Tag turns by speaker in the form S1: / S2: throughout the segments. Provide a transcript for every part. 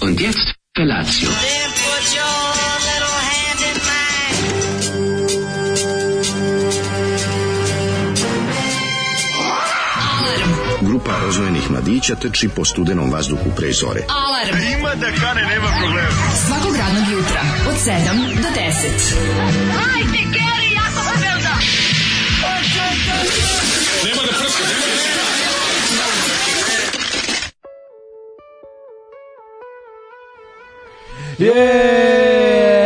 S1: Und jetzt Felatio.
S2: Then put your little hand in mine.
S3: Grupa roznojenih mladića trči po studenom vazduhu pre zore.
S4: Alarm. Ima da kane, nema problema. Svakog radnog jutra, od 7 do 10.
S5: Yeah!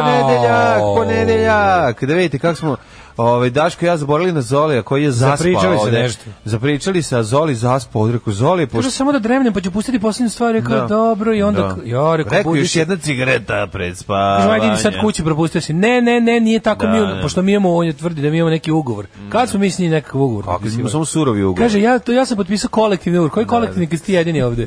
S5: Ponedeljak, ponedeljak. Da vidite kako smo Ovaj Daško i ja zaborali na Zolija koji je zaspao.
S6: Zapričali se
S5: ovde.
S6: nešto.
S5: Zapričali se, a Zoli zaspao. Rekao Zoli
S6: Može
S5: pošto
S6: samo da dremnem, pa ću pustiti poslednju stvar, rekao,
S5: Da.
S6: dobro, i onda,
S5: Da.
S6: ja, rekao,
S5: Rekao
S6: budi
S5: još
S6: se.
S5: jedna cigareta pred spavanje.
S6: Kažem, ajde, idi sad kući, propustio si. Ne, ne, ne, nije tako,
S5: Da,
S6: mi,
S5: ne. Mm.
S6: pošto mi imamo, on je tvrdi da mi imamo neki ugovor. Kad smo mi s njim nekakav ugovor?
S5: Kako smo
S6: potpisivali?
S5: samo surovi ugovor.
S6: Kaže, ja, to, ja sam potpisao kolektivni ugovor.
S5: Da,
S6: Koji kolektivni, kad si ti jedini ovde?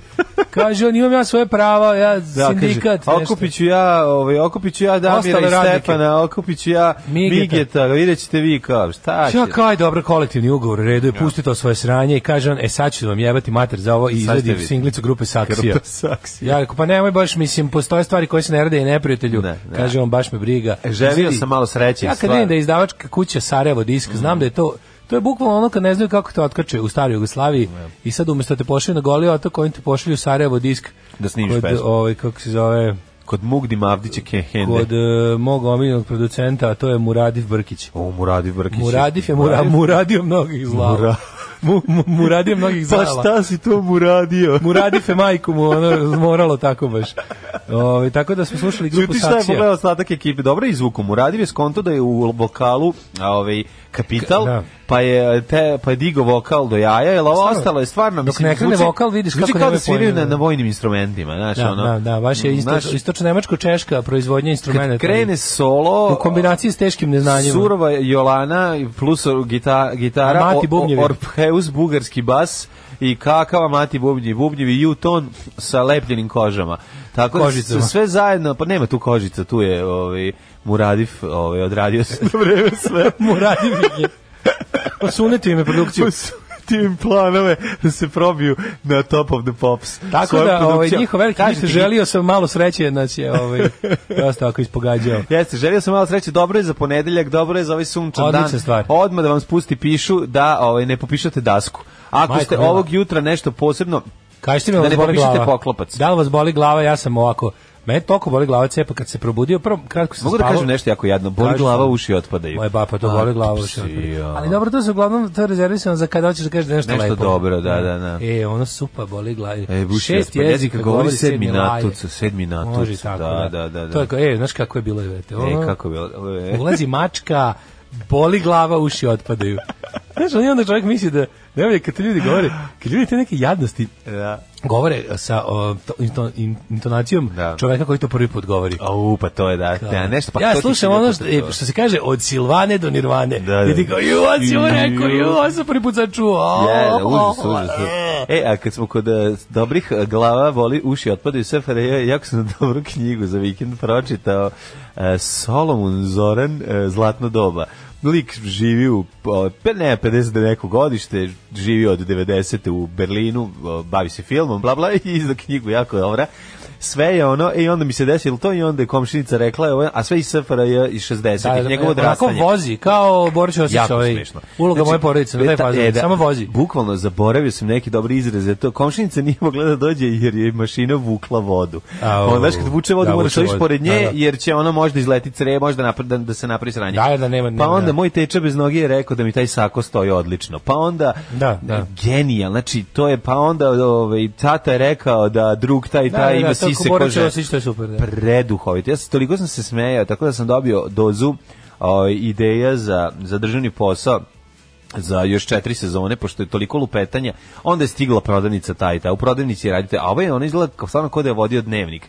S6: Kaže, on, imam ja svoje prava, ja,
S5: Da,
S6: sindikat,
S5: kaže,
S6: nešto.
S5: okupiću ja, ovaj, okupiću ja Damira
S6: Ostale
S5: i
S6: radnike.
S5: Stefana, okupiću ja
S6: Migeta.
S5: Migeta, vidjet ćete vi kao, šta će?
S6: Ja kao je dobro kolektivni ugovor, u redu je, pusti to svoje sranje i kaže on, e sad ću vam jebati mater za ovo i
S5: Sad ćete
S6: izvedi
S5: vidjeti.
S6: singlicu grupe Saksija.
S5: Grupa Saksija.
S6: Ja rekao, pa nemoj baš, mislim, postoje stvari koje se ne rade i neprijatelju.
S5: Ne, ne.
S6: Kaže on, baš me briga.
S5: E, želio
S6: Izvedi-
S5: sam malo sreće,
S6: Ja kad
S5: stvarno. Mhm.
S6: vidim da je izdavačka kuća Sarajevo disk, znam da je to To je bukvalno ono kad ne znaju kako te otkače u staroj Jugoslaviji i sad umesto da te pošalju na goli otok, oni te pošalju u Sarajevo disk.
S5: Da snimiš
S6: kod,
S5: pesmu.
S6: Ovaj, kako se zove,
S5: Kod Mugdi Mavdića Kehende.
S6: kod eh, mog omiljenog producenta, a to je Muradiv Brkić.
S5: O, Muradi Brkić.
S6: Muradif je mura, muradio mnogih zlava.
S5: Mura-
S6: Mu, mu, muradio mnogih
S5: Pa
S6: zlava.
S5: šta si to mu radio?
S6: Muradif je majku mu ono, moralo tako baš. Ove, tako da smo slušali grupu
S5: Čuti šta je
S6: Saksija.
S5: pogledao ostatak ekipe, dobro je izvuku. Muradiv je skonto da je u vokalu a, ovaj, kapital,
S6: Ka- da.
S5: pa je, te, pa je digo vokal do jaja, jer ovo
S6: Stvarno,
S5: ostalo je stvarno...
S6: dok ne krene
S5: zvuči-
S6: vokal, vidiš
S5: zvuči kao
S6: kako
S5: da
S6: nemaju
S5: sviraju
S6: pojma,
S5: na,
S6: da.
S5: na vojnim instrumentima, znaš,
S6: Da,
S5: ono...
S6: da, da, baš je isto,
S5: znaš,
S6: istočno-nemačko-češka proizvodnja
S5: Kad
S6: instrumenta.
S5: krene solo...
S6: u kombinaciji s teškim neznanjima.
S5: Surova Jolana plus gita, gitara,
S6: A Mati
S5: o-
S6: bubnjevi.
S5: o- Orpheus, bugarski bas i kakava Mati Bubnjevi, Bubnjevi Juton sa lepljenim kožama. Tako da
S6: Kožicama.
S5: se sve zajedno, pa nema tu kožica, tu je ovaj, Muradif ovaj, odradio se na vreme sve.
S6: Muradiv je. Osunete im je produkciju.
S5: tim planove da se probiju na Top of the Pops.
S6: Tako
S5: Svojom
S6: da ovaj,
S5: produkcijom.
S6: njihov veliki
S5: Kažem
S6: hit,
S5: ti,
S6: želio sam malo sreće, nas je ovaj, dosta ako ispogađao.
S5: Jeste, želio sam malo sreće, dobro je za ponedeljak, dobro je za ovaj sunčan
S6: Odlična
S5: dan.
S6: stvar.
S5: Odmah da vam spusti pišu da ovaj, ne popišete dasku. Ako
S6: Majko
S5: ste
S6: mila.
S5: ovog jutra nešto posebno,
S6: Kažete mi,
S5: Da
S6: vas
S5: ne
S6: boli
S5: popišete
S6: glava.
S5: poklopac.
S6: Da li vas boli glava, ja sam ovako. Me toliko boli glava cepa kad se probudio, prvo kratko sam
S5: mogu da
S6: spavao.
S5: kažem nešto jako jadno, boli
S6: Kaži
S5: glava,
S6: šta?
S5: uši otpadaju.
S6: Moje bapa to
S5: A,
S6: boli glava.
S5: psi, ja.
S6: Ali dobro, to se uglavnom to je rezervisano za kada hoćeš da kažeš nešto,
S5: Nešto
S6: lepo.
S5: dobro, da, da, da.
S6: E, ono supa boli glavi.
S5: E, buši otpad jezika, govori sedmi natucu, sedmi natucu,
S6: Može i tako,
S5: da,
S6: da,
S5: da, da, da.
S6: To je, kao, e, znaš kako je bilo, vete. Ono,
S5: E, kako je bilo? E.
S6: Ulazi mačka, boli glava, uši otpadaju. Znaš, ali onda čovjek misli da, ne kad ti ljudi govore, kad ljudi te neke jadnosti
S5: Da.
S6: govore sa o, to, into- in- intonacijom
S5: Da.
S6: čoveka koji to prvi put govori.
S5: Au, pa to je da, da, nešto, pa
S6: ja
S5: to ti
S6: slušam
S5: se
S6: ono
S5: lijepo
S6: što,
S5: to-
S6: e, što se kaže od Silvane do Nirvane.
S5: Da, da.
S6: I ti kao, ju, on si mu rekao, ju, on sam prvi put sad čuo. Oh, a,
S5: Je, da, užas,
S6: a,
S5: užas.
S6: a.
S5: E, a kad smo kod e, dobrih e, glava, boli, uši otpadaju sve, Fere, ja jako sam dobru knjigu za vikend pročitao. E, Solomon Zoran, e, Zlatno doba. Lik živi u, o, pe- ne, 50 da neko godište, živi od 90. u Berlinu, o, bavi se filmom, bla, bla, i izda knjigu, jako je dobra. Sve je ono, e, i onda mi se desilo to i onda je komšinica rekla, evo, a sve iz SFRJ iz 60.
S6: Da,
S5: Da,
S6: da,
S5: njegovo
S6: onako
S5: odrastanje.
S6: vozi, kao Borić Osić,
S5: Jako
S6: ovaj,
S5: smešno.
S6: uloga
S5: Znači,
S6: moje porodice, na taj
S5: ta-
S6: fazon,
S5: e, da,
S6: samo vozi.
S5: Bukvalno zaboravio sam neke dobre izraze. To komšinica nije mogla da dođe jer je mašina vukla vodu.
S6: Au.
S5: Onda znaš kad vuče vodu,
S6: Da,
S5: moraš
S6: vuče
S5: da ideš
S6: vodu.
S5: pored nje
S6: Da, da.
S5: jer će ona možda izleti cre, možda napra- da, da se napravi sranje.
S6: Da, da, nema- nema,
S5: pa onda
S6: da.
S5: moj teča bez noge je rekao da mi taj sako stoji odlično. Pa onda
S6: Da, da.
S5: genijal, znači to je pa onda ovaj tata je rekao da drug taj
S6: Da,
S5: taj
S6: da,
S5: ima
S6: da, to
S5: sise
S6: ko Borić
S5: kože
S6: Josić, to je super, da.
S5: preduhovito. Ja sam toliko sam se smejao, tako da sam dobio dozu ovaj, ideja za, za državni posao za još četiri sezone, pošto je toliko lupetanja, onda je stigla prodavnica ta i ta. U prodavnici radite, a ovaj ona izgleda kao stvarno kao da je vodio dnevnik.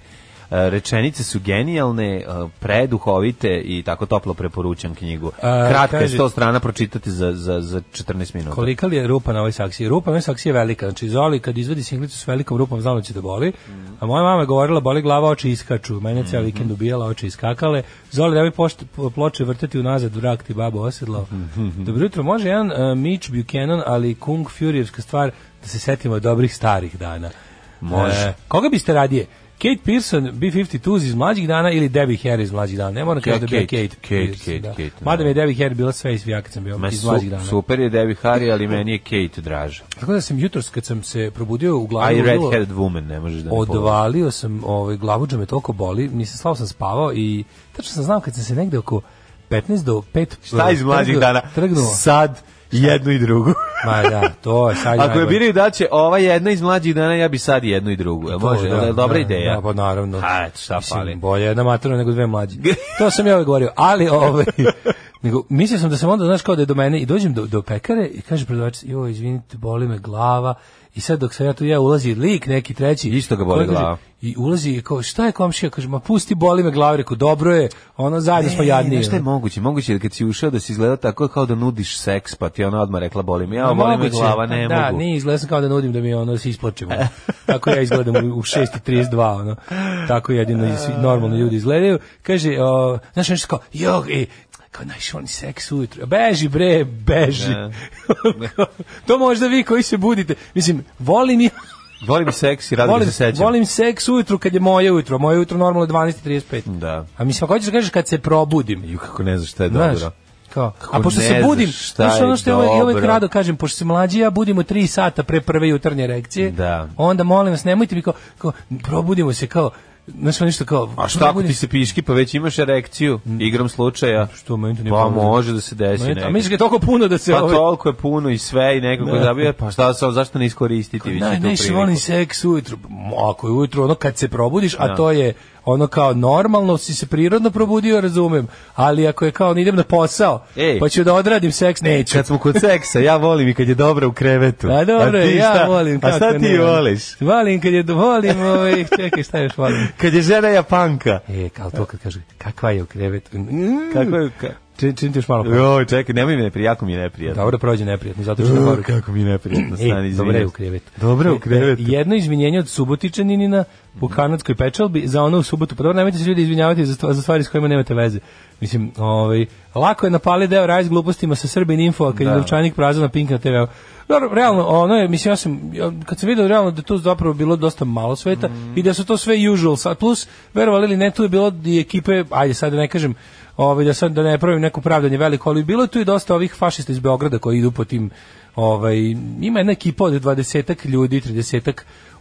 S5: E, Rečenice su genijalne, e, preduhovite i tako toplo preporučam knjigu.
S6: A,
S5: Kratka je
S6: kaže-
S5: 100 strana, pročitate za, za, za 14 minuta.
S6: Kolika li je rupa na ovoj saksiji? Rupa na ovoj saksiji je velika. Znači, Zoli kad izvedi singlicu s velikom rupom, znamo da će da boli.
S5: Mhm.
S6: A moja mama je govorila, boli glava, oči iskaču. Mene je cijel vikend ubijala, oči iskakale. Zoli, da bi pošte, po- ploče vrteti unazad, vrak ti babo osedlao.
S5: Mhm.
S6: Dobro jutro, može jedan e, Mitch Buchanan, ali Kung Furijevska stvar, da se setimo dobrih starih dana.
S5: Može.
S6: E, koga biste radije? Kate Pearson, B-52 iz mlađih dana ili Debbie Harry iz mlađih dana. Ne moram
S5: Kate,
S6: kažem da bi ja
S5: Kate,
S6: Kate.
S5: Kate,
S6: Pearson,
S5: Kate,
S6: da.
S5: Kate,
S6: Mada
S5: da.
S6: mi je Debbie Harry bila sve svija kad sam bio
S5: Ma,
S6: iz
S5: su,
S6: mlađih dana.
S5: super je Debbie Harry, ali meni je Kate draža.
S6: Tako da sam jutros kad sam se probudio u
S5: A
S6: glavi
S5: i
S6: ludilo,
S5: Red-Headed Woman, ne možeš da ne pogledaš.
S6: odvalio sam ovaj, glavuđa me toliko boli, nisam slavo sam spavao i tačno sam znao kad sam se negde oko 15 do 5
S5: Šta iz mlađih
S6: trgnuo-
S5: dana?
S6: Trgnuo.
S5: Sad, jednu i drugu.
S6: Ma da, to je sad
S5: Ako je
S6: najgore.
S5: biraju da će ova jedna iz mlađih dana, ja bi sad jednu i drugu. Jel
S6: To,
S5: može? Jel je dobra ideja?
S6: Da, pa naravno.
S5: Ha, eto, šta
S6: Mislim,
S5: fali?
S6: Bolje jedna matura nego dve mlađe. to sam ja ovaj govorio, ali ovaj nego mislio sam da sam onda znaš kao da je do mene i dođem do, do pekare i kaže prodavač joj izvinite boli me glava i sad dok sam ja tu ja ulazi lik neki treći
S5: Isto ga boli
S6: koji kaže-
S5: glava.
S6: i ulazi i kao šta je komšija kaže ma pusti boli me glava rekao dobro je ono zajedno da smo
S5: E,
S6: jadni
S5: znaš šta je moguće? Moguće je da kad si ušao da si izgledao tako kao da nudiš seks, pa ti je ona odmah rekla boli me, ja boli me glava, ne
S6: da,
S5: mogu.
S6: nije izgleda sam kao da nudim da mi ono se isplačemo. Tako ja izgledam u, u 6.32, ono. Tako jedino i svi normalni ljudi izgledaju. Kaže, o, znaš nešto kao, jog, e, kao naš oni seks ujutro. Beži bre, beži.
S5: Da.
S6: to možda vi koji se budite. Mislim, volim ja,
S5: Volim seks i rado ga
S6: volim,
S5: Da se sećam.
S6: volim seks ujutru kad je moje ujutro. Moje ujutro normalno je 12.35.
S5: Da.
S6: A mislim, ako hoćeš da kažeš kad se probudim.
S5: Ju, kako ne znaš šta je
S6: Znaš,
S5: dobro.
S6: kao,
S5: Kako
S6: a pošto
S5: ne
S6: se
S5: znaš
S6: budim,
S5: šta
S6: znaš
S5: je
S6: ono što ja uvek, ja uvek
S5: dobro.
S6: rado kažem, pošto se mlađi ja budimo 3 sata pre prve jutarnje rekcije,
S5: Da.
S6: onda molim vas, nemojte mi kao, kao probudimo se kao, znaš ono nešto kao...
S5: A šta ako ti se piški, pa već imaš erekciju, igrom slučaja.
S6: Što, meni to nije
S5: Pa
S6: problem.
S5: može da se desi
S6: Meni- A
S5: nekad.
S6: misliš da je toliko puno da se...
S5: Pa
S6: ovaj-
S5: toliko je puno i sve i nekako
S6: Da.
S5: zabija, pa šta sad, zašto ne iskoristiti više
S6: Naj,
S5: tu
S6: najviše Da, volim
S5: priliku?
S6: seks ujutru. M, Ako je ujutru, ono kad se probudiš, a
S5: Da.
S6: to je ono kao normalno, si se prirodno probudio, razumem, ali ako je kao idem na posao,
S5: Ej. E,
S6: pa ću da odradim seks, neću.
S5: Kad smo kod seksa, ja volim i kad je dobro u krevetu.
S6: A Pa dobro,
S5: ti
S6: ja
S5: šta-
S6: volim.
S5: A
S6: kako
S5: šta ti
S6: ne volim.
S5: voliš?
S6: Volim kad je, volim, ovaj, čekaj, šta još volim?
S5: Kad je žena japanka.
S6: E, kao to kad kaže, kakva je u krevetu? Mm,
S5: Kako je... Ka...
S6: Čini, čini ti još malo pa.
S5: Joj, čekaj, nemoj mi neprijatno, jako mi je neprijatno.
S6: Dobro prođe neprijatno, zato što je poruka.
S5: kako mi je neprijatno, stani,
S6: E, dobro je u
S5: izvinjam.
S6: krevetu.
S5: Dobro je Mm. u
S6: E,
S5: krevetu.
S6: Jedno izvinjenje od Subotičanina u kanadskoj pečalbi za ono u subotu. Pa dobro, nemojte se ljudi izvinjavati za, stva- za stvari s kojima nemate veze. Mislim, ovaj, lako je napali deo raj s glupostima sa Srbin info, a kad je
S5: Da.
S6: Dovčanik prazan na Pink na TV-u. Dobro, realno, ono je, mislim, ja sam, ja, kad sam vidio realno da je tu zapravo bilo dosta malo sveta
S5: Mm.
S6: i da su to sve usual, sa- plus, verovali ili ne, tu je bilo i ekipe, ajde sad da ne kažem, ovaj, da sad da ne pravim neko pravdanje veliko, ali bilo je tu i dosta ovih fašista iz Beograda koji idu po tim, ovaj, ima jedna ekipa od 20 ljudi, 30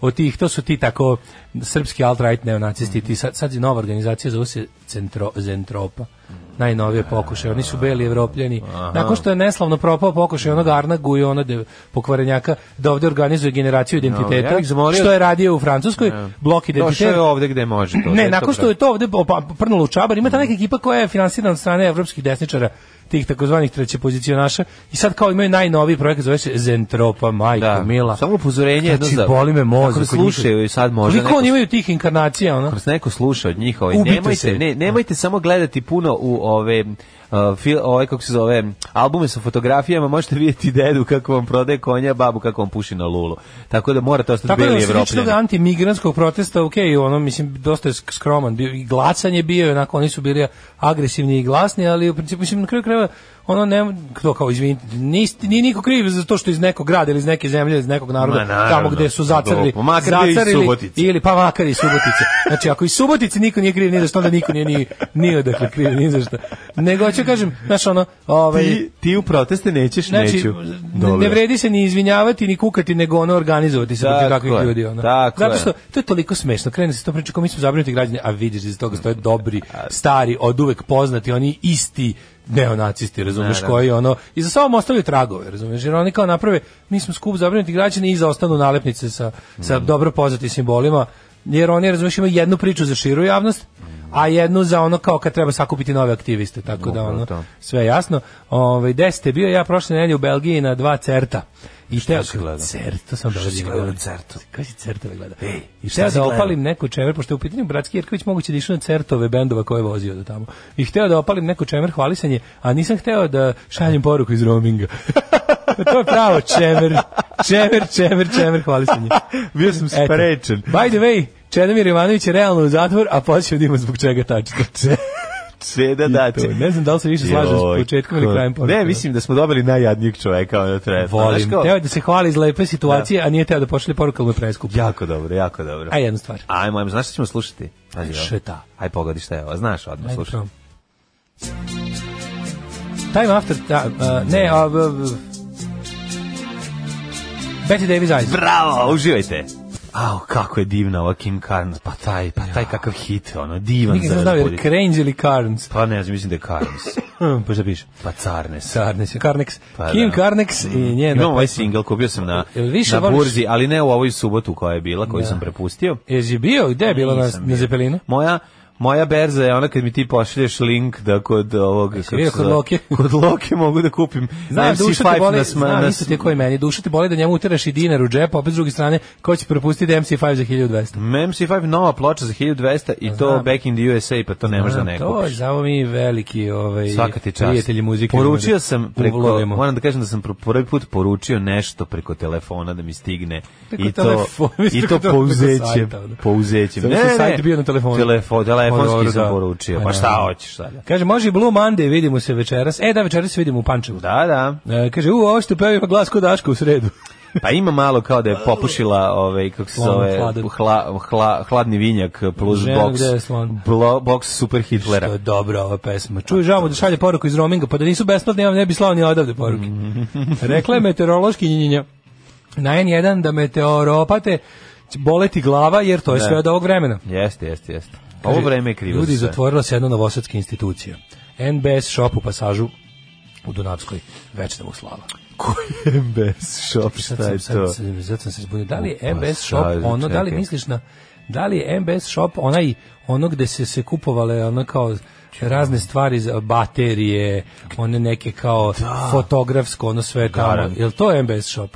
S6: od tih, to su ti tako srpski alt-right neonacisti, ti sad, sad je nova organizacija, zove se Centro, Zentropa najnovije pokušaje. Oni su beli evropljani. Nakon što je neslavno propao pokušaj onog Arnagu i ona de, pokvarenjaka da ovde organizuje generaciju identiteta,
S5: ja bih zamolio-
S6: što je radio u Francuskoj, blok
S5: Došao
S6: identiteta.
S5: je ovde gde može to.
S6: Ne,
S5: eto
S6: nakon što
S5: ga.
S6: je to ovde opa- prnulo u čabar, ima ta neka ekipa koja je finansirana od strane evropskih desničara, tih takozvanih treće pozicionaša, i sad kao imaju najnoviji projekat, zove se Zentropa, Majko
S5: Da.
S6: Mila.
S5: Samo upozorenje jedno
S6: znači,
S5: za-
S6: boli me mozak.
S5: Ako
S6: od njih.
S5: slušaju i sad možda
S6: Koliko
S5: neko
S6: oni imaju tih inkarnacija, ono?
S5: Ako nas neko sluša od njih, ovaj,
S6: Ubite
S5: nemojte,
S6: se.
S5: ne, nemojte samo gledati puno u ove Uh, fil, ovaj, kako se zove, albume sa fotografijama, možete vidjeti dedu kako vam prodaje konja, babu kako vam puši na lulu. Tako da morate ostati
S6: Tako da
S5: beli
S6: u sliču
S5: evropljani.
S6: tog antimigranskog protesta, ok, ono, mislim, dosta je sk- skroman bio, i glasan je bio, onako, oni su bili agresivni i glasni, ali u principu, mislim, na kraju krajeva, ono, ne, to kao, izvinite, niste, nije niko kriv za to što iz nekog grada ili iz neke zemlje, iz nekog naroda,
S5: Ma, naravno,
S6: tamo gde su zacarili,
S5: dobro, makar bio iz Subotice.
S6: ili pa makar i Subotice. Znači, ako i Subotice niko nije kriv, ni za što, onda niko nije ni, ni odakle kriv, ni za što. Nego, hoću da kažem, znaš, ono, ovaj,
S5: ti, ti u proteste nećeš,
S6: Znači,
S5: neću.
S6: ne- ne
S5: Dobro.
S6: vredi se ni izvinjavati, ni kukati, nego ono organizovati se protiv
S5: Tako
S6: takvih
S5: je,
S6: ljudi. Ono.
S5: tako
S6: Zato
S5: je.
S6: što to je toliko smešno. Krene se to priča kao mi smo zabrinuti građani, a vidiš da iz toga stoje dobri, stari, od uvek poznati, oni isti neonacisti, razumeš,
S5: Naravno.
S6: koji ono, i za sobom ostavljaju tragove, razumeš, jer oni kao naprave, mi smo skup zabrinuti građani i zaostanu nalepnice sa,
S5: Mm.
S6: sa dobro poznatim simbolima, jer oni, razumeš, imaju jednu priču za širu javnost, a jednu za ono kao kad treba sakupiti nove aktiviste, tako da
S5: Upravo
S6: ono,
S5: to.
S6: sve jasno. Ovaj 10 bio ja prošle nedelje u Belgiji na dva certa. I teo
S5: si gledao?
S6: Cert, to sam dobro
S5: si
S6: gledao.
S5: gledao na certu?
S6: Kako si certove gleda?
S5: Ej,
S6: I
S5: šta
S6: teo
S5: si
S6: da
S5: gledao?
S6: opalim neku čemer, pošto je u pitanju Bratski Jerković, moguće da išu na certove bendova koje je vozio do tamo. I hteo da opalim neku čemer hvalisanje, a nisam hteo da šaljem poruku iz roaminga. to je pravo čemer. Čemer, čemer, čemer hvalisanje.
S5: Bio sam
S6: Eto.
S5: sprečen.
S6: By the way, Čedomir Ivanović je realno u zatvor, a poslije da ima zbog čega tačno.
S5: Sveda
S6: da,
S5: daci.
S6: ne znam da li se više slažem s početkom ili krajem poruka.
S5: Ne, mislim da smo dobili najjadnijeg čoveka ono treba.
S6: Volim. Teo je da se hvali iz lepe situacije, a nije teo da pošalje poruku, ali mu je preskup.
S5: Jako dobro, jako dobro.
S6: Aj, jednu stvar.
S5: Ajmo, ajmo, znaš šta ćemo slušati? Pazi, ovo.
S6: Šeta.
S5: Aj, pogodi šta je ovo, znaš odmah,
S6: Ajde,
S5: slušaj.
S6: probam. Time after... Da, a, ne, a, b, b, Betty Davis Eyes.
S5: Bravo, uživajte. Au, kako je divna ova Kim Carnes, pa taj, pa taj kakav hit, ono, divan
S6: Nikad
S5: za
S6: sam znao, jer
S5: razbuditi.
S6: Crange ili Carnes.
S5: Pa ne znam, mislim da je Carnes.
S6: Pa šta piše?
S5: Pa Carnes.
S6: Carnes, Carnex.
S5: Pa
S6: Kim
S5: da.
S6: Carnex i njena...
S5: Imam ovaj single, kupio sam na,
S6: Jel više
S5: na
S6: voliš- Da.
S5: burzi, ali ne u ovoj subotu koja je bila, koju sam prepustio.
S6: Jesi je bio? Gde je bilo na,
S5: Nisam
S6: na Zeppelinu?
S5: Moja Moja berza je ona kad mi ti pošalješ link da kod ovog kako
S6: vidio
S5: se
S6: kod
S5: zove,
S6: Loke?
S5: kod Loke mogu da kupim
S6: Znam,
S5: MC5
S6: duša te boli,
S5: na sma-
S6: znam,
S5: na
S6: isto
S5: sm-
S6: ti je koji meni. Duša te boli da njemu utiraš i dinar u džep, a opet s druge strane, ko će propustiti MC5 za 1200?
S5: MC5 nova ploča za 1200 i to
S6: Znam.
S5: back in the USA pa to ne možeš da
S6: Znam,
S5: ne
S6: To
S5: kupiš.
S6: znamo mi veliki ovaj,
S5: Svaka ti čast.
S6: prijatelji muzike.
S5: Poručio sam preko,
S6: Uvolujemo.
S5: moram da kažem da sam pro- prvi put poručio nešto preko telefona da mi stigne
S6: Preko
S5: i to
S6: telefona, mislim,
S5: i to
S6: preko telefona, preko
S5: pouzećem,
S6: sajta, ono.
S5: pouzećem.
S6: Zato što je sajt bio na telefonu.
S5: Telefon, telefonski
S6: Pa dobro,
S5: sam
S6: da.
S5: poručio.
S6: Pa
S5: Pa šta
S6: naravno.
S5: hoćeš sada?
S6: Kaže, može i Blue Monday, vidimo se večeras. E, da, večeras se vidimo u Pančevu.
S5: Da, da.
S6: E, kaže, u, ovo što peva ima glas kod Daška u sredu.
S5: Pa ima malo kao da je popušila ovaj kako se
S6: Slon
S5: zove
S6: hladan.
S5: hla, hla, hladni vinjak plus
S6: Žena
S5: box.
S6: gde je slon?
S5: Blo, box super Hitlera.
S6: To je dobra ova pesma. Čuj, žao mu da šalje poruku iz roaminga, pa da nisu besplatne, ja vam ne bi slao ni odavde poruke. Rekla je meteorološki njinjinja. Na N1 da meteoropate će boleti glava, jer to je sve od ovog vremena.
S5: Jeste, jeste, jeste. Da. Ovo vreme je krivo.
S6: Ljudi,
S5: za sve.
S6: zatvorila se jedna novosadska institucija. NBS shop u pasažu u Dunavskoj, večna mu slava.
S5: Koji MBS shop,
S6: Sad
S5: šta
S6: sam,
S5: je
S6: sad,
S5: to?
S6: sam- sad sam se zbunio. Da li
S5: U
S6: je MBS shop
S5: pasažu,
S6: ono, da li
S5: čekaj.
S6: misliš na, da li je MBS shop onaj, ono gde se se kupovale ono kao razne stvari za baterije, one neke kao
S5: Da.
S6: fotografsko, ono sve tamo.
S5: Garan.
S6: Jel to MBS shop?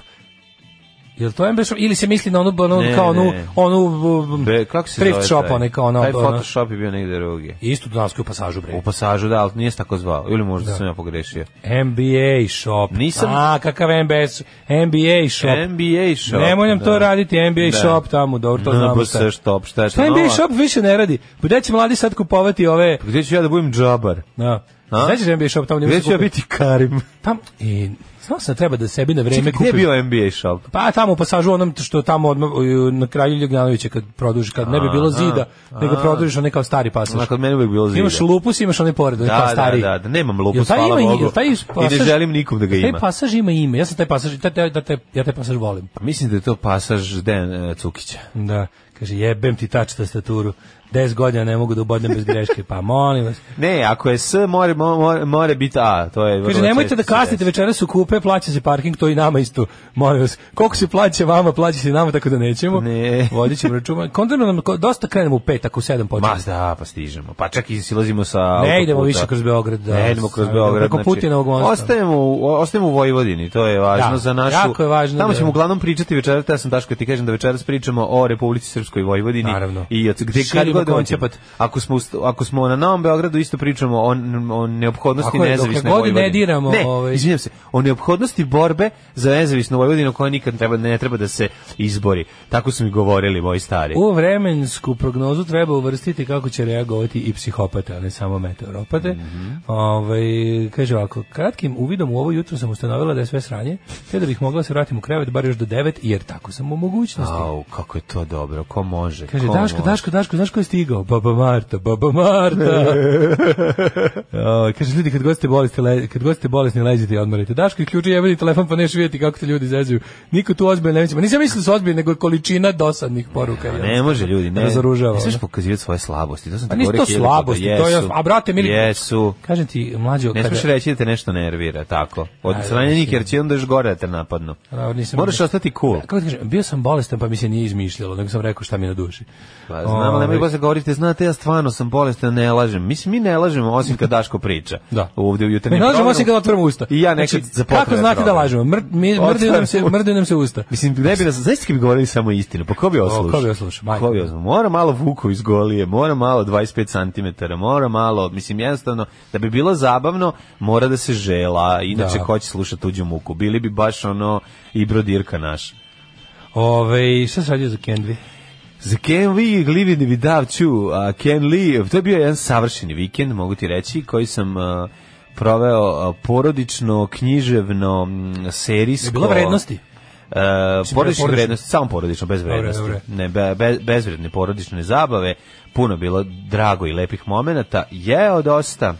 S6: Jel to MBS shop? Ili se misli na onu, ono,
S5: Ne,
S6: kao onu,
S5: ne.
S6: onu,
S5: Be, kako se
S6: thrift
S5: zove
S6: shop,
S5: taj?
S6: onaj kao ono,
S5: Taj
S6: ono,
S5: Photoshop je bio negde drugi.
S6: isto Dunavskoj u pasažu, bre.
S5: U pasažu, da, ali nije se tako zvao. Ili možda
S6: Da.
S5: sam ja pogrešio.
S6: NBA shop.
S5: Nisam-
S6: A, kakav MBS? NBA shop.
S5: NBA shop.
S6: Nemoj nam to raditi, NBA
S5: Da.
S6: shop tamo, dobro, to
S5: Na
S6: znamo
S5: BS shop, šta je to
S6: Šta NBA
S5: nova?
S6: shop više ne radi? Pa gde će mladi sad kupovati ove...
S5: Gde ću ja da budem džabar?
S6: Da.
S5: A?
S6: Znaš da NBA shop tamo ne
S5: Gde
S6: može
S5: ću ja
S6: kupiti?
S5: biti Karim?
S6: Tam, i, znao sam da treba da sebi na vreme
S5: Čekaj, gde
S6: kupi.
S5: je bio NBA shop?
S6: Pa tamo u pasažu onom što tamo odmah, u- na kralju Ljubljanovića kad produži, kad ne bi bilo zida, nego produžiš onaj kao stari pasaž.
S5: Onako, kod mene uvek bilo zida.
S6: Imaš lupus, imaš onaj pored, onaj
S5: Da,
S6: kao
S5: da,
S6: stari.
S5: da, da, nemam lupus,
S6: Jel taj
S5: hvala
S6: ima-
S5: Bogu.
S6: jel taj
S5: I ne
S6: pasaž-
S5: želim nikom da ga
S6: jel
S5: ima.
S6: Taj pasaž ima ime, ja sam taj pasaž, taj, taj, taj, ja taj pasaž volim.
S5: Mislim da je to pasaž Den e, Cukića.
S6: Da, kaže, jebem ti tač tastaturu, 10 godina ne mogu da ubodnem bez greške, pa molim vas.
S5: Ne, ako je S, more, more, more biti A. To je
S6: Kaže,
S5: vrlo
S6: nemojte da
S5: često se
S6: kasnite,
S5: desi.
S6: večeras u kupe, plaća se parking, to i nama isto, molim vas. Koliko se plaća vama, plaća se i nama, tako da nećemo.
S5: Ne.
S6: Vodit ćemo računa. Kontrano nam, ko- dosta krenemo u pet, ako u sedam
S5: Ma
S6: počnemo.
S5: da, pa stižemo. Pa čak i silazimo sa
S6: Ne idemo
S5: autoputa.
S6: više kroz Beograd. Da,
S5: ne idemo kroz
S6: Sad,
S5: Beograd.
S6: Preko
S5: znači,
S6: Putinovog mosta.
S5: Ostajemo u, o- ostajemo u Vojvodini, to je važno
S6: Da,
S5: za našu...
S6: jako je važno
S5: Tamo
S6: da-
S5: ćemo uglavnom pričati večeras, ja sam Daško ti kažem da večeras pričamo o Republici Srpskoj Vojvodini.
S6: Naravno.
S5: I od, gde kad
S6: Širimo
S5: god dođemo.
S6: koncept.
S5: Ako smo, u st- ako smo na Novom Beogradu, isto pričamo o, o neophodnosti
S6: Tako je, dokle
S5: nezavisne
S6: god ne
S5: Vojvodine.
S6: diramo,
S5: Ne,
S6: ovaj-
S5: izvinjam se, o neophodnosti borbe za nezavisnu Vojvodinu koja nikad treba, ne treba da se izbori. Tako su mi govorili moji stari.
S6: U vremensku prognozu treba uvrstiti kako će reagovati i psihopate, a ne samo meteoropate.
S5: Mhm.
S6: Ovaj, kaže ovako, kratkim uvidom u ovo jutro sam ustanovila da je sve sranje, te da bih mogla da se vratim u krevet bar još do 9, jer tako sam u mogućnosti.
S5: Au, kako je to dobro, ko može?
S6: Kaže,
S5: ko
S6: Daško,
S5: može?
S6: Daško, Daško, znaš ko je stigao? Baba Marta, Baba Marta. O, kaže, ljudi, kad god ste bolesti, le, kad god ste bolesni, leđite i odmorite. Daško, isključi jebeni telefon, pa neš vidjeti kako te ljudi zezuju. Niko tu ozbiljno ne vidimo. Nisam mislio da su ozbiljni, nego količina dosadnih poruka. jel?
S5: Ne može ljudi, ne.
S6: Razoružava,
S5: Ne
S6: ono.
S5: smeš pokazivati svoje slabosti. To sam
S6: Pa
S5: ti
S6: nisu
S5: govorio
S6: to
S5: hiljadu puta.
S6: slabosti, to je-
S5: Jesu.
S6: a brate mili-
S5: Jesu.
S6: Kažem ti, mlađo,
S5: Ne
S6: kada...
S5: smeš reći da te nešto nervira, tako. Od
S6: Ajde,
S5: strane njih,
S6: mislim.
S5: jer će onda još gore da te napadnu.
S6: Bravo, nisam-
S5: Moraš ostati cool.
S6: Kako ti kažem, bio sam bolestan, pa mi se nije izmišljalo, nego sam rekao šta mi je na duši.
S5: Pa, znam, ali
S6: Ovaj,
S5: nemoj posle govoriti, znate, ja stvarno sam bolestan, ne lažem. Mislim, mi ne lažemo, osim kad Daško priča.
S6: Da.
S5: Ovdje u
S6: Mi
S5: jutarnjem
S6: ne lažemo
S5: programu.
S6: osim kada otvorimo usta.
S5: I ja nekad za potrebe
S6: Kako znate da
S5: programa.
S6: lažemo? Mr, mi, mrdaju, nam se,
S5: Otvorimo.
S6: mrdaju nam se usta.
S5: Mislim, ne bi nas, zaista bi govorili samo istinu, pa ko bi
S6: O,
S5: oslušao?
S6: ko bi oslušao, majko.
S5: Ko bi oslušao? Mora malo vuku iz golije, mora malo 25 cm, mora malo, mislim, jednostavno, da bi bilo zabavno, mora da se žela, inače
S6: Da.
S5: ko će slušati tuđu muku? Bili bi baš ono i brodirka naš.
S6: Ove, šta se radio za Kendvi?
S5: Za Ken Lee, Live in without you, a Ken Lee, to je bio jedan savršeni vikend, mogu ti reći, koji sam uh, proveo uh, porodično, književno, mm, serijsko.
S6: Je bilo vrednosti? da
S5: Uh, porodične
S6: porodično?
S5: vrednosti, samo porodično, bez
S6: Dobre,
S5: vrednosti.
S6: dobre.
S5: Ne, be, be, bezvredne porodične zabave, puno bilo drago i lepih momenata, jeo dosta,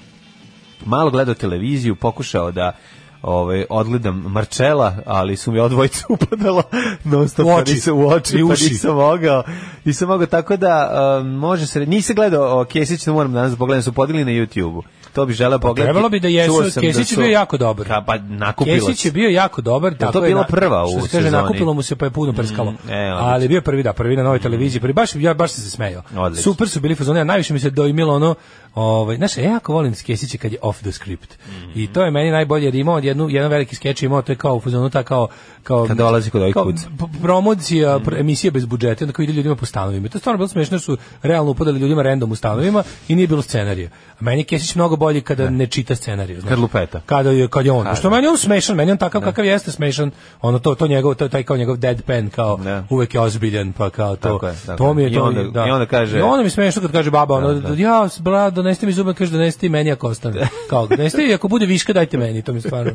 S5: malo gledao televiziju, pokušao da ovaj odgledam Marčela, ali su mi odvojica upadala non stop,
S6: U
S5: pa
S6: oči.
S5: nisam u oči,
S6: I
S5: pa
S6: uši.
S5: nisam mogao. Nisam mogao, tako da um, može se, nisam gledao o Kesić, to moram danas da pogledam, su podigli na YouTube-u. To bi želeo pogledati.
S6: trebalo bi da jesu,
S5: Čuo sam
S6: Kesić je bio jako dobar.
S5: Ka, pa nakupilo
S6: Kesić je bio jako dobar, tako
S5: to bila
S6: na-
S5: prva
S6: što
S5: u
S6: se kaže,
S5: sezoni?
S6: nakupilo mu se pa je puno prskalo.
S5: e, odlično.
S6: ali bio je prvi da, prvi na novoj televiziji, prvi, baš ja baš sam se smejao.
S5: Odlično.
S6: Super su bili fazoni, a najviše mi se doimilo ono, ovaj, znaš, ja jako volim Kesića kad je off the script.
S5: Mhm.
S6: I to je meni najbolje jer je imao jednu jedan veliki skeč je imao to je kao u fazonu ta kao kao
S5: Kad dolazi ovaj Mhm. kod ovih
S6: kao
S5: kuca.
S6: p- promocija pr- emisije bez budžeta, onda kao ide ljudima po stanovima. I To je stvarno bilo smešno jer su realno upadali ljudima random u stanovima i nije bilo scenarija. A meni je Kesić mnogo bolji kada ne čita scenarije.
S5: Da. Kad lupeta.
S6: Kada je kad je on. Što meni je on smešan, meni je on
S5: Da.
S6: takav kakav jeste smešan. Ono to to njegov to taj kao njegov deadpan kao
S5: Da.
S6: uvek je ozbiljan pa kao to.
S5: Tako je, tako
S6: to mi je
S5: je. I
S6: to
S5: onda-
S6: da.
S5: i onda kaže- Da,
S6: I onda mi je smešno kad kaže baba ono ja s- bra donesti mi zube kaže donesti meni ako ostane. Kao donesti i ako bude viška dajte meni, to mi je stvarno.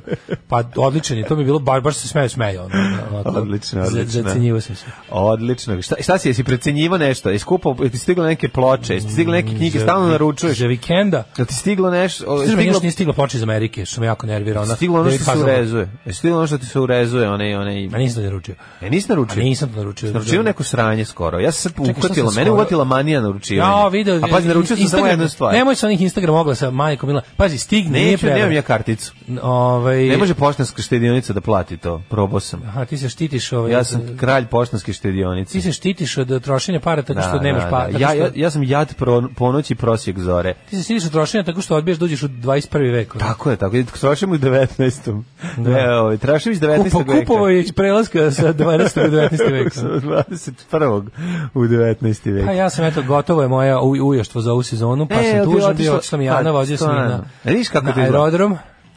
S6: Pa odličan je, to mi je bilo baš baš se smejao smejao ono. onako.
S5: Odlično,
S6: Za-
S5: odlično.
S6: Zacenjivao sam se.
S5: Odlično. Šta, šta si, jesi precenjivo nešto? Jesi kupao, jesi stigle neke ploče, jesi stigle neke knjige, stalno naručuješ?
S6: Mm, Za vikenda.
S5: Jel ti stiglo nešto? o,
S6: Stiglo, još Da
S5: Stiglo,
S6: nije stiglo ploče iz Amerike, što me jako nervira. Ona,
S5: stiglo ono
S6: David
S5: što se
S6: Hasselhoff.
S5: urezuje. Jesi stiglo ono što ti se urezuje, one, one...
S6: Ma nisam to naručio.
S5: Ja nisam naručio.
S6: A nisam to naručio.
S5: Naručio neko sranje skoro. Ja sam se
S6: Čekaj, šta
S5: uhvatila,
S6: sam
S5: mene
S6: skoro-
S5: uhvatila manija naručivanja.
S6: Ja, video.
S5: A pazi, naručio sam samo
S6: Instagram-
S5: jednu stvar.
S6: Nemoj sa onih Instagram oglasa, majko Mila. Pazi, stigne, nije
S5: Neću,
S6: prevara.
S5: nemam ja karticu.
S6: Ovaj,
S5: Ne može poštanska štedionica da plati to. Probao sam.
S6: Aha, ti se štitiš, ovaj,
S5: Ja sam kralj poštanske štedionice.
S6: ti se štitiš od trošenja para tako što nemaš
S5: da,
S6: para.
S5: da.
S6: tako
S5: Ja,
S6: što-
S5: ja, ja sam jad pro, ponoći prosjek zore.
S6: Ti se štitiš od trošenja tako što odbiješ da uđeš u 21. vek. ono.
S5: Tako je, tako je. Trašimo u 19.
S6: Da.
S5: Da. E, ovaj, trašimo iz 19.
S6: Kupo,
S5: veka.
S6: kupovo je iz prelaska sa 12. u 19. veka.
S5: 21. u 19. vek.
S6: Pa ja sam eto gotovo je moja u, ujoštvo za ovu sezonu, pa
S5: E,
S6: sam
S5: bio
S6: tužan bio,
S5: otišla-
S6: otišla mi Jana,
S5: pa,
S6: vozio sam je na,
S5: stvarno. E, vidiš kako
S6: na
S5: to izgleda.
S6: aerodrom.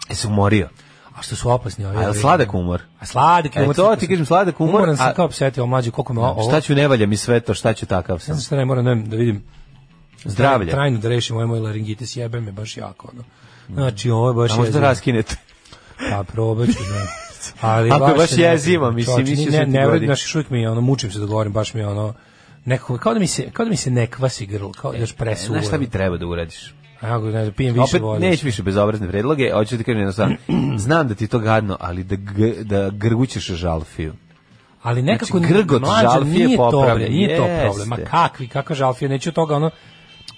S5: Jesi E, umorio?
S6: A što su opasni ovi?
S5: A je li
S6: ovi-
S5: sladak umor?
S6: A sladak je
S5: E,
S6: umor-
S5: to ti kažem, sladak umor,
S6: Umoran sam
S5: a-
S6: kao psetio, mlađe, koliko me ovo...
S5: Šta ću ne valja mi sve to, šta ću takav
S6: Ne
S5: sam?
S6: znam šta ne moram da, da vidim
S5: Zdravlje.
S6: Trajno da rešim ovaj moj laringitis, jebe me baš jako. Ono. Znači, ovo je baš
S5: Mm. A možda
S6: jezivo.
S5: raskinete.
S6: Pa, probat ću, da. Ali
S5: Ako je baš
S6: je ne-
S5: jezivo, mislim,
S6: čovječe,
S5: mislio
S6: ne,
S5: sam ti
S6: ne, ne,
S5: godi.
S6: znaš, još uvijek mi, je, ono, mučim se da govorim, baš mi je, ono, nekako, kao da mi se, kao da mi se ne kvasi grlo, kao da još presuvo.
S5: E, Znaš šta bi trebao da uradiš?
S6: Ako, ne znam, pijem više
S5: Opet
S6: vode.
S5: neću više bezobrazne predloge, hoću da ti kažem jednostavno. Znam da ti je to gadno, ali da, g, da grgućeš žalfiju.
S6: Ali nekako
S5: Znači, grgot
S6: mlađa,
S5: žalfije
S6: nije to,
S5: popravlja,
S6: bre, nije to
S5: jeste.
S6: problem. Ma kakvi, kakva žalfija, neću od toga ono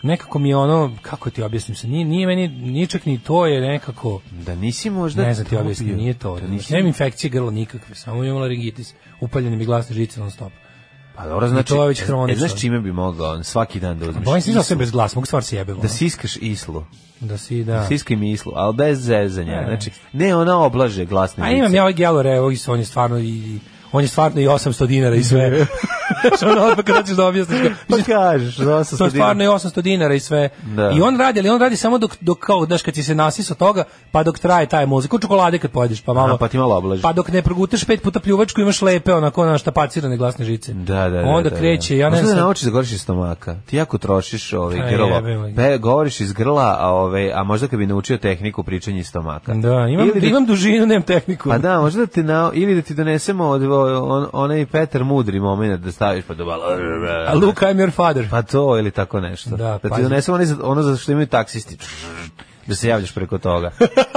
S6: nekako mi je ono, kako ti objasnim se, nije, nije meni, nije čak ni to je nekako,
S5: Da nisi možda...
S6: ne znam ti
S5: to
S6: objasnim,
S5: bio?
S6: nije to.
S5: Da
S6: Znači,
S5: nisi...
S6: nemam infekcije grla nikakve, samo imam laringitis, upaljene mi glasne žice non stop.
S5: Pa dobro, znači...
S6: to je već
S5: e,
S6: hronično.
S5: znaš čime bi mogao on svaki dan da uzmeš?
S6: Bojim se da
S5: islu?
S6: sve bez glasa, mogu stvar se jebe.
S5: Da siskaš islu.
S6: da si, da. E.
S5: Siskaj mi islu, ali bez zezanja. Znači, ne, ona oblaže glasne
S6: A
S5: žice.
S6: imam ja ovaj gelor, evo, i s- on je stvarno i on je stvarno i 800 dinara i sve. Što ono odmah kada ćeš da objasniš. kao,
S5: Pa kažeš, za
S6: to
S5: 800
S6: je
S5: dinara.
S6: stvarno i 800 dinara i sve.
S5: Da.
S6: I on radi, ali on radi samo dok, dok kao, znaš, kad ti se nasisa toga, pa dok traje taj muzik, u čokolade kad pojedeš, pa malo...
S5: A, pa ti malo oblaže.
S6: Pa dok ne progutaš pet puta pljuvačku, imaš lepe, onako, ono, štapacirane glasne žice.
S5: Da, da, da.
S6: Onda
S5: da,
S6: kreće,
S5: da.
S6: ja ne
S5: Možda
S6: znam...
S5: da naučiš da govoriš iz stomaka. Ti jako trošiš
S6: A,
S5: ovaj grlo.
S6: jebe ga.
S5: Pe, govoriš iz grla, a ovaj a možda kad bi naučio tehniku pričanja iz stomaka.
S6: Da, imam,
S5: Ili da-
S6: imam dužinu, nemam tehniku.
S5: Pa da, možda da ti na, ili da ti donesemo od on, onaj Petar Mudri momenat da staviš pa dobalo.
S6: A Luke, I'm your father.
S5: Pa to ili tako nešto.
S6: Da,
S5: Da, ti
S6: pazi.
S5: donesemo onaj za- ono za što imaju taksisti. Da se javljaš preko toga.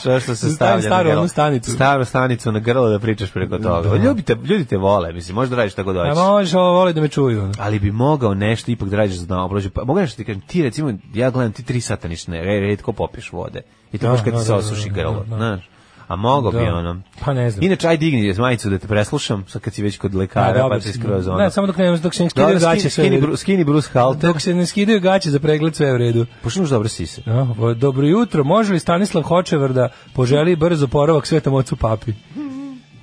S5: Što što se
S6: Stavim
S5: stavlja na
S6: staru
S5: grlo.
S6: onu stanicu.
S5: Staru stanicu na grlo da pričaš preko toga.
S6: Da.
S5: Ljudi te, ljudi te vole, mislim, možda radiš tako
S6: A
S5: doći.
S6: može, ovo voli da me čuju. ono.
S5: Ali bi mogao nešto ipak da radiš na oblađu. Pa mogu nešto ti kažem, ti recimo, ja gledam ti tri sata ništa ne, re- redko popiješ vode. I to
S6: Da,
S5: baš kad
S6: da,
S5: ti se
S6: da,
S5: osuši
S6: da,
S5: grlo,
S6: da, da.
S5: znaš. A mogao bi
S6: Da.
S5: ono.
S6: Pa ne znam.
S5: Inače, aj digni majicu da te preslušam, sad kad si već kod lekara,
S6: Da, dobro,
S5: pa ti skroz ono.
S6: Ne, samo dok ne, dok se ne
S5: Dobro,
S6: skidaju
S5: skini-
S6: gaće sve. u
S5: skini
S6: redu.
S5: Bru- skini Bruce Halter.
S6: Dok se ne skidaju gaće za pregled sve je u redu.
S5: Pošto imaš dobre sise.
S6: No, bo- dobro jutro, može li Stanislav Hočevar da poželi brz oporavak svetom ocu papi?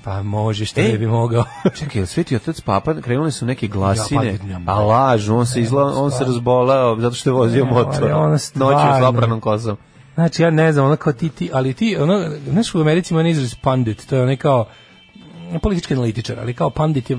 S6: Pa može, što
S5: E.
S6: ne bi mogao.
S5: Čekaj, jel Sveti Otac Papa, krenuli su neke glasine,
S6: Ja, pa, njemu.
S5: a lažu, on se, izla, on se razbolao zato što je vozio
S6: Ne,
S5: motor.
S6: ali ono
S5: Noću s
S6: stvarno.
S5: lapranom kosom.
S6: znači, ja ne znam, ono kao ti, ti, ali ti, ono, znaš u Americi ima onaj izraz pandit, to je onaj kao mm, politički analitičar, ali kao pandit je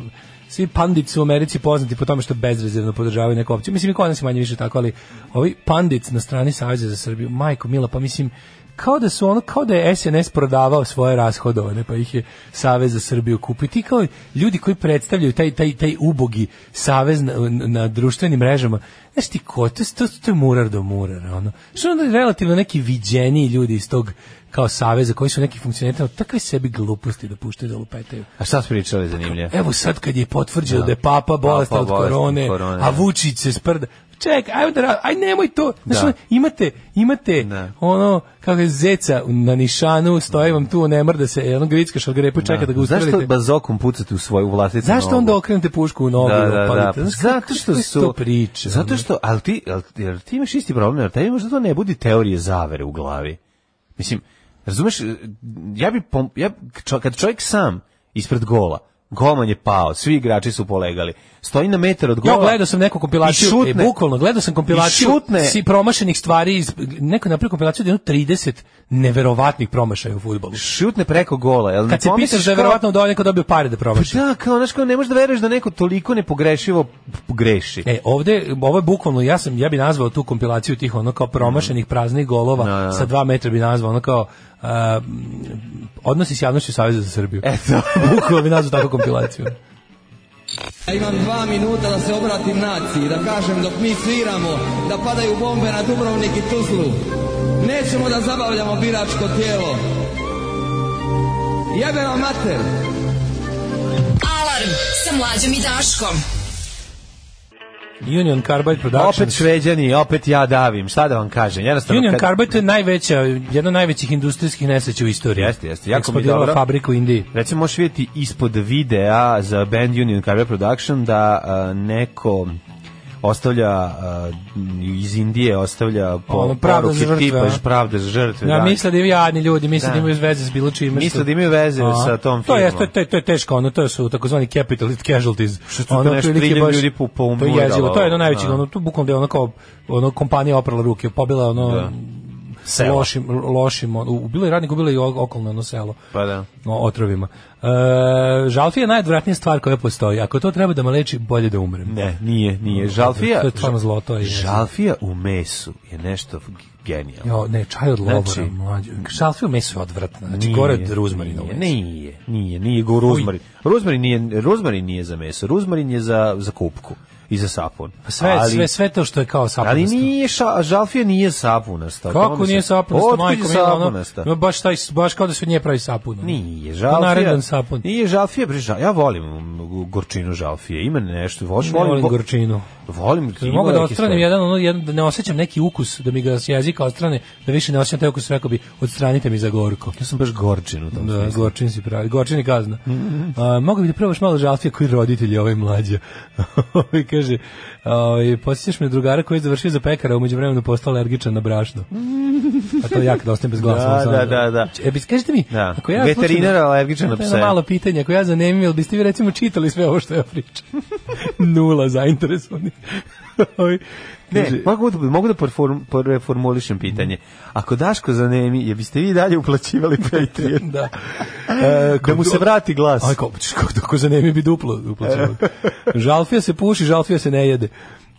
S6: svi pandit su u Americi poznati po tome što bezrezervno podržavaju neku opciju. Mislim, i kod nas je manje više tako, ali ovi pandit na strani Savjeza za Srbiju, majko mila, pa mislim, kao da su ono, kao da je SNS prodavao svoje rashodovane, pa ih je Savez za Srbiju kupio. Ti kao ljudi koji predstavljaju taj, taj, taj ubogi savez na, na društvenim mrežama, znaš ti ko, to, to, to je murar do murara, ono. Što onda relativno neki viđeniji ljudi iz tog kao saveza koji su neki funkcioneri ali takve sebi gluposti da puštaju da lupetaju.
S5: A šta su pričali zanimljivo?
S6: Evo sad kad je potvrđeno da, je papa bolestan od
S5: bolestan od
S6: korone,
S5: korone, da.
S6: a Vučić se sprda. Ček, ajmo da, ra- aj nemoj to. Znaš,
S5: Da.
S6: ono, imate, imate
S5: Da.
S6: ono, kako je zeca na nišanu, stoji vam tu, ne mrda se, ono gricka šalgrepu, čeka da, ga ustrelite.
S5: Zašto bazokom pucate u svoju vlastitu
S6: Zašto
S5: nogu?
S6: onda okrenete pušku u nogu?
S5: Da,
S6: i
S5: da, da. Pa
S6: opalite? Znaš,
S5: Zato što
S6: kakve
S5: su...
S6: to priče.
S5: Zato
S6: ono?
S5: što, ali ti, ali, jer ti imaš isti problem, jer tebi možda to ne budi teorije zavere u glavi. Mislim, razumeš, ja bi, pom- ja, čo- kad čovjek sam ispred gola, golman je pao, svi igrači su polegali, stoji na metar od gola...
S6: Ja gledao sam neku kompilaciju,
S5: i šutne.
S6: e, bukvalno gledao sam kompilaciju
S5: I šutne.
S6: si promašenih stvari, iz, neko je napravio kompilaciju od jedno 30 neverovatnih promašaja u fudbalu.
S5: šutne preko gola, jel ne
S6: Kad se
S5: pomisliš
S6: pitaš da je
S5: kao-
S6: verovatno da neko dobio pare da promaši.
S5: Da, kao, znaš, kao, ne možeš da veruješ da neko toliko nepogrešivo p- greši.
S6: E, ovde, ovo je bukvalno, ja sam, ja bi nazvao tu kompilaciju tih ono kao promašenih praznih golova,
S5: Da, da.
S6: sa dva metra bi nazvao ono kao uh, odnosi s javnošću Saveza za Srbiju.
S5: Eto.
S6: Bukvalno bi nazvao takvu kompilaciju.
S1: Ja imam dva minuta da se obratim naciji, da kažem dok mi sviramo, da padaju bombe na Dubrovnik i Tuzlu. Nećemo da zabavljamo biračko tijelo. Jebe vam mater!
S4: Alarm sa mlađom i Daškom.
S6: Union Carbide
S5: Opet
S6: Productions.
S5: šveđani, opet ja davim, šta da vam kažem, jednostavno...
S6: Union
S5: kad-
S6: Carbide je najveća, jedna od najvećih industrijskih nesreća u istoriji.
S5: Jeste, jeste, jako mi je
S6: Eksplodirala
S5: dobro.
S6: fabriku u Indiji.
S5: Recimo možeš vidjeti ispod videa za band Union Carbide Production da a, neko ostavlja a, iz Indije ostavlja po,
S6: Ono, pravda za
S5: poruke
S6: žrtve,
S5: tipa
S6: a?
S5: pravda za žrtve.
S6: Ja
S5: da.
S6: misle da jadni ljudi, misle
S5: Da.
S6: da, imaju veze s bilo čime.
S5: Misle
S6: što-
S5: da imaju veze
S6: A,
S5: sa tom
S6: To je,
S5: firmom.
S6: to, je- to je teško, ono, to su takozvani capitalist casualties.
S5: Što su to nešto
S6: otprilike
S5: triljem
S6: baš-
S5: ljudi po- po
S6: To je
S5: umuralo,
S6: jezivo, to je jedno najveće,
S5: da.
S6: ono, tu bukvalno da je ono kao, ono, kompanija oprala ruke, pobila ono,
S5: Da.
S6: sa
S5: Selo.
S6: lošim, lošim, ono, ubilo je radnik, ubilo je i o- okolno ono selo.
S5: Pa da.
S6: No, otrovima. E, žalfi je najodvratnija stvar koja postoji. Ako to treba da me leči, bolje da umrem.
S5: Ne, nije, nije. Žalfija,
S6: Mm, To je stvarno zlo, to je jezivo.
S5: žalfija u mesu je nešto genijalno.
S6: Jo, ne, čaj od lovora,
S5: Znači-
S6: znači, mlađe. Šalfiju meso je odvratno, znači
S5: Nije,
S6: gore od ruzmarina.
S5: Nije, nije, nije, nije go ruzmarin. Ruzmarin nije, ruzmarin nije za meso, ruzmarin je za, za kupku i za sapun.
S6: Pa Sve,
S5: Ali-
S6: sve, sve to što je kao
S5: Ali
S6: sapunasto. Pa
S5: nije ša, žalfija nije sapunasta.
S6: Kako nije sapunasta, majko,
S5: mi
S6: mi ono, ima baš, taj, baš kao da se nje pravi sapun. ono.
S5: Nije,
S6: To
S5: žalfija.
S6: naredan sapun.
S5: Nije žalfija, bre, žal, ja volim mm, gorčinu žalfije. Ima nešto, voš,
S6: Ne
S5: volim,
S6: volim
S5: vo-
S6: gorčinu.
S5: Volim, ima
S6: Mogu da
S5: neke
S6: odstranim
S5: stvari.
S6: jedan, ono, jedan, da ne osjećam neki ukus, da mi ga s jezika odstrane, da više ne osjećam taj ukus, rekao bi, odstranite mi za gorko.
S5: Ja sam baš gorčin u tom
S6: Da,
S5: smislu.
S6: gorčin si pravi, gorčin i kazna. A, mogu bi da probaš malo žalfije koji roditelji ovaj mlađa. I kaže, ovaj, posjećaš me drugara koji je završio za pekara, a umeđu vremenu postao alergičan na brašno. A to je jako da ostajem bez glasa.
S5: Da,
S6: ono,
S5: da, da,
S6: ono.
S5: da.
S6: E, bi, kažete mi,
S5: Da.
S6: ako ja
S5: Veterinar
S6: slučajno-
S5: alergičan na
S6: To je
S5: pse.
S6: jedno malo pitanje, ako ja zanemim, jel biste vi recimo čitali sve ovo što ja pričam? Nula zainteresovanih. Ovaj,
S5: Ne,
S6: kaže-
S5: mogu da, mogu da perform- preformulišem pitanje. Ako Daško zanemi, je biste vi dalje uplaćivali Patreon?
S6: da.
S5: da mu se vrati glas.
S6: Aj kao, kao tako za nemi bi duplo uplaćeno. žalfija se puši, žalfija se ne jede.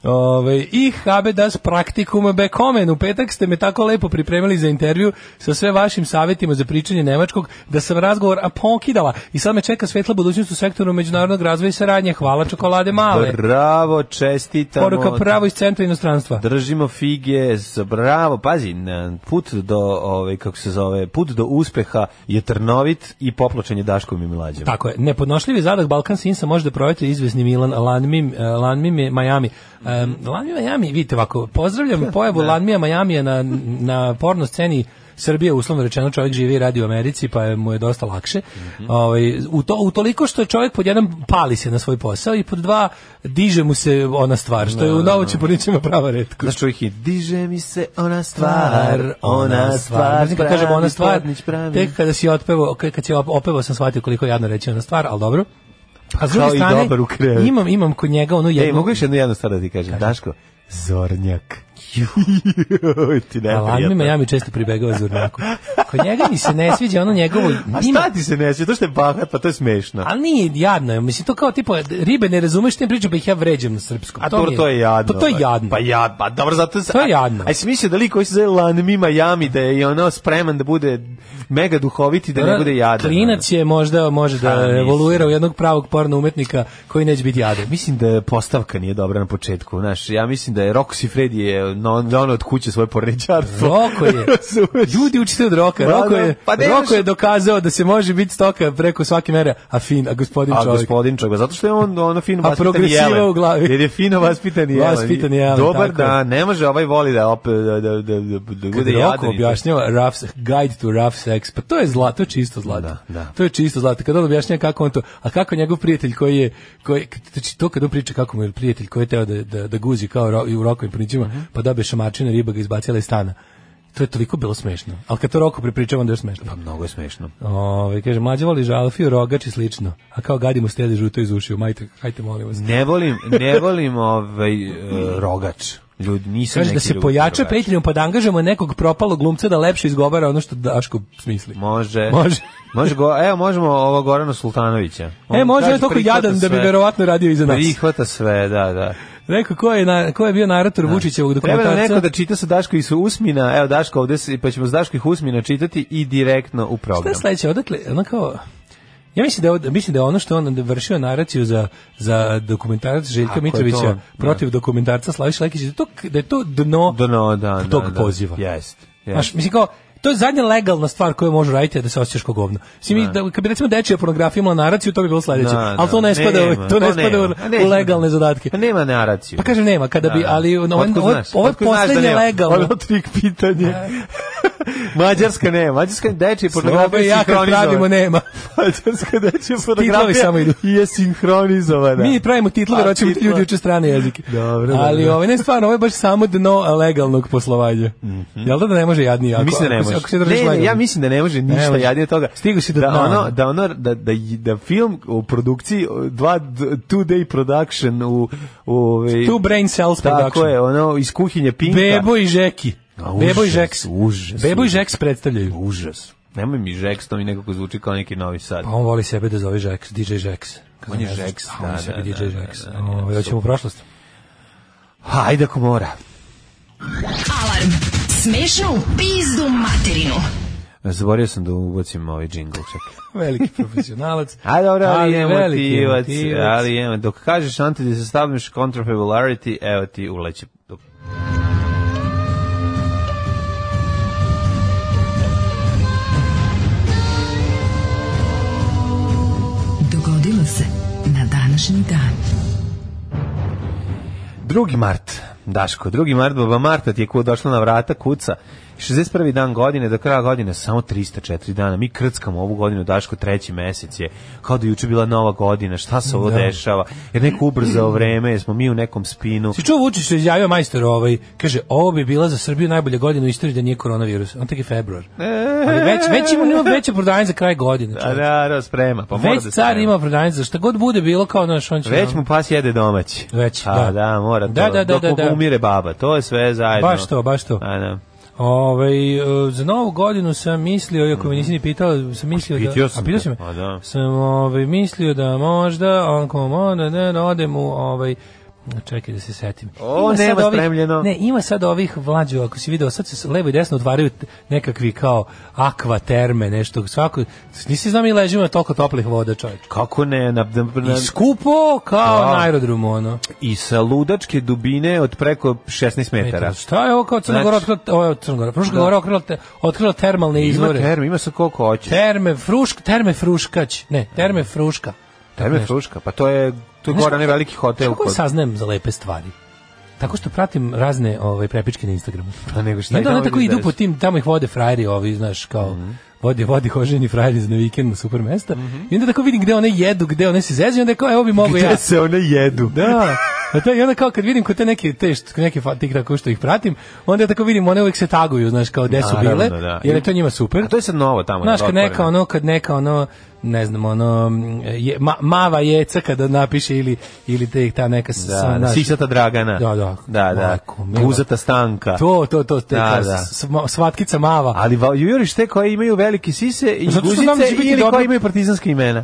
S6: Ove, I habe das praktikum bekomen. U petak ste me tako lepo pripremili za intervju sa sve vašim savjetima za pričanje nemačkog, da sam razgovor a pokidala. I sad me čeka svetla budućnost u sektoru međunarodnog razvoja i saradnje. Hvala čokolade male.
S5: Bravo, čestitamo.
S6: Poruka pravo iz centra inostranstva.
S5: Držimo fige, s- bravo, pazi, na- put do, ovaj, kako se zove, put do uspeha je trnovit i popločen je Daškom i Milađem.
S6: Tako je. Nepodnošljivi zadah Balkan Sinsa može da provjeti izvesni Milan Lanmim, eh, Lanmim je Miami. Um, Lanmi Miami, vidite ovako, pozdravljam pojavu Lanmija Majamija na, na porno sceni Srbije, uslovno rečeno, čovjek živi i radi u Americi, pa je- mu je dosta lakše. Ovaj, u, to, u toliko što je čovjek pod jedan pali se na svoj posao i pod dva diže mu se ona stvar, što je u novoći po ničima prava redko.
S5: Znaš čovjek je, diže mi se ona stvar, ona stvar,
S6: Znači, kad kažem ona
S5: pravi
S6: stvar,
S5: podnić pravi.
S6: tek kada si otpevao, kad kad si op- opevao sam shvatio koliko je jadno reći ona stvar, ali dobro. A s druge
S5: Kao i
S6: strane,
S5: dobar u krevetu.
S6: imam, imam kod njega ono
S5: Ej,
S6: jednu...
S5: mogu još jednu jednu stvar da ti kažem, Daško, zornjak. Joj, ti ne
S6: Alarmi Miami često pribegava zurnaku. Kod njega mi se ne sviđa ono njegovo...
S5: A
S6: njima-
S5: šta ti se ne sviđa? To što je bahat, pa to je smešno.
S6: Ali nije jadno, je. mislim to kao tipa ribe ne razumeš tim pričam pa ih ja vređam na
S5: A
S6: srpskom.
S5: Pa dobro,
S6: mi
S5: to je jadno.
S6: To, to je jadno.
S5: Pa jad, pa dobro, zato... se-
S6: To je
S5: a-
S6: jadno.
S5: A jesi mislio da lik koji se zove Lanmi Miami, da je i ono spreman da bude mega duhoviti, da ne
S6: Dobro,
S5: bude jadan.
S6: Klinac je možda može
S5: Ha,
S6: da
S5: mislim.
S6: evoluira u jednog pravog porno umetnika koji neće biti jadan.
S5: Mislim da je postavka nije dobra na početku, znaš, ja mislim da je Roxy Freddy je no, ono od kuće svoje porničarstvo.
S6: Roko je.
S5: Razumeš?
S6: Ljudi učite od roka.
S5: Da,
S6: Roko
S5: da,
S6: je,
S5: pa ne
S6: roko
S5: možeš-
S6: je dokazao da se može biti stoka preko svake mere, a fin, a gospodin
S5: A
S6: čovjek.
S5: gospodin čovjek, pa zato što je on ono fino
S6: A
S5: vaspitan
S6: progresiva
S5: jelen.
S6: u glavi.
S5: Jer je fino vaspitan jelen.
S6: Vaspitan jelen,
S5: Dobar
S6: tako je.
S5: da, ne može ovaj voli da, opet, da, da, da, da, da bude
S6: Kad Roko
S5: jadan. i to.
S6: objašnjava rough, se- guide to rough sex, pa to je zlato, to je čisto zlato.
S5: Da, da.
S6: To je čisto zlato. Kad on objašnjava kako on to, a kako njegov prijatelj koji je, koji, znači to kad on priča kako mu je prijatelj koji je teo da, da, da guzi kao ro, i u rokovim prinićima, pa dobije šamačina, riba ga izbacila iz stana. To je toliko bilo smešno. Ali kad to Roko prepričava, onda je još smešno.
S5: Pa mnogo je smešno.
S6: Ove, Ovaj, kaže, mlađe voli žalfiju, rogač i slično. A kao gadi mu stede žuto iz ušiju. Majte, hajte, molim vas.
S5: Ne volim, ne volim ovaj e, rogač. Ljudi, nisam
S6: Kaže da
S5: neki
S6: se
S5: ljubitelj
S6: pojača
S5: rogača.
S6: prijateljom pa da angažujemo nekog propalog glumca da lepše izgovara ono što Daško smisli.
S5: Može.
S6: Može.
S5: može go, evo, možemo ovo Gorana Sultanovića. On
S6: E, može,
S5: kaže,
S6: on je toliko
S5: prihvata
S6: jadan da bi
S5: sve.
S6: verovatno radio iza nas.
S5: Prihvata sve, da, da.
S6: Rekao, ko je, na, ko je bio narator Vučićevog
S5: Treba
S6: dokumentarca?
S5: nam neko da čita sa Daško i sa Usmina, evo Daško ovde, si- pa ćemo sa Daško i Usmina čitati i direktno u
S6: Šta
S5: program.
S6: je sledeće? Odakle, ono kao... Ja mislim da, je od- mislim da je ono što on vršio naraciju za, za dokumentarac Željka
S5: Ako je
S6: Mitrovića
S5: to on, da.
S6: protiv dokumentarca Slaviša Lekića, da, je to, da je to dno,
S5: Dno, da, da,
S6: tog
S5: da.
S6: Pa poziva.
S5: Jest, jest.
S6: Znaš, mislim kao, to je zadnja legalna stvar koju može raditi je da se osjećaš kao govno. Mislim, i da, kad bi recimo dečija pornografija imala naraciju, to bi bilo sledeće.
S5: Da,
S6: ali to
S5: da,
S6: ne spada, u-
S5: nema,
S6: to ne
S5: to
S6: spada
S5: nema. A ne-
S6: u, u legalne zadatke.
S5: Pa nema naraciju.
S6: Pa kažem nema, kada bi, ali ono,
S5: Otkud
S6: ovo-
S5: znaš?
S6: ovo je
S5: Otkud znaš da
S6: poslednje
S5: nema?
S6: legalno.
S5: Ono trik pitanje. Mađarska ne, mađarska dečija
S6: Sloba i
S5: pornografija
S6: ja kad
S5: sinhronizovana.
S6: pravimo nema.
S5: Mađarska dečija
S6: Titlovi
S5: pornografija
S6: samo idu.
S5: je sinhronizovana.
S6: Mi pravimo titlove,
S5: Da. A,
S6: hoćemo
S5: titlo-
S6: ljudi uče strane jezike.
S5: Dobro,
S6: Ali
S5: dobro.
S6: ovo ne stvarno, ovo je baš samo dno legalnog poslovanja. Jel da da ne može jadnije? Ako,
S5: Mhm. mislim da ne
S6: ako se-
S5: može.
S6: Ako se držiš
S5: ne, ne,
S6: legalno.
S5: ja mislim da ne može
S6: Ne
S5: ništa
S6: može.
S5: jadnije od toga.
S6: Stigao si do
S5: da
S6: dna.
S5: ono, da ono da da da film u produkciji o, dva two day production u u ovaj
S6: Two brain cells
S5: Tako
S6: production.
S5: je, ono iz kuhinje Pinka.
S6: Bebo i Žeki.
S5: A,
S6: Bebo i
S5: užas,
S6: Žeks.
S5: užas,
S6: Bebo i
S5: užas.
S6: Žeks predstavljaju.
S5: užas. Nemoj mi Žeks, to mi nekako zvuči kao neki novi sad.
S6: Pa on voli sebe da zove Žeks, DJ Žeks. Kad
S5: On je
S6: ne znam-
S5: Žeks,
S6: A,
S5: da,
S6: on je
S5: da,
S6: sebi
S5: da,
S6: DJ
S5: da,
S6: Žeks.
S5: da, da, da,
S6: Ovaj, hoćemo u prošlost.
S5: Hajde ako mora.
S4: Alarm. Smešno u pizdu materinu.
S5: Zaborio sam da ubacim ovaj džingl čak.
S6: Veliki profesionalac.
S5: A dobro, ali, je
S6: veliki
S5: emotivac,
S6: emotivac.
S5: ali je Dok kažeš anti da se stavljaš contrafabularity, evo ti uleće.
S4: Dogodilo se na današnji dan.
S5: Drugi mart, Daško, drugi mart, baba Marta ti je ko došla na vrata, kuca. 61. dan godine, do kraja godine, samo 304 dana. Mi krckamo ovu godinu, Daško, treći mesec je. Kao da je juče bila nova godina, šta se ovo
S6: Da.
S5: dešava? Jer neko ubrzao vreme, jesmo mi u nekom spinu.
S6: Si čuo Vučić se izjavio majstor ovaj, kaže ovo bi bila za Srbiju najbolja godina u istoriji da nije koronavirus. On tek je februar. Ali već, već ima, ima veće prodanje za kraj godine.
S5: A
S6: čovječe.
S5: da, da, sprema, pa mora
S6: Već
S5: da
S6: car
S5: sprema.
S6: ima prodanje za šta god bude bilo kao naš on će...
S5: Već
S6: ono,
S5: mu pas jede domaći.
S6: Već,
S5: A,
S6: da.
S5: da, mora to.
S6: Da, da, da,
S5: Dok
S6: da,
S5: mu
S6: da.
S5: umire baba, to je sve zajedno.
S6: Baš to, baš to.
S5: A, da.
S6: Ovaj, e, za novu godinu sam mislio, iako me nisi ni pitao, sam mislio da...
S5: Pitao sam
S6: a pitao
S5: te,
S6: si me?
S5: pa da.
S6: Sam ovaj, mislio da možda, onko moda, ne, ne, odem u ovaj, čekaj da se setim.
S5: O,
S6: Ima sad
S5: nema
S6: ovih-
S5: spremljeno.
S6: Ne, ima sad ovih vlađu, ako si video, sad se s- levo i desno otvaraju t- nekakvi kao akva terme, nešto, svako, nisi znam i ležimo toliko toplih voda, čovječ.
S5: Kako ne, na, na, na,
S6: I skupo kao
S5: Da.
S6: na aerodromu, ono.
S5: i sa ludačke dubine od preko 16 metara.
S6: Šta je ovo kao Crna
S5: Znači- Da.
S6: Gora otkrila, ovo je Crna Gora, Fruška Gora otkrila, te- otkrila termalne
S5: Ima
S6: izvore.
S5: term, ima sa koliko hoćeš.
S6: Terme Frušk, Terme Fruškać. Ne, Terme Fruška.
S5: Terme Fruška, pa to je to je
S6: Znaš
S5: gore ne veliki hotel
S6: Kako
S5: kod.
S6: saznajem za lepe stvari? Tako što pratim razne ovaj prepičke na Instagramu.
S5: Pa nego šta i
S6: I onda
S5: tamo
S6: one tako
S5: vidiš
S6: idu
S5: da
S6: po
S5: je-
S6: tim, tamo ih vode frajeri ovi, znaš, kao
S5: Mhm.
S6: vodi, vodi hoženi frajeri za na vikend na super mesta. I onda tako vidim gde one jedu, gde one se zezu i onda kao, evo bi mogo ja.
S5: Gde se one jedu?
S6: Da. A to, I onda kao kad vidim kod te neke, te što, neke fa- tik tako što ih pratim, onda ja tako vidim, one uvek se taguju, znaš, kao gde su
S5: Naravno,
S6: bile,
S5: da.
S6: jer je to njima super.
S5: A to je sad novo tamo.
S6: Znaš,
S5: je
S6: kad
S5: otvoreno.
S6: neka ono, kad neka ono, ne znam, ono, je, ma, mava jeca kada napiše ili, ili te, ta neka s-
S5: Da,
S6: sam,
S5: da,
S6: znaš,
S5: Sisata Dragana.
S6: Da, da.
S5: Da, da.
S6: Majko mila.
S5: Guzata Stanka.
S6: To, to, to, te,
S5: Da,
S6: ta
S5: da.
S6: s- ma- svatkica mava.
S5: Ali va- juriš te koje imaju velike sise i
S6: Zato što znam da
S5: guzice
S6: će biti
S5: ili
S6: dobro.
S5: koje imaju partizanske imena.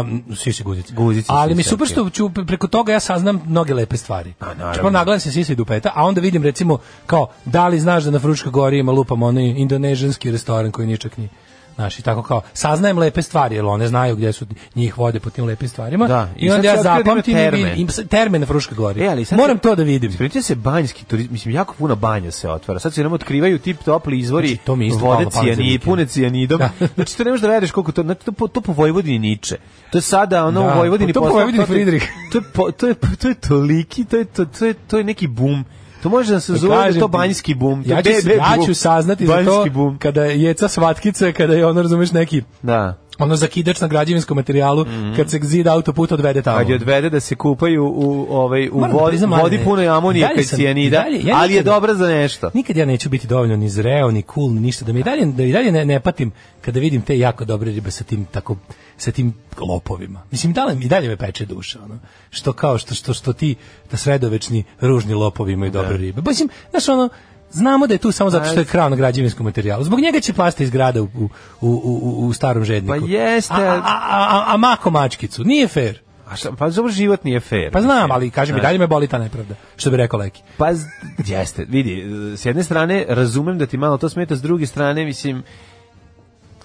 S6: Um, sise guzice.
S5: Guzice,
S6: Ali mi
S5: sise,
S6: super što ću, pre- preko toga ja saznam mnoge lepe stvari.
S5: Pa,
S6: Prvo nagledam se sise i dupeta, a onda vidim recimo kao da li znaš da na Fruška gori ima lupam onaj indonežanski restoran koji ničak ni Znaš, i tako kao, saznajem lepe stvari, jer one znaju gdje su njih vode po tim lepim stvarima.
S5: Da, i
S6: i,
S5: sad
S6: onda
S5: si
S6: ja
S5: otkrio da ima
S6: zapamtim i
S5: terme.
S6: vidim, im se- terme na Fruška gori.
S5: E, ali sad
S6: Moram
S5: se-
S6: to da vidim.
S5: Spriječio se banjski turizam, mislim, jako puno banja se otvara. Sad se nam otkrivaju tip topli izvori
S6: Znači, to mi je isto
S5: vode
S6: palo na pamet za
S5: cijani,
S6: vikend.
S5: pune cijanidom.
S6: Da.
S5: znači, to ne možeš da veruješ koliko to, znači, to, po, to po Vojvodini niče. To je sada ono
S6: Da,
S5: u Vojvodini...
S6: to po
S5: postalo-
S6: Vojvodini
S5: to je-
S6: Fridrih.
S5: To je, po- to je, to je toliki, to je, to, to je, to je neki bum. To može da se zove da je
S6: E, Kažem
S5: to
S6: ti,
S5: banjski bum. To
S6: Ja
S5: je
S6: ću,
S5: BB
S6: ja
S5: bum.
S6: ću saznati za to
S5: Banjski bum.
S6: kada je jeca svatkice, kada je ono, razumeš, neki
S5: Da.
S6: ono zakidač na građevinskom materijalu kad se zid autoputa odvede tamo.
S5: Mhm. Kad je odvede da se kupaju u, ovaj, u
S6: Moram da
S5: vodi,
S6: priznam, ali
S5: vodi
S6: ne.
S5: puno
S6: I
S5: amonije
S6: dalje
S5: i
S6: sam-
S5: cijanida,
S6: i dalje- ja
S5: ali je
S6: nikada-
S5: dobra za nešto.
S6: Nikad ja neću biti dovoljno ni zreo, ni cool, ni ništa da mi i dalje da i dalje ne, ne patim kada vidim te jako dobre ribe sa tim tako sa tim lopovima. Mislim i dalje i dalje me peče duša, ono. Što kao što što što ti da sredovečni ružni lopovi imaju
S5: Da.
S6: dobre ribe. Mislim, znaš ono Znamo da je tu samo zato što je
S5: Pa-
S6: krav na građevinskom materijalu. Zbog njega će pasti iz grada u, u, u, u, u starom žedniku.
S5: Pa jeste.
S6: A, a, a, a, a mako mačkicu. Nije fair.
S5: A šta, pa dobro život nije fair.
S6: Pa
S5: mislim.
S6: znam, ali kažem i
S5: Znaš.
S6: dalje me boli ta nepravda. Što bi rekao Leki.
S5: Pa z- jeste, vidi, s jedne strane razumem da ti malo to smeta, s druge strane mislim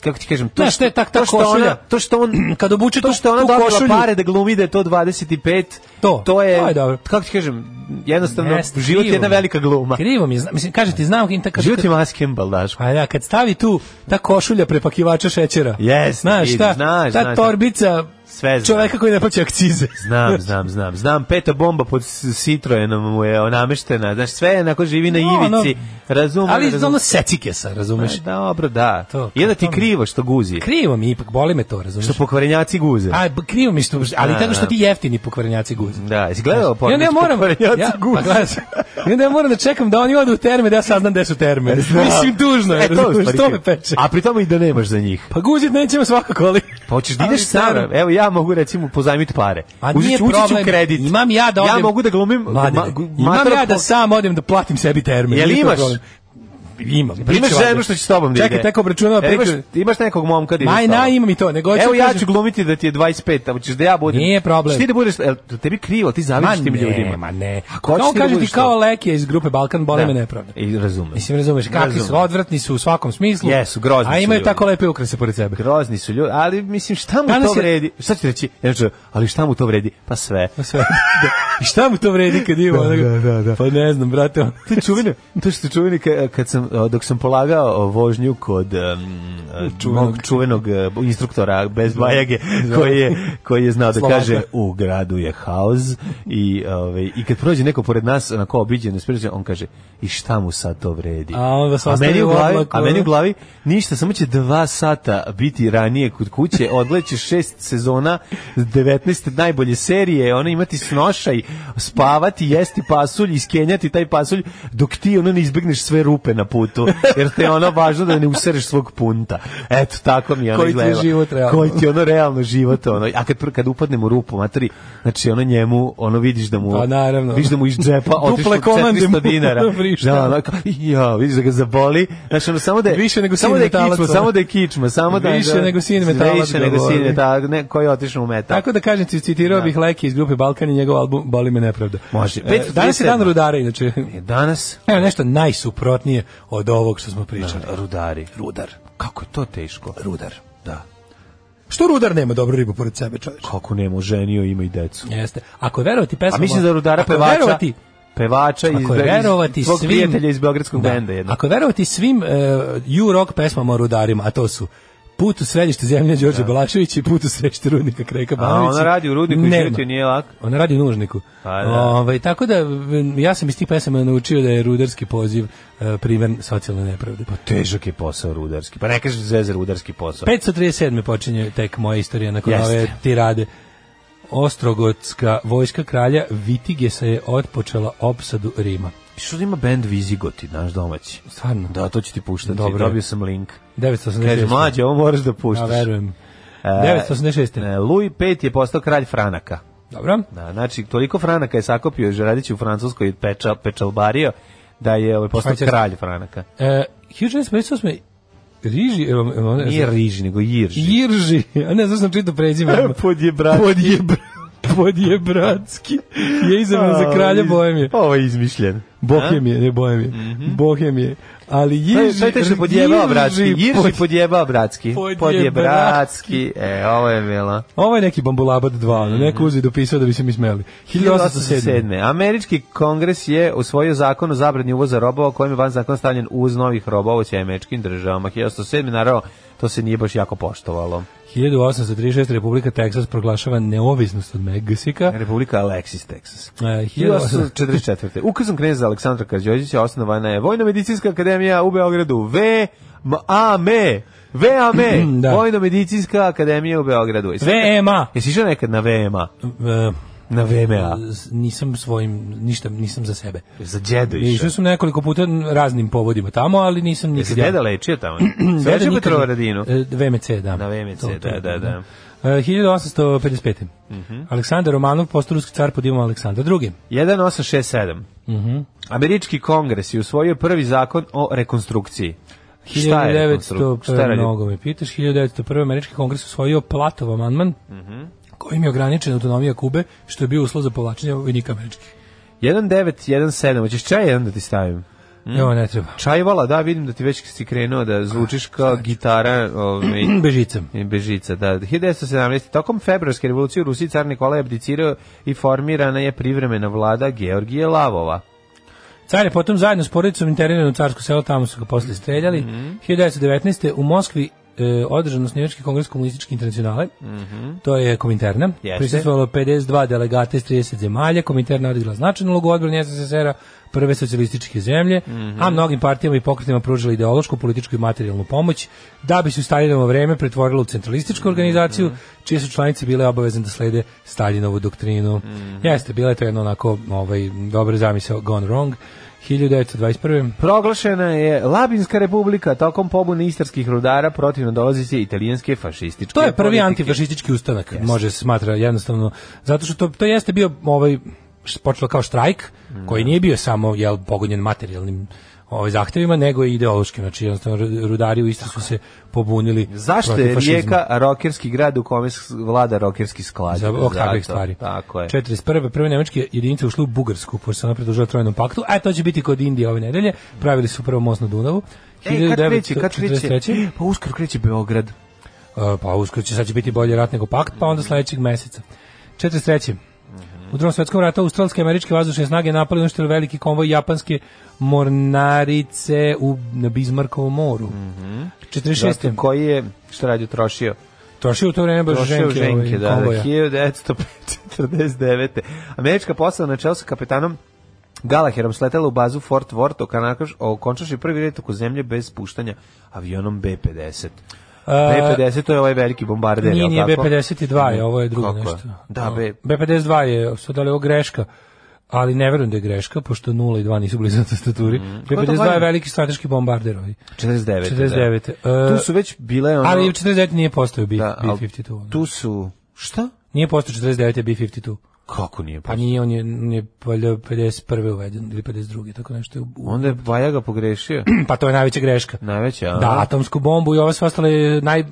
S5: kako ti kažem, to
S6: Znaš, to je tak- ta
S5: to što
S6: košulja.
S5: ona, to što on
S6: Kad obuče
S5: to
S6: tu-
S5: Pa što ona
S6: tu
S5: dobila
S6: košulju.
S5: pare da glumi da je to 25,
S6: To,
S5: to je,
S6: to je dobro.
S5: kako ti kažem, jednostavno
S6: Jeste,
S5: život je
S6: krivo
S5: jedna
S6: mi je.
S5: velika gluma. Pa,
S6: Krivo mi je, zna- mislim, kažete, znam, in- kad,
S5: Život je maskembal, daš.
S6: A da, kad stavi tu ta košulja prepakivača šećera.
S5: Jeste,
S6: znaš
S5: vidim,
S6: šta?
S5: znaš,
S6: ta
S5: znaš.
S6: torbica
S5: Sve znam.
S6: čoveka koji ne plaća akcize.
S5: Znam, znam, znam. Znam, peta bomba pod s- Citroenom mu je nameštena. Znaš, sve je onako živi na
S6: No,
S5: ivici.
S6: ono-
S5: Razumem,
S6: Ali
S5: razumem.
S6: ono secike sa, razumeš?
S5: Pa, Dobro, da.
S6: To,
S5: I onda ti
S6: to mi-
S5: krivo što guzi.
S6: Krivo mi je ipak, boli me to, razumeš?
S5: Što pokvarenjaci guze.
S6: A, b- krivo mi je što, ali
S5: Da,
S6: tako što
S5: da.
S6: ti jeftini pokvarenjaci guze.
S5: Da, jesi gledao
S6: I
S5: pornić
S6: onda ja moram,
S5: pokvarenjaci
S6: ja,
S5: guze?
S6: pa gledaš, i onda ja moram da čekam da oni odu u terme, da ja saznam gde su terme. Mislim, tužno je,
S5: E, to u
S6: razumeš,
S5: stvari
S6: to
S5: krivo.
S6: me peče.
S5: A pri tome i da nemaš za njih.
S6: Pa guzit nećemo svakako, ali...
S5: Pa hoćeš da
S6: Ali,
S5: ideš sam.
S6: staro,
S5: Evo ja mogu recimo pozajmiti pare.
S6: A
S5: Ući
S6: nije
S5: ću- ući ću u
S6: problem,
S5: kredit.
S6: imam ja da
S5: Ja
S6: odem-
S5: mogu da glumim
S6: Mladine,
S5: ma- gu-
S6: imam
S5: matora
S6: ja da
S5: po-
S6: sam odem da platim sebi termin.
S5: Jel
S6: nije to
S5: imaš?
S6: problem. Imam.
S5: Imaš
S6: priča valjda.
S5: ženu što će s tobom da ide.
S6: Čekaj, tek obračunava
S5: E, imaš-
S6: priču.
S5: Imaš nekog momka da ide s
S6: Ma i
S5: tobom.
S6: na, imam i to, nego hoću
S5: Evo ja
S6: kažem-
S5: ću glumiti da ti je 25, a hoćeš da ja budem.
S6: Nije problem.
S5: Hoćeš Ti da budeš, el, tebi krivo, ti
S6: Ma
S5: zavidiš tim
S6: ne,
S5: ljudima.
S6: ma ne.
S5: Ako
S6: Kao
S5: hoćeš ti da
S6: kaže ti
S5: budeš
S6: kao
S5: to.
S6: Lekija iz grupe Balkan, boli
S5: Da.
S6: me nepravda.
S5: I razumem.
S6: Mislim, razumeš, kakvi su,
S5: Razumem.
S6: odvratni su u svakom smislu.
S5: Jesu, grozni
S6: A
S5: su
S6: imaju
S5: ljudi.
S6: tako lepe ukrase pored sebe.
S5: Grozni su ljudi, ali mislim šta mu
S6: Danas
S5: to
S6: je-
S5: vredi? Šta ću reći? Ja ću, ali šta mu to vredi? Pa sve.
S6: Pa sve. Da. I šta mu to vredi kad ima?
S5: Da,
S6: onoga-
S5: da, da, da.
S6: Pa ne znam, brate. on-
S5: To je čuveno, to što je čuveno ka- kad sam, o, dok sam polagao o, vožnju kod um, čuvenog, Da. mog čuvenog e, instruktora bez bajage koji je, koji je znao da
S6: Slovaka.
S5: kaže u gradu je haos i, ove, i kad prođe neko pored nas onako obiđen, spriđen, on kaže i šta mu sad to vredi?
S6: A on vas
S5: a, meni
S6: ostavi
S5: u
S6: u
S5: glavi,
S6: oblaku,
S5: a meni u
S6: ono.
S5: glavi ništa, samo će dva sata biti ranije kod kuće, odleće šest sezona, 19 najbolje serije, ono imati snošaj, spavati, jesti pasulj, iskenjati taj pasulj, dok ti ono ne izbegneš sve rupe na putu, jer te je ono važno da ne usereš svog punta. Eto, tako mi je ono
S6: Koji ti je
S5: izgledalo.
S6: život realno.
S5: Koji ti je ono realno život, ono, a kad, pr- kad upadnem u rupu, materi, znači ono njemu, ono vidiš da mu,
S6: Pa, naravno.
S5: vidiš da mu iz džepa otišlo
S6: Duple komande
S5: 400
S6: mu
S5: dinara.
S6: vrišta.
S5: Da, ono, kao, ja, vidiš da ga zaboli. Znači, ono, samo da je,
S6: Više nego
S5: samo
S6: sin
S5: da je
S6: metalac,
S5: kičma,
S6: ono.
S5: samo da je kičma, samo da
S6: Više nego sin metalac
S5: Više
S6: ga
S5: nego sin
S6: boli.
S5: metalac, ne, koji je otišao u metal.
S6: Tako da kažem, ti citirao bih Leki iz grupe Balkan i njegov album Boli me nepravda.
S5: Može.
S6: E, Danas je dan rudara, inače.
S5: E, Danas,
S6: Evo nešto najsuprotnije od ovog što smo pričali.
S5: rudari.
S6: Rudar.
S5: Kako je to teško? Rudar. Da.
S6: Što rudar nema dobru ribu pored sebe, čoveče?
S5: Kako nema, ženio ima i decu.
S6: Jeste. Ako je verovati pesma...
S5: A mislim da rudara
S6: Ako je
S5: pevača,
S6: verovati-
S5: pevača iz,
S6: Ako je verovati
S5: iz svog
S6: svim- Da.
S5: prijatelja iz Beogradskog benda jednog.
S6: Ako je verovati svim uh, U-rock pesmama o rudarima, a to su Put u središte zemlje Đorđe Balašević i Put u središte rudnika Kreka
S5: A
S6: Banović.
S5: ona radi u rudniku i
S6: Nema.
S5: život joj nije lak.
S6: Ona radi u nužniku.
S5: Pa da.
S6: Ovaj, tako da, m, ja sam iz tih pesama naučio da je rudarski poziv e, primjer socijalne nepravde.
S5: Pa Težak je posao rudarski. Pa ne kažeš zvezer rudarski posao.
S6: 537. počinje tek moja istorija nakon
S5: Jeste.
S6: ove tirade. Ostrogotska vojska kralja Vitigesa je otpočela opsadu Rima.
S5: Što da ima bend Vizigoti, naš domaći?
S6: Stvarno.
S5: Da, to ću ti puštati.
S6: Dobro.
S5: Dobio sam link. Kaže,
S6: 986.
S5: mlađe, ovo moraš da
S6: Ja
S5: puštaš.
S6: verujem.
S5: Da.
S6: 986.
S5: E, Louis V je postao kralj Franaka.
S6: Dobro.
S5: Da, znači, toliko Franaka je sakopio Žeradić u Francuskoj i peča, pečalbario da je ovaj, postao
S6: Švajcarski.
S5: kralj Franaka.
S6: E, 1958. Riži, e, e,
S5: Nije Riži, nego Jirži.
S6: Jirži, a ne znam što sam čitao prezime.
S5: Podjebrat.
S6: Podjebra, podjebratski je izabran za kralja
S5: Pa,
S6: Bohemije.
S5: Ovo je izmišljen.
S6: Bohemije, ne Bohemije. Bohemije. Ali Jirži...
S5: Taj taj što Mhm. je podjebao bratski. Jirži
S6: pod-
S5: podjebao bratski.
S6: Podjebratski.
S5: Podjebratski. E, ovo je mila.
S6: Ovo je neki bambulabad 2,
S5: Mhm.
S6: mm. neko uzi dopisao da bi se mi smeli. 1807.
S5: 1807. Američki kongres je usvojio zakon o zabrani uvoza robova kojim je van zakon stavljen uz novih robova u svim američkim državama. 1807. Naravno, to se nije baš jako poštovalo.
S6: 1836. Republika Teksas proglašava neovisnost od Meksika.
S5: Republika Alexis, Texas.
S6: E, 1800
S5: 1844. Ukazom knjeza Aleksandra Kađođića osnovana je Vojno-medicinska akademija u Beogradu. V M- A M V A M
S6: Da.
S5: Vojno-medicinska akademija u Beogradu. Jesi-
S6: VMA.
S5: Jesi išao nekad na VMA?
S6: E,
S5: Na VMA?
S6: s- nisam svojim, ništa, nisam za sebe.
S5: Za djedu išao.
S6: Išao sam nekoliko puta raznim povodima tamo, ali nisam
S5: Jesi
S6: nikad...
S5: djeda lečio tamo?
S6: Deda
S5: Sveće
S6: nikad
S5: Petrova
S6: nije-
S5: radinu.
S6: E, VMC, da.
S5: Na VMC,
S6: To- to-
S5: da, da, da. Mhm.
S6: E, 1855. Aleksandar Romanov, postoruski car pod imenom Aleksandar II.
S5: 1867.
S6: Mhm.
S5: Američki kongres je usvojio prvi zakon o rekonstrukciji. Šta je rekonstrukcija? Šta je
S6: 1901.
S5: radio-
S6: Mnogo me pitaš. 1901. Američki kongres usvojio Platov amandman,
S5: Mhm.
S6: kojim je ograničena autonomija Kube, što je bio uslov za povlačenje vojnika američkih.
S5: 1917. Hoćeš čaj jedan da ti stavim? Mhm.
S6: Evo, ne treba.
S5: Čajvala, da, vidim da ti već si krenuo da zvučiš kao gitara ovaj,
S6: Bežicam.
S5: i Bežica. Da. 1917. Tokom februarske revolucije u Rusiji car Nikolaj je abdicirao i formirana je privremena vlada Georgije Lavova.
S6: Car je potom zajedno s porodicom interniran u carsko selo, tamo su ga posle streljali.
S5: Mhm.
S6: 1919. u Moskvi e, održan osnivački kongres komunističke internacionale, to je Kominterna.
S5: Jeste.
S6: Prisustvovalo 52 delegata iz 30 zemalja, Kominterna odigla značajnu ulogu u odbrani SSSR-a, prve socijalističke zemlje, a mnogim partijama i pokretima pružila ideološku, političku i materijalnu pomoć, da bi se u Staljinovo vreme pretvorila u centralističku organizaciju, čije su članice bile obavezne da slede Staljinovu doktrinu. Jeste, bila je to jedno onako ovaj, dobro zamisao gone wrong. 1921.
S5: Proglašena je Labinska republika tokom pobune istarskih rudara protiv nadolazice italijanske fašističke
S6: To je prvi
S5: politike.
S6: antifašistički ustanak, može se smatra jednostavno, zato što to, to jeste bio ovaj, š- počelo kao štrajk,
S5: Mm.
S6: koji nije bio samo jel, pogonjen materijalnim ovaj, zahtevima, nego i ideološkim, znači jednostavno ru- rudari u Istri su se pobunili
S5: Zašto
S6: protiv
S5: je
S6: fašizma.
S5: Rijeka rokerski grad u kome s- vlada rokerski sklad?
S6: za ovog takvih
S5: Zato.
S6: stvari.
S5: Tako je.
S6: 41. prve nemačke jedinice ušle u Bugarsku, pošto se ona pridružila Trojnom paktu, a to će biti kod Indije ove nedelje, pravili su prvo most na Dunavu.
S5: E, kad kreće, kad kreće?
S6: 1943..
S5: Pa uskoro kreće Beograd.
S6: E, pa uskoro će sad će biti bolji rat nego pakt, pa onda sledećeg meseca. 43. U drugom svetskom ratu australske i američke vazdušne snage napali uništili veliki konvoj japanske mornarice u na Bizmarkovom moru. Mm
S5: Zato
S6: 46.
S5: koji je, šta radio, trošio?
S6: Trošio u to vreme baš
S5: Trošio
S6: ženke,
S5: ženke,
S6: ovaj,
S5: da, da,
S6: konvoja.
S5: 1949. Američka poslova na čelu sa kapetanom Galaherom sletela u bazu Fort Worth, okanakaš- okončavši prvi red oko zemlje bez spuštanja avionom B-50. B-50 to je ovaj veliki bombarder,
S6: Nije,
S5: jel
S6: nije
S5: tako?
S6: B52, je, ovo je drugo
S5: Kako je?
S6: nešto.
S5: Da, B-
S6: B52 je, sad da li je ovo greška, ali ne verujem da je greška, pošto 0 i 2 nisu blizu na tastaturi.
S5: Mhm.
S6: B52 je
S5: valjda?
S6: veliki strateški bombarder. Ovaj.
S5: 49.
S6: 49.
S5: Da.
S6: E,
S5: Tu su već bile ono...
S6: Ali 49 nije postao B,
S5: Da, al-
S6: B52. ono.
S5: Tu su... Šta?
S6: Nije postao 49 je B52.
S5: Kako nije?
S6: Pa nije, on je, on je valjda 51. uveden ili 52. tako nešto. je u- u-
S5: Onda je Vajaga pogrešio.
S6: Pa to je najveća greška.
S5: Najveća, a?
S6: Da, atomsku bombu i ovo sve ostalo je naj...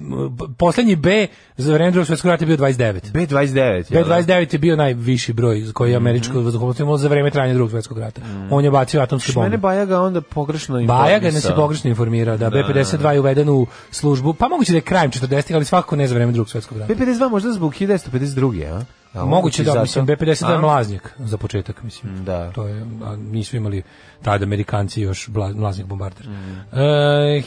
S6: Poslednji B za vreme drugog svetskog rata je bio 29.
S5: B29. jel da?
S6: B-29 je bio najviši broj koji je američko vazduhoplovstvo imalo za vreme trajanja drugog svetskog rata. On je bacio atomske
S5: Što
S6: bombe.
S5: Mene Bajaga onda pogrešno informisao.
S6: Bajaga nas je pogrešno informirao da B-52 je uveden u službu, pa moguće da je krajem 40. ali svakako ne za vreme drugog svetskog rata.
S5: B52 možda zbog 1952. A? a
S6: Moguće da,
S5: Pa zato?
S6: mislim, B-52 je
S5: A?
S6: mlaznjak za početak, mislim.
S5: Da.
S6: To je, a nisu imali tada Amerikanci još bla- mlaznjak bombarder.
S5: Mm.
S6: E,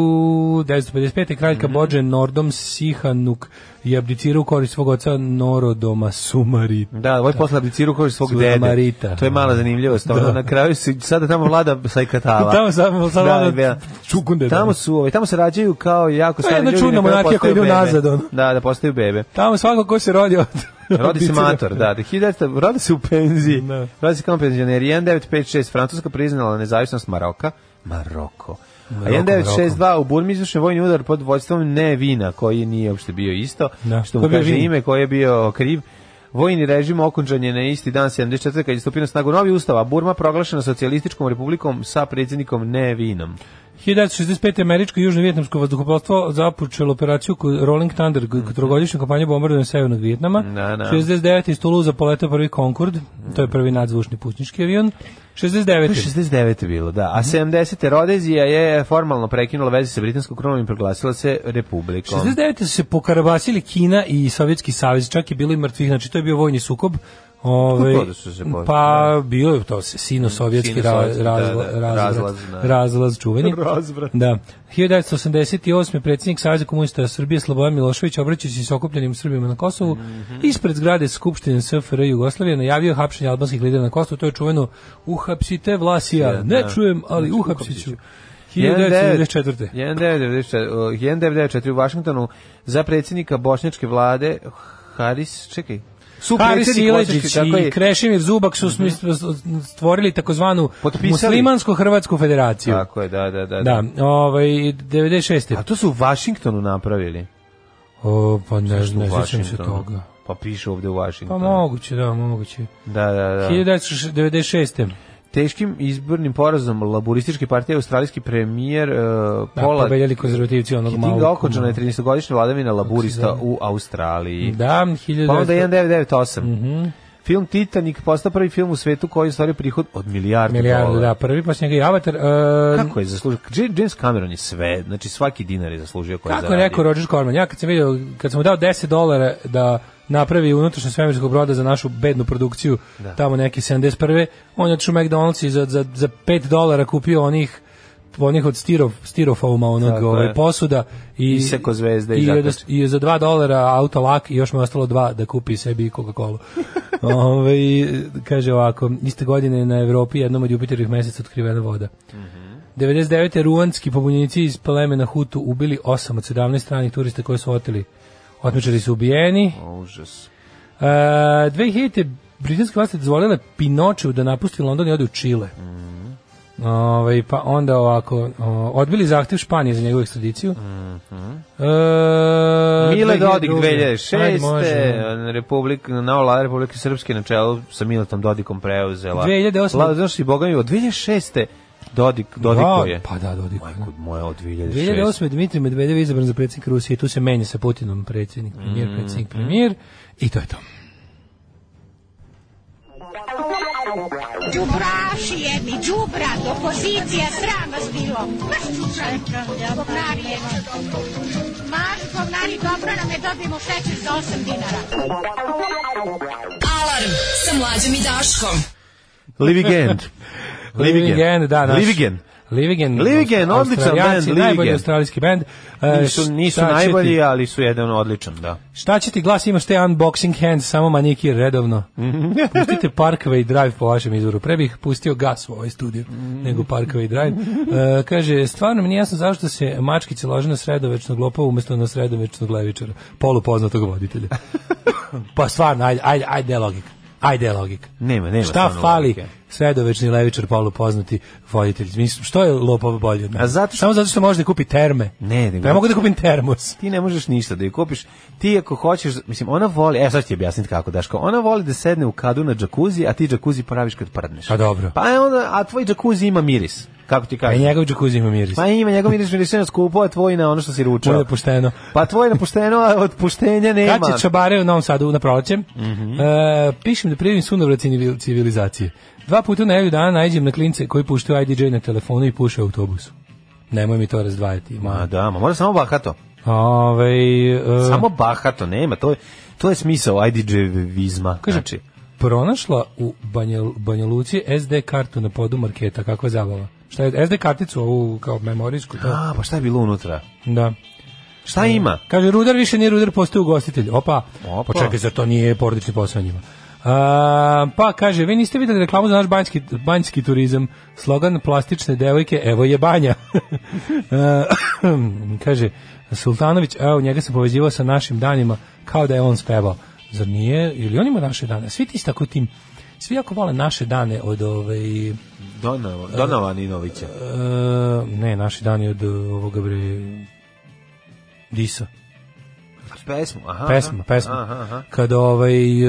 S6: 1955. kralj
S5: Mm.
S6: Kabodže Nordom Sihanuk je abdicirao u korist svog oca Norodoma Sumari.
S5: Da, ovaj posle abdiciru koji svog
S6: Sura
S5: dede.
S6: Marita.
S5: To je mala zanimljivost. Da. Na kraju se sada tamo vlada sajkatala.
S6: Tamo sam, sam
S5: Da,
S6: ono-
S5: da.
S6: čukunde.
S5: Tamo su, ovaj, tamo se rađaju kao jako
S6: To je
S5: stari
S6: jedna
S5: ljudi. na
S6: čudna
S5: kraju
S6: monarhija koja
S5: postaju
S6: ide
S5: bebe.
S6: unazad, ono.
S5: Da, da postaju bebe.
S6: Tamo svako ko se rodio.
S5: Rodi se mator, da, da 1900, rodi se u penziji.
S6: Da.
S5: Rodi se kao penzioner. 1956 Francuska priznala nezavisnost Maroka. Maroko. A 1962 u Burmi izvršen vojni udar pod vođstvom Nevina, koji nije uopšte bio isto,
S6: Da.
S5: što
S6: Ko
S5: mu
S6: je bio
S5: kaže
S6: Vin?
S5: ime, koji je bio kriv. Vojni režim okončan je na isti dan 74. kad je stupio na snagu novi ustav, a Burma proglašena socijalističkom republikom sa predsjednikom Nevinom.
S6: 1965. američko i južno-vjetnamsko vazduhoplovstvo započelo operaciju ko- Rolling Thunder, k- trogodišnju kampanju bombardovanja severnog Vjetnama.
S5: Mhm. Da, da.
S6: 69. iz Tuluza poletao prvi Concorde, to je prvi nadzvučni putnički avion. 69.
S5: 69. je bilo, da. A 70. Rodezija je formalno prekinula veze sa britanskom kronom i proglasila se republikom.
S6: 69. su se pokarabasili Kina i Sovjetski savez, čak je bilo i mrtvih, znači to je bio vojni sukob. Ove,
S5: Kako to da su se poznali?
S6: pa bio je to se- sino-sovjetski ra,
S5: Sino-sovjetski, da,
S6: razla,
S5: da,
S6: razvrat,
S5: razlaz, da.
S6: razlaz čuveni.
S5: Razvrat.
S6: Da. 1988. predsjednik Saveza komunista Srbije Slobodan Milošević obraćajući se okupljenim Srbima na Kosovu
S5: Mhm.
S6: ispred zgrade Skupštine SFRJ Jugoslavije najavio hapšenje albanskih lidera na Kosovu. To je čuveno uhapsite Vlasija.
S5: da.
S6: ne čujem, ali
S5: Znači,
S6: uhapsit ću. 1994.
S5: 1994. 1994 u Vašingtonu za predsjednika bošnjačke vlade Haris, čekaj. Su
S6: Haris Sileđić
S5: tako
S6: i
S5: je. Mhm.
S6: Krešimir Zubak su smi- stvorili takozvanu
S5: Potpisali.
S6: muslimansko-hrvatsku federaciju.
S5: Tako je, da, da, da.
S6: Da, ovaj,
S5: A
S6: 96.
S5: to su u Vašingtonu napravili.
S6: O, pa ne, ne
S5: U
S6: sjećam se
S5: Vašingtonu.
S6: toga.
S5: Pa piše ovde u
S6: Pa
S5: Vašingtonu.
S6: moguće, da, moguće.
S5: Da, da, da.
S6: 1996.
S5: Teškim izbornim porazom laborističke partije australijski premijer uh,
S6: Da,
S5: Pola
S6: pobeljali konzervativci onog malog.
S5: Kinga okončana je 13-godišnja vladavina laburista u Australiji.
S6: Da,
S5: Pa onda
S6: 1998.
S5: 1998.
S6: Mhm.
S5: Film Titanic postao prvi film u svetu koji je ostvario prihod od milijardu,
S6: Milijardu,
S5: dolara.
S6: da, prvi, pa njega i Avatar. e,
S5: Kako je zaslužio? J- James Cameron je sve, znači svaki dinar je zaslužio koji je
S6: Kako je
S5: zaradio.
S6: rekao Roger Corman, ja kad sam vidio, kad sam mu dao 10 dolara da napravi unutrašnje svemirsko broda za našu bednu produkciju,
S5: Da.
S6: tamo neke 71. On je otišao u McDonald's i za, za, za 5 dolara kupio onih onih od stiro, stirofouma onog
S5: Tako je.
S6: ovaj, posuda i,
S5: Iseko zvezde i
S6: i,
S5: zakači.
S6: od- i za 2 dolara auto lak i još mu je ostalo 2 da kupi sebi Coca-Cola. Ove, kaže ovako, iste godine na Evropi jednom od Jupiterovih meseca otkrivena voda.
S5: Mhm.
S6: 99. ruanski pobunjenici iz plemena Hutu ubili 8 od 17 stranih turista koje su oteli. Otmičari su ubijeni.
S5: O, Užas.
S6: E, 2000. britanske vlasti dozvolile Pinoču da napusti London i ode u Čile.
S5: Mhm.
S6: Ovaj, pa onda ovako, o, odbili zahtev Španije za njegovu ekstradiciju. E,
S5: Mhm. Mile Dodik
S6: 2002.. Ajde, može.
S5: 2006. Republik, nova vlada Republike Srpske na čelu sa Miletom Dodikom preuzela.
S6: 2008.
S5: Vlada, znaš i Boga mi, od 2006. Dodik, Dodiko je.
S6: Da, Pa da, Dodiko je.
S5: Majko moja od 2006.
S6: 2008. Dmitri Medvedev je izabran za predsjednika Rusije, tu se menja sa Putinom predsjednik, premijer,
S5: Mhm.
S6: predsjednik, premijer i to je to.
S7: Đubraši jedni, đubra, opozicija, sram vas bilo. Maš čučanka, govnari jedni. Maš govnari, dobro nam je, dobijemo šećer za 8 dinara.
S4: Alarm sa mlađom i Daškom.
S5: Livigend.
S6: Livigen, da, naš.
S5: Livigen.
S6: Livigen.
S5: Livigen, odličan
S6: Australijanci,
S5: bend,
S6: Najbolji
S5: Livigen.
S6: australijski bend. E,
S5: Nisu, nisu
S6: šta će ti-
S5: najbolji, ali su jedan odličan, da.
S6: Šta će ti glas, imaš te unboxing hands, samo manikir redovno.
S5: Mhm.
S6: Pustite Parkway Drive po vašem izvoru. Pre bih pustio gas u ovaj studiju,
S5: Mhm.
S6: nego Parkway Drive. E, kaže, stvarno mi nije jasno zašto se mačkice lože na sredovečnog lopova umesto na sredovečnog levičara, polupoznatog voditelja. pa stvarno, ajde, ajde, ajde je logika. Ajde je logika.
S5: Nema, nema
S6: Šta
S5: stvarno
S6: fali
S5: logike.
S6: sredovečni levičar polupoznati voditelj? Mislim, što je lopov bolje od mene?
S5: A zato što-
S6: Samo zato što može da kupi terme.
S5: Ne, nego-
S6: Pa ja mogu da kupim termos.
S5: ti ne možeš ništa da je kupiš. Ti ako hoćeš, mislim, ona voli, e sad ću ti objasniti kako, Daško, ona voli da sedne u kadu na džakuzi, a ti džakuzi praviš kad prdneš.
S6: Pa dobro.
S5: Pa je onda, a tvoj džakuzi ima miris, kako ti
S6: A i
S5: kažem.
S6: E, njegov džakuzi ima miris.
S5: Pa ima, njegov miris miris je na skupo, a tvoj na ono što si ručao.
S6: Moje je pošteno.
S5: Pa tvoj na pušteno, a od puštenja nema. Mhm.
S6: Kad će čabare u Novom Sadu na proleće, e, pišem da prijavim sunovrat civil- civilizacije. Dva puta na evju dana najđem na klince koji puštaju IDJ na telefonu i puše u autobusu. Nemoj mi to razdvajati.
S5: Ma
S6: Ma.
S5: da, ma mora samo bahato.
S6: Ovaj, e,
S5: Samo bahato, nema, to je, to je smisao IDJ-vizma.
S6: Kaže,
S5: znači,
S6: pronašla u Banja, Banja Luci SD kartu na podu marketa, kakva zabava. Šta je, SD karticu ovu kao memorijsku, to?
S5: a, pa šta je bilo unutra?
S6: Da.
S5: Šta ima?
S6: Kaže, rudar više nije rudar, postoje ugostitelj. Opa,
S5: Opa.
S6: Opa. počekaj, zar to nije porodični posao njima? A, pa kaže, vi niste videli reklamu za naš banjski, banjski turizam, slogan plastične devojke, evo je banja. A, kaže, Sultanović, evo, njega se povezivao sa našim danima, kao da je on spevao. Zar nije, ili on ima naše dane? Svi ti s tako tim Svi jako vole naše dane od ovaj e,
S5: Donava, Donovan i Novića.
S6: ne, naši dani od e, ovoga bre Disa.
S5: Pa Pesmu, aha.
S6: Pesma, pesma.
S5: Aha, aha.
S6: Kada ovaj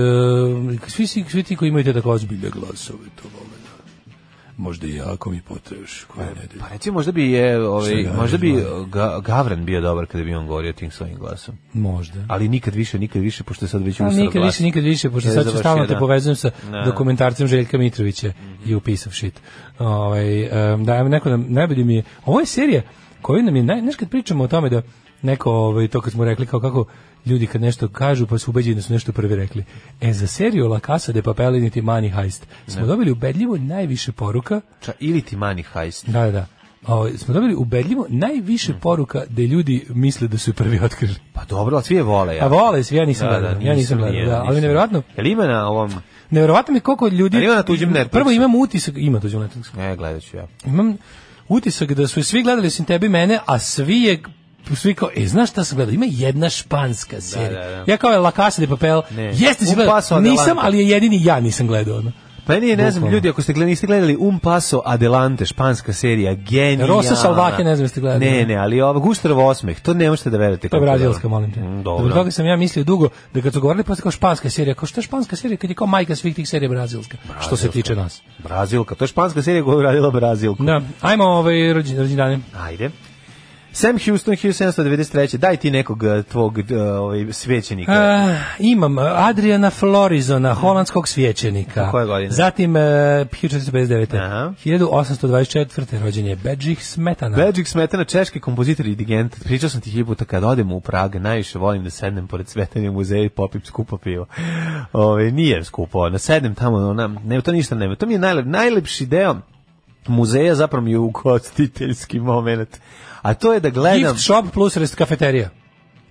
S6: e, svi, svi, svi ti koji imaju te tako ozbiljne glasove to vole. da. Možda i ja ako mi potrebaš koje nedelje.
S5: Pa recimo, možda bi je, ovaj,
S6: Šta ga
S5: možda bi
S6: ne
S5: ga, Gavran bio dobar kada bi on govorio tim svojim glasom.
S6: Možda.
S5: Ali nikad više, nikad više, pošto je sad već
S6: A,
S5: usro
S6: nikad
S5: glas.
S6: više, nikad više, pošto
S5: Je,
S6: sad ću
S5: završio,
S6: stalno te
S5: da.
S6: povezujem sa
S5: Da. Mhm.
S6: dokumentarcem Željka Mitrovića i upisav shit. Ovaj, em, da, neko nam, najbolje mi je, ovo je serija koju nam je, naj, znaš kad pričamo o tome da neko, ovaj, to kad smo rekli kao kako ljudi kad nešto kažu pa su ubeđeni da su nešto prvi rekli. E, za seriju La Casa de Papel i niti Money Heist smo
S5: Da.
S6: dobili ubedljivo najviše poruka
S5: Ča, ili ti mani hajst.
S6: da, da, da. Ovaj, smo dobili ubedljivo
S5: Mhm.
S6: najviše poruka da ljudi misle da su prvi otkrili.
S5: Pa dobro, ali svi je vole. Ja. Da,
S6: A vole svi, ja nisam gledao, ja nisam gledao, da, ali nevjerojatno,
S5: Jel ima na ovom...
S6: Neverovatno mi je koliko ljudi...
S5: Ali ima na tuđem Netflixu.
S6: Prvo imam utisak... Ima tuđem Netflixu.
S5: Ne, e, gledat ću ja.
S6: Imam utisak da su svi gledali osim tebi i mene, a svi je svi kao, e, znaš šta sam gledao? Ima jedna španska serija.
S5: da, da.
S6: Ja kao je La Casa de Papel.
S5: Ne.
S6: Jeste si
S5: Un paso
S6: gledao? Nisam,
S5: adelante.
S6: ali je jedini ja nisam gledao. Ono.
S5: Pa nije, ne znam, ljudi, ako ste gledali, niste gledali Un Paso Adelante, španska serija, genijalna.
S6: Rosa Salvaje, ne znam jeste gledali.
S5: Ne, ne, ali ova Guštarov osmeh, to ne možete da verujete.
S6: To je
S5: kako
S6: brazilska,
S5: dobro.
S6: molim te.
S5: Mm,
S6: Zbog
S5: Dobro.
S6: toga sam ja mislio dugo da kad su govorili posle kao španska serija, kao što je španska serija kad je kao majka svih tih serija brazilska, što se tiče nas.
S5: Brazilka, to je španska serija koja je radila Brazilku.
S6: Da, ajmo ovaj rođen- rođendane.
S5: Ajde. Sam Houston, 1793. Daj ti nekog eh, tvog eh, ovaj, svećenika.
S6: E, imam e, Adriana Florizona, holandskog svjećenika.
S5: Koje godine?
S6: Zatim e, 1459.
S5: Aha.
S6: 1824. rođen je Bedžih Smetana.
S5: Bedžik Smetana, češki kompozitor i digent. Pričao sam ti hiljubu puta kad odem u Prag, najviše volim da sednem pored Smetanja muzeja i popim skupo pivo. Ove, nije skupo, na sednem tamo, ona, ne, to ništa nema. To mi je najlep, najlepši deo muzeja, zapravo mi je ugostiteljski moment. A to je da gledam,
S6: Gift shop plus rest kafeterija.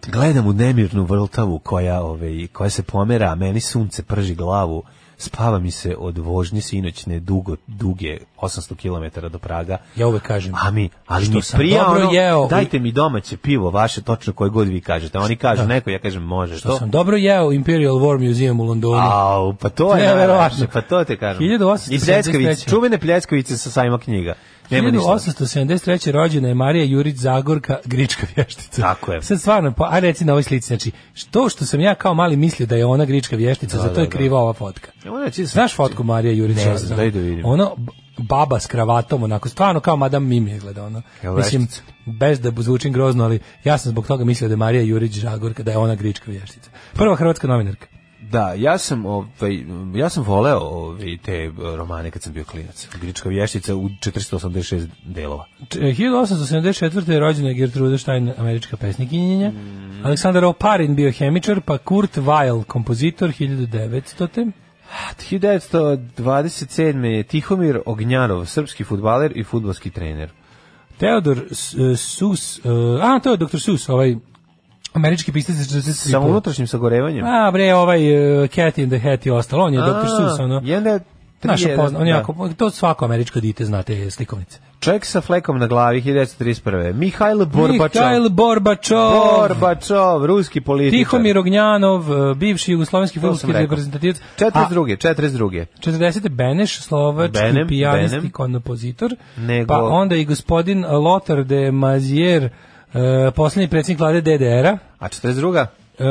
S5: gledam u nemirnu vrltavu koja, ove, koja se pomera, a meni sunce prži glavu, spava mi se od vožnje sinoćne dugo, duge 800 km do Praga.
S6: Ja uvek kažem.
S5: A mi, ali
S6: Što
S5: mi
S6: sam
S5: prija
S6: dobro
S5: ono,
S6: jeo u-
S5: dajte mi domaće pivo, vaše točno koje god vi kažete. Oni kažu neko, ja kažem može.
S6: To
S5: to.
S6: sam dobro jeo u Imperial War Museum u Londonu.
S5: Au, pa to je
S6: Neverovatno.
S5: najverovatnije, pa to te kažem.
S6: 1873.
S5: I pljeskavice, čuvene pljeskavice sa sajma knjiga. Nema ništa.
S6: 1873. rođena je Marija Jurić Zagorka, grička vještica.
S5: Tako je.
S6: Sad stvarno, pa, a reci na ovoj slici, znači, što što sam ja kao mali mislio da je ona grička vještica, zato je
S5: da, da.
S6: kriva ova fotka.
S5: Ja moram reći da sam-
S6: Znaš fotku Marija Jurić?
S5: Ne znam, daj da vidim.
S6: Ono, b- baba s kravatom, onako, stvarno kao Madame Mimi izgleda, ono.
S5: Kao
S6: Mislim,
S5: veštica.
S6: bez da bu- zvučim grozno, ali ja sam zbog toga mislio da je Marija Jurić Žagorka, da je ona grička vještica. Prva hrvatska novinarka.
S5: Da, ja sam, ovaj, ja sam voleo ovaj, te eh, romane kad sam bio klinac. Grička vještica u 486 delova.
S6: Č- 1874. je rođena je Gertrude Stein, američka pesnikinjenja. Aleksandar Oparin bio hemičar, pa Kurt Weill, kompozitor 1900.
S5: 1927. je Tihomir Ognjanov, srpski futbaler i futbalski trener.
S6: Teodor S- e, Sus, e, a to je doktor Sus, ovaj američki pisac iz 43.
S5: Sa unutrašnjim sagorevanjem.
S6: A bre, ovaj e, Cat in the Hat i ostalo, on je doktor Sus, ono.
S5: Jedan, tri,
S6: Naša
S5: jedan,
S6: pozna, on je
S5: da.
S6: jako, to svako američko dite zna te slikovnice.
S5: Čovjek sa flekom na glavi 1931. Mihajlo Borbačov.
S6: Mikhail Borbačov.
S5: Borbačov, ruski političar.
S6: Tihomir Ognjanov, e, bivši jugoslovenski futbolski
S5: rekao.
S6: reprezentativac. A-
S5: 42. 42.
S6: 40. Beneš, slovački
S5: Benem,
S6: pijanist
S5: Benem.
S6: i kompozitor,
S5: Nego-
S6: pa onda i gospodin Lothar de Mazier, e, posljednji predsjednik vlade DDR-a,
S5: A 42.
S6: e,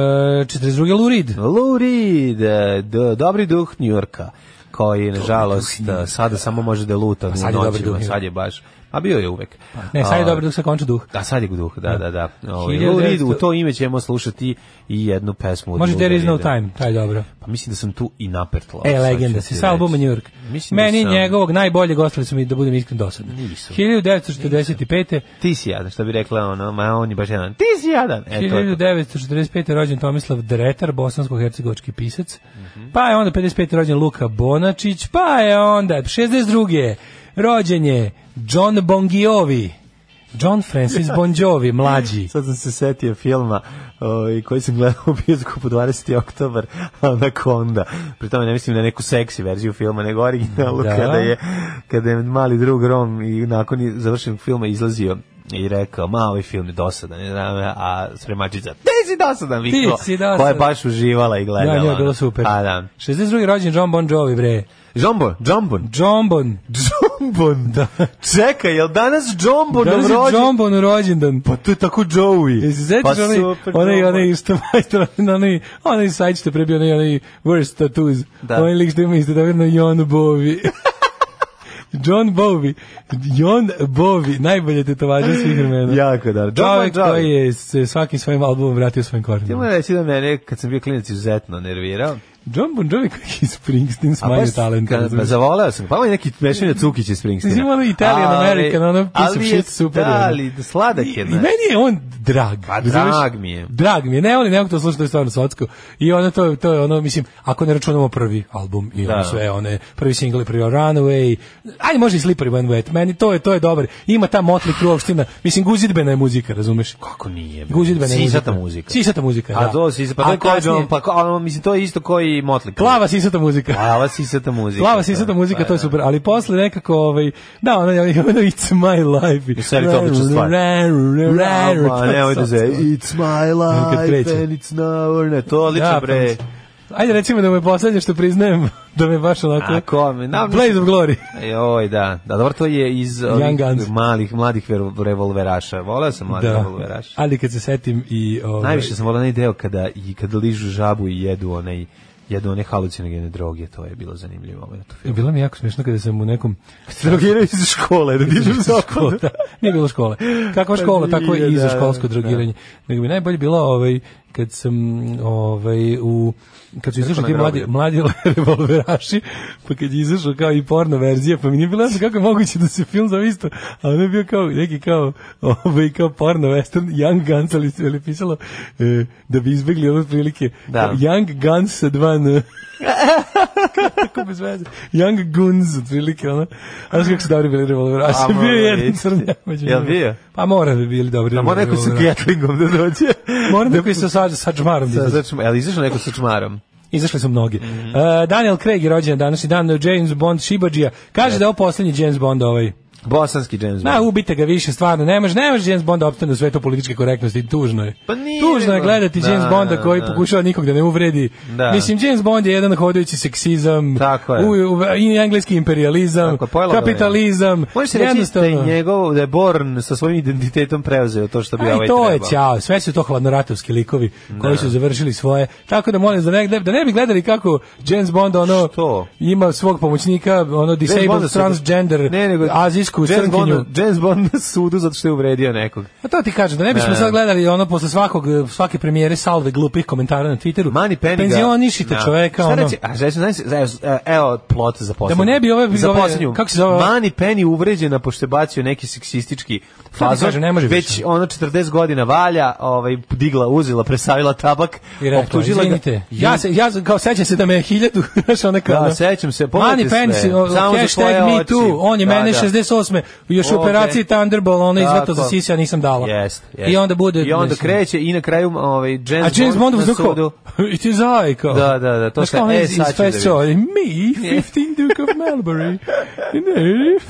S6: 42. Lurid.
S5: Lou Reed, e, d- dobri duh Njurka, koji, nažalost, sada samo može da luta u
S6: sad je dobri
S5: noćima,
S6: duh Pa,
S5: sad je baš, a bio je uvek.
S6: Ne, sad je
S5: A,
S6: dobro dok se konča duh.
S5: A sad je duh, da, da, da. Ovaj,
S6: 1900
S5: Lou Reed, u to ime ćemo slušati i jednu pesmu. od
S6: Može
S5: Lou
S6: There is no
S5: Reeda.
S6: time, taj dobro.
S5: Pa mislim da sam tu i napertlao.
S6: E,
S5: sad
S6: legenda
S5: ću
S6: si,
S5: ti
S6: sa albuma
S5: reći.
S6: New York.
S5: Mislim da
S6: Meni
S5: sam-
S6: njegovog najboljeg ostali su mi, da budem iskren, dosadni.
S5: Nisu.
S6: 1945.
S5: Ti si jadan, što bi rekla ono, ma on je baš jadan. Ti si jadan! E, to je to.
S6: 1945. rođen Tomislav Dretar, bosansko-hercegovački pisac. Pa je onda 55. rođen Luka Bonačić, pa je onda 62. rođen je John Bongiovi. John Francis Bon Jovi, mlađi.
S5: Sad sam se setio filma ovaj, koji sam gledao u bioskopu 20. oktobar, Anaconda. Pri tome ne mislim na neku seksi verziju filma, nego originalu
S6: Da.
S5: kada, je, kada je mali drug Rom i nakon je završenog filma izlazio i rekao, ma, ovaj film je dosadan, ne znam, a spremačica, ti si dosadan, vikla,
S6: si dosadan.
S5: koja je baš uživala i
S6: Da,
S5: gledala.
S6: njoj je
S5: ono.
S6: bilo super.
S5: A, da.
S6: 62. rođen John Bon Jovi, bre.
S5: Džombon, džombon.
S6: Jombon.
S5: Džombon, da. Čekaj, jel danas džombon
S6: Da li si
S5: rođen?
S6: Jombon u rođendan?
S5: Pa to je tako Joey.
S6: Jesi se
S5: pa
S6: sećaš onaj,
S5: super,
S6: onaj,
S5: Jombon.
S6: onaj što majstor, onaj, onaj sajt što je prebio, onaj, onaj worst tattoos,
S5: Da.
S6: onaj lik što ima isto da vjerno Jon Bovi. John Bovi, Jon Bovi, najbolje tetovaže svih vremena.
S5: Jako da. Džombon,
S6: Čovjek
S5: džombon.
S6: koji je se svakim svojim albumom vratio svojim
S5: Ti
S6: korenima.
S5: moram reći da mene, kad sam bio klinac, izuzetno nervirao.
S6: John Bon Jovi koji je Springsteen s
S5: A
S6: manje
S5: baš
S6: talenta.
S5: kad-
S6: razumiješ?
S5: Zavoleo sam. Pa on je neki mešanje Cukić iz Springsteena.
S6: Mislim, ono Italian
S5: Ali-
S6: American, ono piece of
S5: ali
S6: shit
S5: je-
S6: super,
S5: Da,
S6: ono.
S5: ali sladak je.
S6: I
S5: znaš.
S6: meni je on drag.
S5: Pa
S6: razumeš?
S5: drag mi je.
S6: Drag mi je. Ne, ali nekako to sluša, to je stvarno socko. I ono, to, je- to je ono, mislim, ako ne računamo prvi album i ono
S5: Da.
S6: sve, one, prvi single, je prvi Runaway, ajde može i Slippery When Wet, meni to je, to je dobar. Ima ta Motley Crue opština, mislim, guzidbena je muzika, razumeš?
S5: Kako nije? bre?
S6: Guzidbena je
S5: Sisata
S6: muzika.
S5: muzika.
S6: Sisata muzika, da.
S5: A to sisata, pa to
S6: A
S5: je kao
S6: kasnije-
S5: John, pa kao, ono, mislim, to je isto koji i Motley. Crue.
S6: Plava sisata muzika.
S5: Plava sisata muzika.
S6: Plava sisata
S5: da.
S6: muzika,
S5: Pa,
S6: to je
S5: da.
S6: super, ali posle nekako, ovaj, da, ono, ono, ono, it's my life.
S5: I sve je to odlična stvar. Ma, nemoj da zezaj. It's my
S6: Kad kreće.
S5: life and it's now or ne. To odlično,
S6: Da,
S5: bre.
S6: pa Ajde recimo da mu je poslednje što priznajem, da me baš onako...
S5: A, kome? Na,
S6: Blaze of Glory.
S5: Joj, da. Da, dobro, to je iz
S6: Young Guns.
S5: ovih malih, mladih ver- revolveraša. Voleo sam mladih
S6: Da.
S5: revolveraša.
S6: Ali kad se setim i... Ovaj,
S5: Najviše sam volao onaj deo kada, i kada ližu žabu i jedu onaj jedu one halucinogene droge, to je bilo zanimljivo. Ovaj, to film.
S6: Bilo mi jako smiješno kada sam u nekom...
S5: Drogiraju iz škole, da dižu
S6: Škola, da. Nije bilo škole. Kakva škola, tako
S5: nije,
S6: i za
S5: da, da.
S6: školsko drogiranje. Nego bi najbolje bilo ovaj, kad sam ovaj, u kad su izašli
S5: na
S6: ti mladi,
S5: groblje.
S6: mladi revolveraši, pa kad je izašao kao i porno verzija, pa mi nije bilo jasno kako je moguće da se film zove isto, a ono je bio kao neki kao, ovaj, kao porno western, Young Guns, ali se je pisalo eh, da bi izbegli ono prilike
S5: Da.
S6: Young Guns sa dva N. Kako bez veze. Young Guns, otprilike, ono. A znaš kako su dobri bili revolveraši?
S5: A,
S6: bio je
S5: moram
S6: jedan
S5: reći.
S6: crnjak. među
S5: Jel
S6: njima.
S5: bio?
S6: Pa mora bi bili dobri
S5: Da, mora neko sa
S6: revolveraši.
S5: Gatlingom da dođe.
S6: Mora neko i sa, sa, sa čmarom. da
S5: Sa, Mhm.
S6: izađe.
S5: sa čma- ali izašao neko sa čmarom.
S6: Izašli su mnogi. E, Daniel Craig je rođen danas i dan James Bond Šibadžija. Kaže da je ovo poslednji James Bond ovaj.
S5: Bosanski James
S6: Na,
S5: Bond.
S6: ubite ga više, stvarno, ne može, ne može James Bond da opstane u svetu političke korektnosti, tužno je.
S5: Pa nije,
S6: tužno je
S5: nego-
S6: gledati
S5: da,
S6: James Bonda
S5: da,
S6: koji
S5: da.
S6: pokušava nikog da ne uvredi.
S5: Da.
S6: Mislim, James Bond je jedan hodajući seksizam,
S5: Tako je.
S6: u, u- i engleski imperializam,
S5: Tako je, pojela ga je.
S6: kapitalizam,
S5: Možeš reći da je njegov, da je Born sa svojim identitetom preuzeo to što bi
S6: A
S5: ovaj
S6: Pa i to
S5: trebao. Da.
S6: je ćao, sve su to hladnoratovski likovi koji su završili svoje. Tako da molim da ne, da ne bi gledali kako James Bond ono
S5: Što?
S6: ima svog pomoćnika, ono
S5: Bonda
S6: disabled
S5: su-
S6: transgender,
S5: Ne, nego-
S6: azijsku
S5: James
S6: crnkinju.
S5: Bond, James Bond na sudu zato što je uvredio nekog.
S6: Pa to ti kažem, da ne bismo
S5: Ne.
S6: sad gledali ono posle svakog svake premijere salve glupih komentara na Twitteru.
S5: Mani Peniga.
S6: Penzionišite
S5: Da.
S6: čoveka
S5: Šta
S6: ono.
S5: reći? A reći, znaš, znaš, e, evo plot za poslednju.
S6: Da mu ne bi ove-
S5: za
S6: ove-
S5: poslednju.
S6: kako se zove ova-
S5: Mani Penny uvređena pošto je bacio neki seksistički fazon.
S6: kažem, ne može
S5: već
S6: više.
S5: ono 40 godina valja, ovaj digla, uzela, presavila tabak,
S6: I rekla,
S5: optužila ga.
S6: izvinite, ja, se, ja kao sećam se da me je hiljadu, znaš ona kao...
S5: Da,
S6: ono,
S5: sećam se,
S6: Mani
S5: pogledajte sve,
S6: Pence, o,
S5: samo za
S6: hashtag
S5: svoje
S6: me
S5: oči.
S6: too, on je
S5: Da,
S6: mene
S5: da.
S6: 68. još u
S5: Ok.
S6: operaciji Thunderball, ono izvato
S5: Tako.
S6: za sisi, ja nisam dala.
S5: Jest, jest.
S6: I onda bude...
S5: I onda
S6: mislim,
S5: kreće i na kraju ovaj James,
S6: A James Bond
S5: Bond
S6: u
S5: na
S6: kao,
S5: sudu.
S6: it is I, kao.
S5: Da, da, da, to
S6: Znaš
S5: se-
S6: kao ono
S5: e,
S6: iz,
S5: sad
S6: iz
S5: ću da
S6: Fast
S5: vidim.
S6: Show, me, 15 Duke of Melbury. Ne,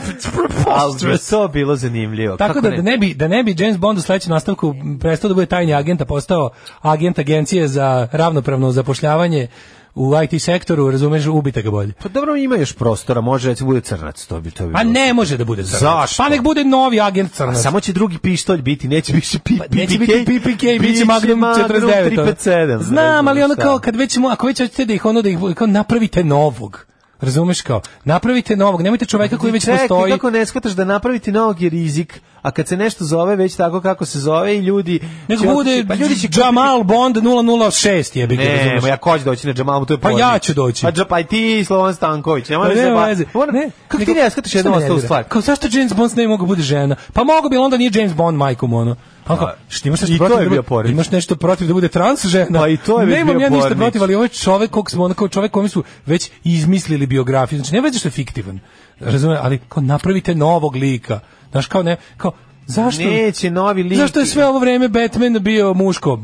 S6: it's
S5: Ali bi
S6: preposterous.
S5: to bilo zanimljivo.
S6: Tako
S5: Pa kako
S6: da, da ne bi da ne bi James Bond u sledećem nastavku prestao da bude tajni agent, a postao agent agencije za ravnopravno zapošljavanje u IT sektoru, razumeš, ubite ga bolje.
S5: Pa dobro ima još prostora, može recimo bude crnac, to bi to bi.
S6: Pa
S5: bilo.
S6: ne može da bude crnac.
S5: Zašto?
S6: Pa nek bude novi agent
S5: A
S6: crnac.
S5: samo će drugi pištolj biti, neće više pi,
S6: Pa neće biti PPK, bit će Magnum 49. ono.
S5: 357.
S6: Znam, ali ono
S5: Šta?
S6: kao, kad već, mu- ako već hoćete da ih ono, da ih, kao napravite novog. Razumeš kao, napravite novog, nemojte čoveka koji već
S5: Pa Čekaj,
S6: postoji.
S5: kako ne shvataš da napraviti novog je rizik, a kad se nešto zove već tako kako se zove i ljudi...
S6: Nek
S5: će
S6: bude
S5: otići- pa ljudi će
S6: Jamal Bond 006 jebi ga,
S5: Ne,
S6: razumeš.
S5: ma ja ko ću doći na Džamalu, to je
S6: Pa
S5: porno.
S6: ja ću doći.
S5: Pa, dža- pa i ti, Slovan Stanković, ne
S6: Pa
S5: moraš
S6: nema
S5: da
S6: veze.
S5: Ne, kako ti
S6: nego-
S5: ne shvataš
S6: šta
S5: jednu
S6: me
S5: osnovu
S6: nervira?
S5: stvar?
S6: Kao zašto James Bond ne mogu bude žena? Pa mogu bi, ali onda nije James Bond majkom ono. Pa kao, šta imaš nešto
S5: i to
S6: protiv?
S5: je
S6: da
S5: bio
S6: bude-
S5: pornić.
S6: Imaš nešto protiv da bude trans žena?
S5: Pa i to je već
S6: Nemam
S5: bio
S6: ja ništa
S5: pornić.
S6: protiv, ali ovaj čovek kog smo ono kao čovek kome su već izmislili biografiju. Znači ne veze što je fiktivan. Razumem, ali kao napravite novog lika. Znaš kao ne, kao zašto?
S5: Neće novi lik.
S6: Zašto je sve ovo vreme Batman bio muško?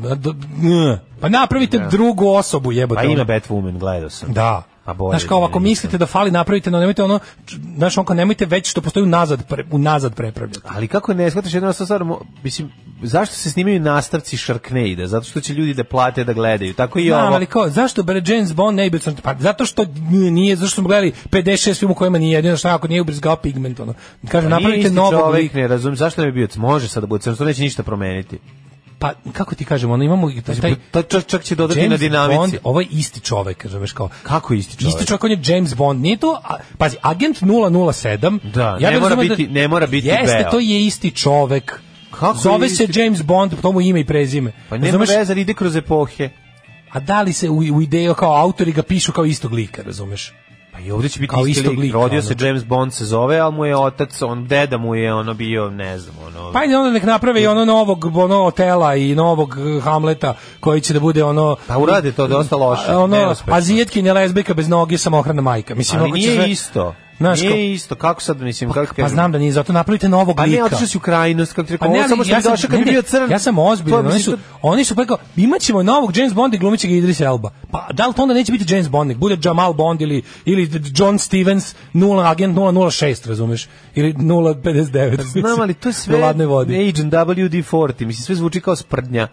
S6: Pa napravite drugu osobu, jebote.
S5: Pa
S6: ono.
S5: ima Batwoman, gledao sam.
S6: Da.
S5: Pa bolje
S6: Znaš kao,
S5: da
S6: ako
S5: ne,
S6: mislite da fali, napravite, no nemojte ono, č- znaš, onko nemojte već što postoji unazad, pre, unazad prepravljati.
S5: Ali kako ne shvataš jednu stvar, stvar, mo- mislim, zašto se snimaju nastavci Sharknade? Zato što će ljudi da plate da gledaju. Tako i
S6: Znam,
S5: ovo.
S6: ali kao, zašto bre James Bond ne bi bio crn- Pa zato što nije, nije, zašto smo gledali 56 film u kojima nije jedino što ako nije ubrizgao pigment, ono. Kažem,
S5: Pa Nije
S6: napravite
S5: isti
S6: novog
S5: čovek,
S6: lika.
S5: ne razumem, zašto ne bi bio, može sad da bude crno, to neće ništa promeniti.
S6: Pa, kako ti kažem, ono, imamo i taj...
S5: To čak, čak će dodati pa, na dinamici.
S6: Bond, ovo je isti čovek, razumeš kao.
S5: Kako isti čovek?
S6: Isti čovek, on je James Bond, nije to, a, pazi, agent 007.
S5: Da, ne
S6: bih
S5: mora
S6: razumeo
S5: biti- ne mora biti
S6: Jeste,
S5: Beo.
S6: to je isti čovek.
S5: Kako
S6: Zove
S5: je
S6: se
S5: isti-
S6: James Bond, po tomu ime i prezime.
S5: Pa nema
S6: Razumeš?
S5: veze, ali ide kroz epohe.
S6: A da li se u, u ideju kao autori ga pišu kao istog lika, razumeš?
S5: Pa i ovdje će biti
S6: Kao
S5: isti
S6: istog
S5: lik.
S6: lika,
S5: Rodio
S6: ono.
S5: se James Bond se zove, ali mu je otac, on deda mu je ono bio, ne znam, ono...
S6: Pa ajde onda nek naprave i ono novog ono Otela i novog eh, Hamleta koji će da bude ono
S5: Pa urade to dosta loše,
S6: A, ono
S5: neuspešno.
S6: azijetkinja lezbika bez noge samohrana majka. Mislim
S5: ali
S6: ako će
S5: nije
S6: sve-
S5: isto.
S6: Znaš,
S5: nije
S6: kao-
S5: isto, kako sad, mislim, kako
S6: Pa
S5: kažem?
S6: znam da nije, zato napravite novog
S5: Pa ne,
S6: lika.
S5: otišao si u krajnost, kako ti
S6: Pa
S5: rekao,
S6: ne,
S5: ovo
S6: ali
S5: samo što
S6: ja
S5: mi
S6: sam-
S5: došao kad
S6: ne,
S5: je
S6: ne,
S5: bio crn.
S6: Ja sam
S5: To,
S6: ozbiljan, oni
S5: mislim,
S6: su, oni su pa rekao, imaćemo novog James Bonda i glumit će ga Idris Elba. Pa da li to onda neće biti James Bond, nek bude Jamal Bond ili, ili John Stevens, 0, agent 006, razumeš? Ili 059.
S5: Pa Znam, ali to je sve
S6: Na ladnoj vodi.
S5: Agent WD-40, mislim, sve zvuči kao sprdnja.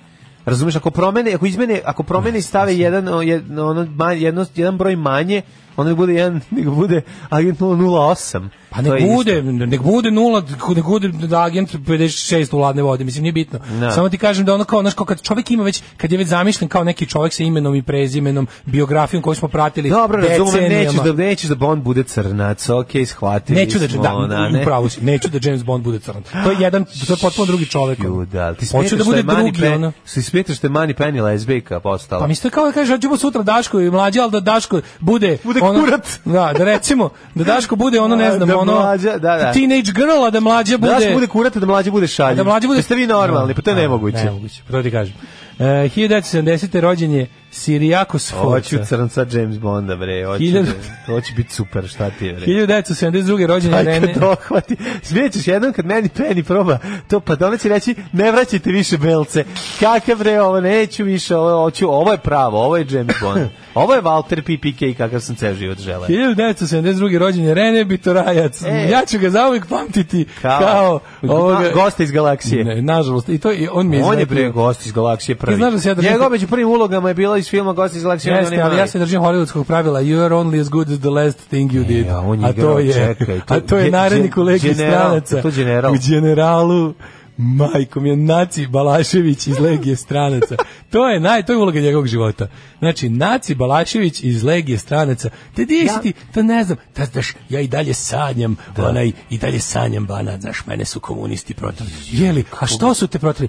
S5: Razumeš, ako promene, ako izmene, ako promene i stave jedan, o, jed- ono, ma- jedno, jedan broj manje, onda bude jedan, nego bude agent 008. To
S6: Pa nek
S5: je
S6: bude,
S5: isto.
S6: nek bude nula, nek bude da agent 56 u ladne vode, mislim nije bitno.
S5: Da.
S6: Samo ti kažem da ono kao, znaš, kao kad čovjek ima već, kad je već zamišljen kao neki čovjek sa imenom i prezimenom, biografijom koju smo pratili
S5: Dobro, razumem,
S6: decenijama.
S5: nećeš da, nećeš da Bond bude crnac, okej, shvatili
S6: Neću da,
S5: smo,
S6: da,
S5: ne?
S6: upravo si, neću da James Bond bude crn. To je jedan, to je potpuno drugi čovjek. ono.
S5: Ju, da, ali ti
S6: Hoću
S5: smetaš
S6: da
S5: što
S6: bude
S5: je Mani
S6: drugi,
S5: Penny,
S6: ono.
S5: što smetaš što je Mani Penny lesbijka postala.
S6: Pa mislim kao da kažeš, hoćemo sutra Daško i mlađe, ali da Daško bude...
S5: Bude
S6: ono,
S5: kurat.
S6: Da, da recimo, da Daško bude ono, ne
S5: Da,
S6: znam,
S5: da
S6: ono...
S5: mlađa, da, da.
S6: Teenage girl, a da mlađe bude...
S5: Da se bude kurate, da mlađe bude šaljiv.
S6: Da mlađi bude...
S5: Jeste vi normalni, pa to je
S6: A,
S5: nemoguće.
S6: Da, Nemoguće, pa to ti kažem. E, 1970. rođen je Sirijakos
S5: Hoću
S6: Forca.
S5: crnca James Bonda, bre. Hoću,
S6: Hiljadu-
S5: da- to će biti super, šta ti je, bre.
S6: 1972. rođen je
S5: Aj,
S6: Rene...
S5: kad dohvati. Smijećeš jednom kad meni peni proba, to pa da ona će reći, ne vraćajte više belce. Kakav bre, ovo neću više, ovo, hoću, ovo je pravo, ovo je James Bond. Ovo je Walter PPK, kakav sam ceo život želeo.
S6: 1972. rođen je Rene Bitorajac.
S5: E.
S6: Ja ću ga zauvijek pamtiti kao,
S5: na-
S6: ovoga...
S5: gosta iz galaksije.
S6: Ne, nažalost, i to i on mi je
S5: On je
S6: izletio.
S5: bre gost iz galaksije prvi.
S6: Ti znaš da se ja držim-
S5: Njegov među prvim ulogama je bila iz filma Gost iz galaksije.
S6: Jeste, ali ja se držim hollywoodskog pravila You are only as good as the last thing you did.
S5: E, a on je
S6: a to
S5: igrao,
S6: je,
S5: čekaj, to-
S6: a to
S5: ge-
S6: je naredni
S5: ge-
S6: kolegi
S5: general,
S6: stranaca.
S5: to general.
S6: U generalu majkom je Naci Balašević iz Legije stranaca. To je naj, to je uloga njegovog života. Znači, Naci Balašević iz Legije stranaca. Te di si ti, to ne znam, ta, znaš, ja i dalje sanjam,
S5: Da.
S6: onaj, i dalje sanjam banat, znaš, mene su komunisti protiv. Jeli, a što su te protiv?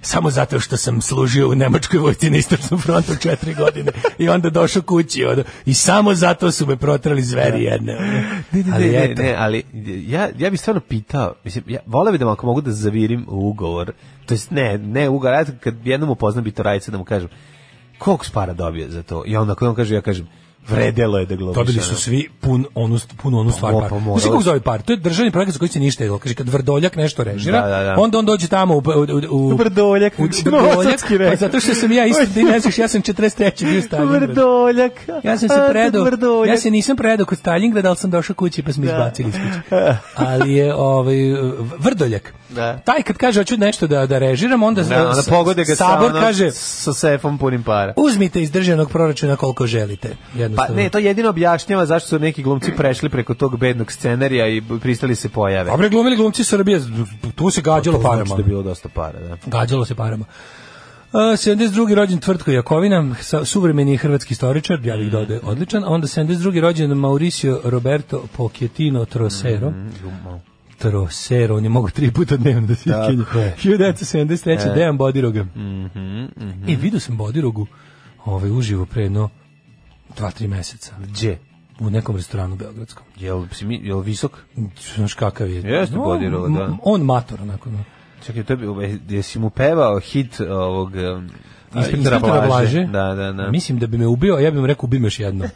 S6: samo zato što sam služio u Nemačkoj vojci na istočnom frontu četiri godine i onda došao kući ono, i samo zato su me protrali zveri jedne. ono.
S5: Da. Ne, ne, ali,
S6: Ali
S5: ne,
S6: eto.
S5: ne, ali ja, ja bih stvarno pitao, mislim, ja voleo bih da mu ako mogu da zavirim u ugovor, to jest ne, ne ugovor, ja kad jednom upoznam Bitorajica da mu kažem, koliko spara dobio za to? I onda ako on kaže, ja kažem, vredelo je da glomiš.
S6: Dobili
S5: ono.
S6: su svi pun onu pun onu stvar
S5: Mo-
S6: par.
S5: pa
S6: Znaš
S5: morali
S6: kako
S5: su.
S6: zove par? To je državni projekat za koji se ništa jedilo. Kaže kad Vrdoljak nešto režira,
S5: Da, da, da.
S6: onda on dođe tamo u u, u
S5: Vrdoljak,
S6: u, Vrdoljak.
S5: Novosadski rekao.
S6: Pa zato što sam ja isto ti ne znaš, ja sam 43. bio Stalingrad.
S5: Vrdoljak.
S6: Ja sam se
S5: Ante
S6: predao,
S5: Vrdoljak. Da.
S6: ja se nisam predao kod Stalingrada, ali sam došao kući pa smo izbacili iz kuće. Ali je ovaj, vrdoljak.
S5: Da.
S6: Taj kad kaže hoću nešto da, da režiram, onda,
S5: Da, onda pogode ga
S6: sabor
S5: sa, ono,
S6: kaže
S5: sa sefom punim para.
S6: uzmite iz državnog proračuna koliko želite.
S5: Pa
S6: Jednostavno.
S5: ne, to jedino objašnjava zašto su neki glumci prešli preko tog bednog scenarija i pristali se pojave.
S6: Dobre glumili glumci Srbije, tu se gađalo
S5: To znači
S6: parama.
S5: da je bilo dosta para, da.
S6: Gađalo se parama. E, 72. rođen Tvrtko Jakovina, sa- suvremeni hrvatski istoričar, ja
S5: Mm.
S6: bih dodao odličan, a onda 72. rođen Mauricio Roberto Pochettino Trosero.
S5: Mm. da.
S6: Trosero, on je mogo tri puta dnevno da se
S5: Tako
S6: iskenje.
S5: je. E. Mhm,
S6: 1973. Dejan Bodiroga. I vidio sam Bodirogu ovaj, uživo pre jedno dva, tri meseca
S5: Gdje?
S6: u nekom restoranu beogradskom.
S5: Jel, si mi- jel visok?
S6: Znaš kakav je.
S5: Jeste Bodiroga, da.
S6: m- On mator, onako. no.
S5: Čekaj, to bi, e, jesi mu pevao hit ovog um, inspektora, Blaže? Da, da, da.
S6: Mislim da bi me ubio, a ja bih mu rekao ubi me još jednom.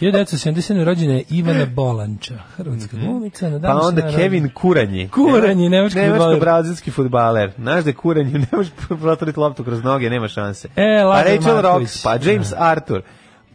S6: 1977. rođena je Ivana Bolanča, hrvatska glumica. na
S5: pa
S6: današnji
S5: onda
S6: dan
S5: Kevin Kuranji.
S6: Kuranji, nemački fudbaler.
S5: Nemačko-brazilski fudbaler. Znaš da je Kuranji, ne možeš proturiti loptu kroz noge, nema šanse.
S6: E,
S5: pa
S6: Lazar
S5: Rachel
S6: Marković. Da.
S5: Rocks, pa James Arthur.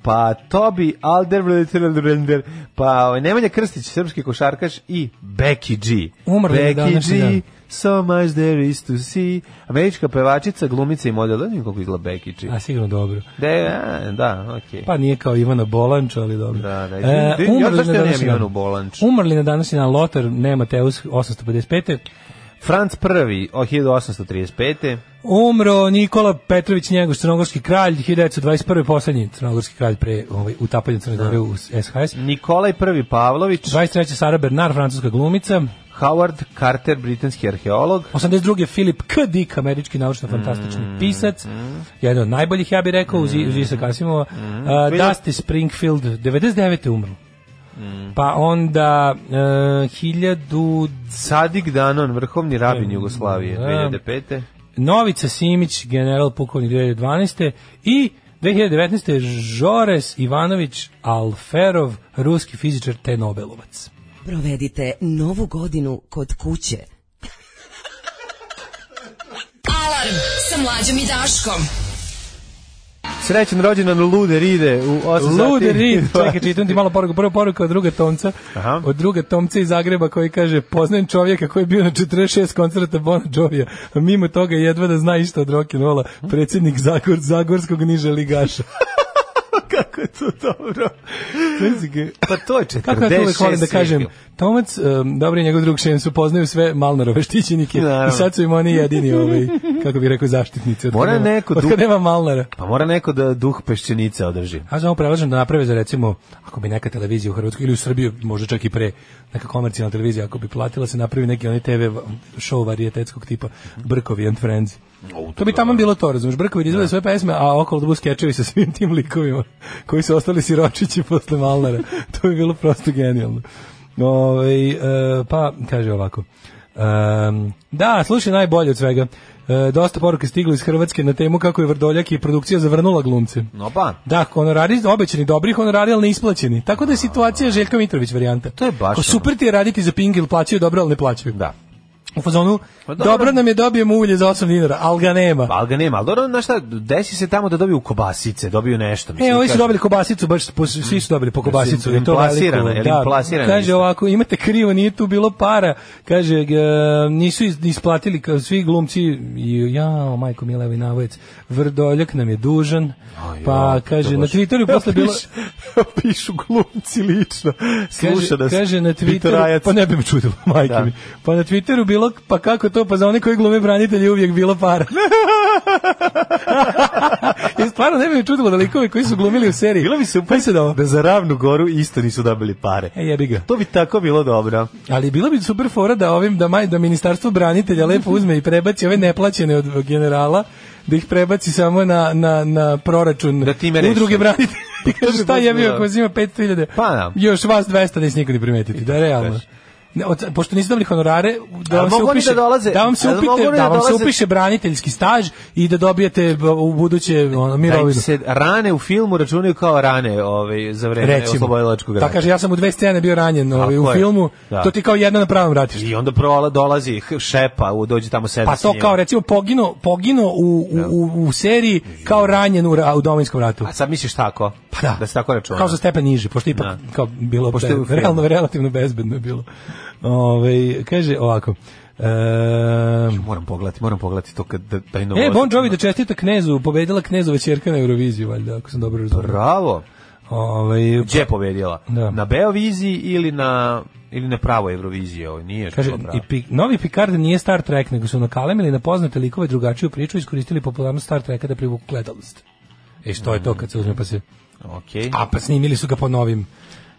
S5: pa Tobi Alderweireld, pa ovaj, Nemanja Krstić, srpski košarkaš i Becky G.
S6: Umrla je da.
S5: Becky
S6: današnji
S5: G,
S6: dan.
S5: so much there is to see. Američka pevačica, glumica i model, da vidim kako izgleda Becky G.
S6: A sigurno dobro.
S5: De, a, da, okej.
S6: Pa nije kao Ivana Bolanč, ali dobro.
S5: Da, da,
S6: E,
S5: izvini, ja
S6: umrli
S5: zašto
S6: na
S5: ja nemam
S6: današnji dan.
S5: Ivanu Bolanč?
S6: Umrli na današnji dan Lotar, ne Mateus, 855.
S5: Franc I, o 1835.
S6: Umro Nikola Petrović Njegoš, crnogorski kralj, 1921. poslednji crnogorski kralj pre ovaj, utapanja Crne
S5: Da.
S6: Gore u SHS.
S5: Nikolaj I Pavlović,
S6: 23. Sara Bernard, francuska glumica.
S5: Howard Carter, britanski arheolog,
S6: 82. Filip K. Dick, američki naučno-fantastični pisac. Jedan od najboljih, ja bih rekao, uz, I- uz Isaac Asimova. A, Dusty Springfield, 99. umro. Pa onda e, 1000
S5: Sadik Danon, vrhovni rabin Jugoslavije,
S6: Da.
S5: 2005.
S6: Novica Simić, general pukovnik 2012. I 2019. Žores Ivanović Alferov, ruski fizičar te Nobelovac.
S8: Provedite novu godinu kod kuće.
S4: Alarm sa mlađom i Daškom.
S5: Srećan rođendan Lude Ride u 8 sati.
S6: Lude Reed, čekaj, čitam ti malo poruku. Prva poruka od druga Tomca,
S5: Aha.
S6: od druga Tomca iz Zagreba koji kaže, poznajem čovjeka koji je bio na 46 koncerta Bona Jovija, a mimo toga jedva da zna išta od rock'n'rolla, predsjednik Zagor, Zagorskog niža ligaša.
S5: Kako je to dobro. pa to je 46.
S6: Kako ja to uvek volim da kažem, Tomac, um, dobro je njegov drug šem su, poznaju sve Malnarove štićenike
S5: Naravno.
S6: i sad su im oni jedini, ovaj, kako bih rekao, zaštitnici. Od
S5: Mora
S6: kad nema-
S5: neko
S6: od kad
S5: dug-
S6: nema Malnara.
S5: Pa mora neko da duh peščenice održi.
S6: Ja samo predlažem da naprave za recimo, ako bi neka televizija u Hrvatskoj ili u Srbiji, možda čak i pre, neka komercijalna televizija, ako bi platila se napravi neki onaj TV va- show varijetetskog tipa Brkovi and Friends. to bi tamo bilo to, razumiješ, Brkovi izvede sve pesme, a okolo da budu skečevi sa svim tim likovima koji su ostali siročići posle Malnara. to bi bilo prosto genijalno. Ovaj, e, pa, kaže ovako. Em, da, slušaj najbolje od svega. E, dosta poruke stiglo iz Hrvatske na temu kako je Vrdoljak i produkcija zavrnula glumce.
S5: No pa.
S6: Da, honorari obećani dobri, honorari ali neisplaćeni. Tako da je situacija Željka Mitrović varijanta.
S5: To je baš
S6: Ko super ti je raditi za ping ili plaćaju dobro, ali ne plaćaju.
S5: Da.
S6: U fazonu,
S5: Pa dobro.
S6: dobro. nam je dobijemo ulje za 8 dinara, ali ga nema.
S5: Pa ali ga nema, ali dobro, znaš šta, desi se tamo da dobiju kobasice, dobiju nešto.
S6: E, ovi su
S5: kažem,
S6: dobili kobasicu, baš po- svi su dobili po kobasicu.
S5: Mm. Mislim,
S6: je to veliko-
S5: implasirana, je li
S6: da,
S5: implasirana
S6: Kaže
S5: isto?
S6: ovako, imate krivo, nije tu bilo para. Kaže, g- nisu iz- isplatili kao svi glumci, i- jao, majko mila, evo i navojec, Vrdoljak nam je dužan.
S5: Aj,
S6: Pa,
S5: ja, to
S6: kaže, na
S5: baš-
S6: Twitteru je posle bilo...
S5: Piš- pišu glumci lično. Sluša nas.
S6: kaže na Twitteru,
S5: Bitorajac.
S6: pa ne bi me čudilo, majke
S5: Da.
S6: mi. Pa na Twitteru bilo, pa kako to, pa za one koji glume branitelji uvijek bilo para. I stvarno ne bi me čudilo da likovi koji su glumili u seriji.
S5: Bilo bi se
S6: Pa sad ovo.
S5: da za ravnu goru isto nisu dobili pare.
S6: E jebi ga.
S5: To bi tako bilo dobro.
S6: Ali bilo bi super fora da ovim da maj da ministarstvo branitelja lepo uzme i prebaci ove neplaćene od generala da ih prebaci samo na, na, na proračun
S5: Da time reši. Pa
S6: udruge branitelja.
S5: To
S6: I
S5: bi
S6: Kaže, šta
S5: baš
S6: jebi
S5: bilo.
S6: ako vas ima 5000?
S5: Pa da.
S6: Još vas 200 neće niko ni primetiti, da je realno. Ne, od, pošto niste dobili honorare, da
S5: Ali
S6: vam se
S5: mogu oni
S6: upiše,
S5: da dolaze-
S6: da vam se
S5: ali mogu
S6: upite,
S5: oni
S6: da
S5: da
S6: vam se
S5: dolaze-
S6: upiše braniteljski staž i da dobijete b- u buduće ono,
S5: Da im
S6: mirovinu.
S5: se rane u filmu računaju kao rane ovaj, za vreme oslobodilačkog
S6: Da
S5: rata.
S6: kaže, ja sam u dve scene bio ranjen ovaj, u
S5: Tako je.
S6: filmu,
S5: Da.
S6: to ti kao jedna na pravom ratištu.
S5: I onda prola, dolazi h- šepa, u- dođe tamo sedam
S6: Pa
S5: s
S6: to
S5: njima.
S6: kao recimo pogino, pogino u, u, u, u seriji kao ranjen u, ra- u domovinskom ratu.
S5: Da. A sad misliš tako?
S6: Pa da.
S5: Da se tako računa.
S6: Kao za stepen niži, pošto ipak
S5: Da.
S6: kao bilo
S5: Pošto je u
S6: be-
S5: filmu.
S6: realno, relativno bezbedno je bilo. Ove, kaže ovako. ehm,
S5: Moram pogledati, moram pogledati to kad da, taj novo...
S6: E, Bon Jovi da čestita Knezu, pobedila Knezova čerka na Euroviziji, valjda, ako sam dobro razumio.
S5: Bravo.
S6: Ovaj,
S5: Gdje je pobedjela?
S6: Da.
S5: Na Beoviziji ili na ili na pravoj Euroviziji, ovo nije što
S6: Kaže,
S5: pravo.
S6: i pi, novi Picard nije Star Trek, nego su nakalemili na poznate likove drugačiju priču i iskoristili popularnost Star Treka da privuku gledalost. E što je to kad se uzme pa se
S5: Okej.
S6: A pa snimili su ga po novim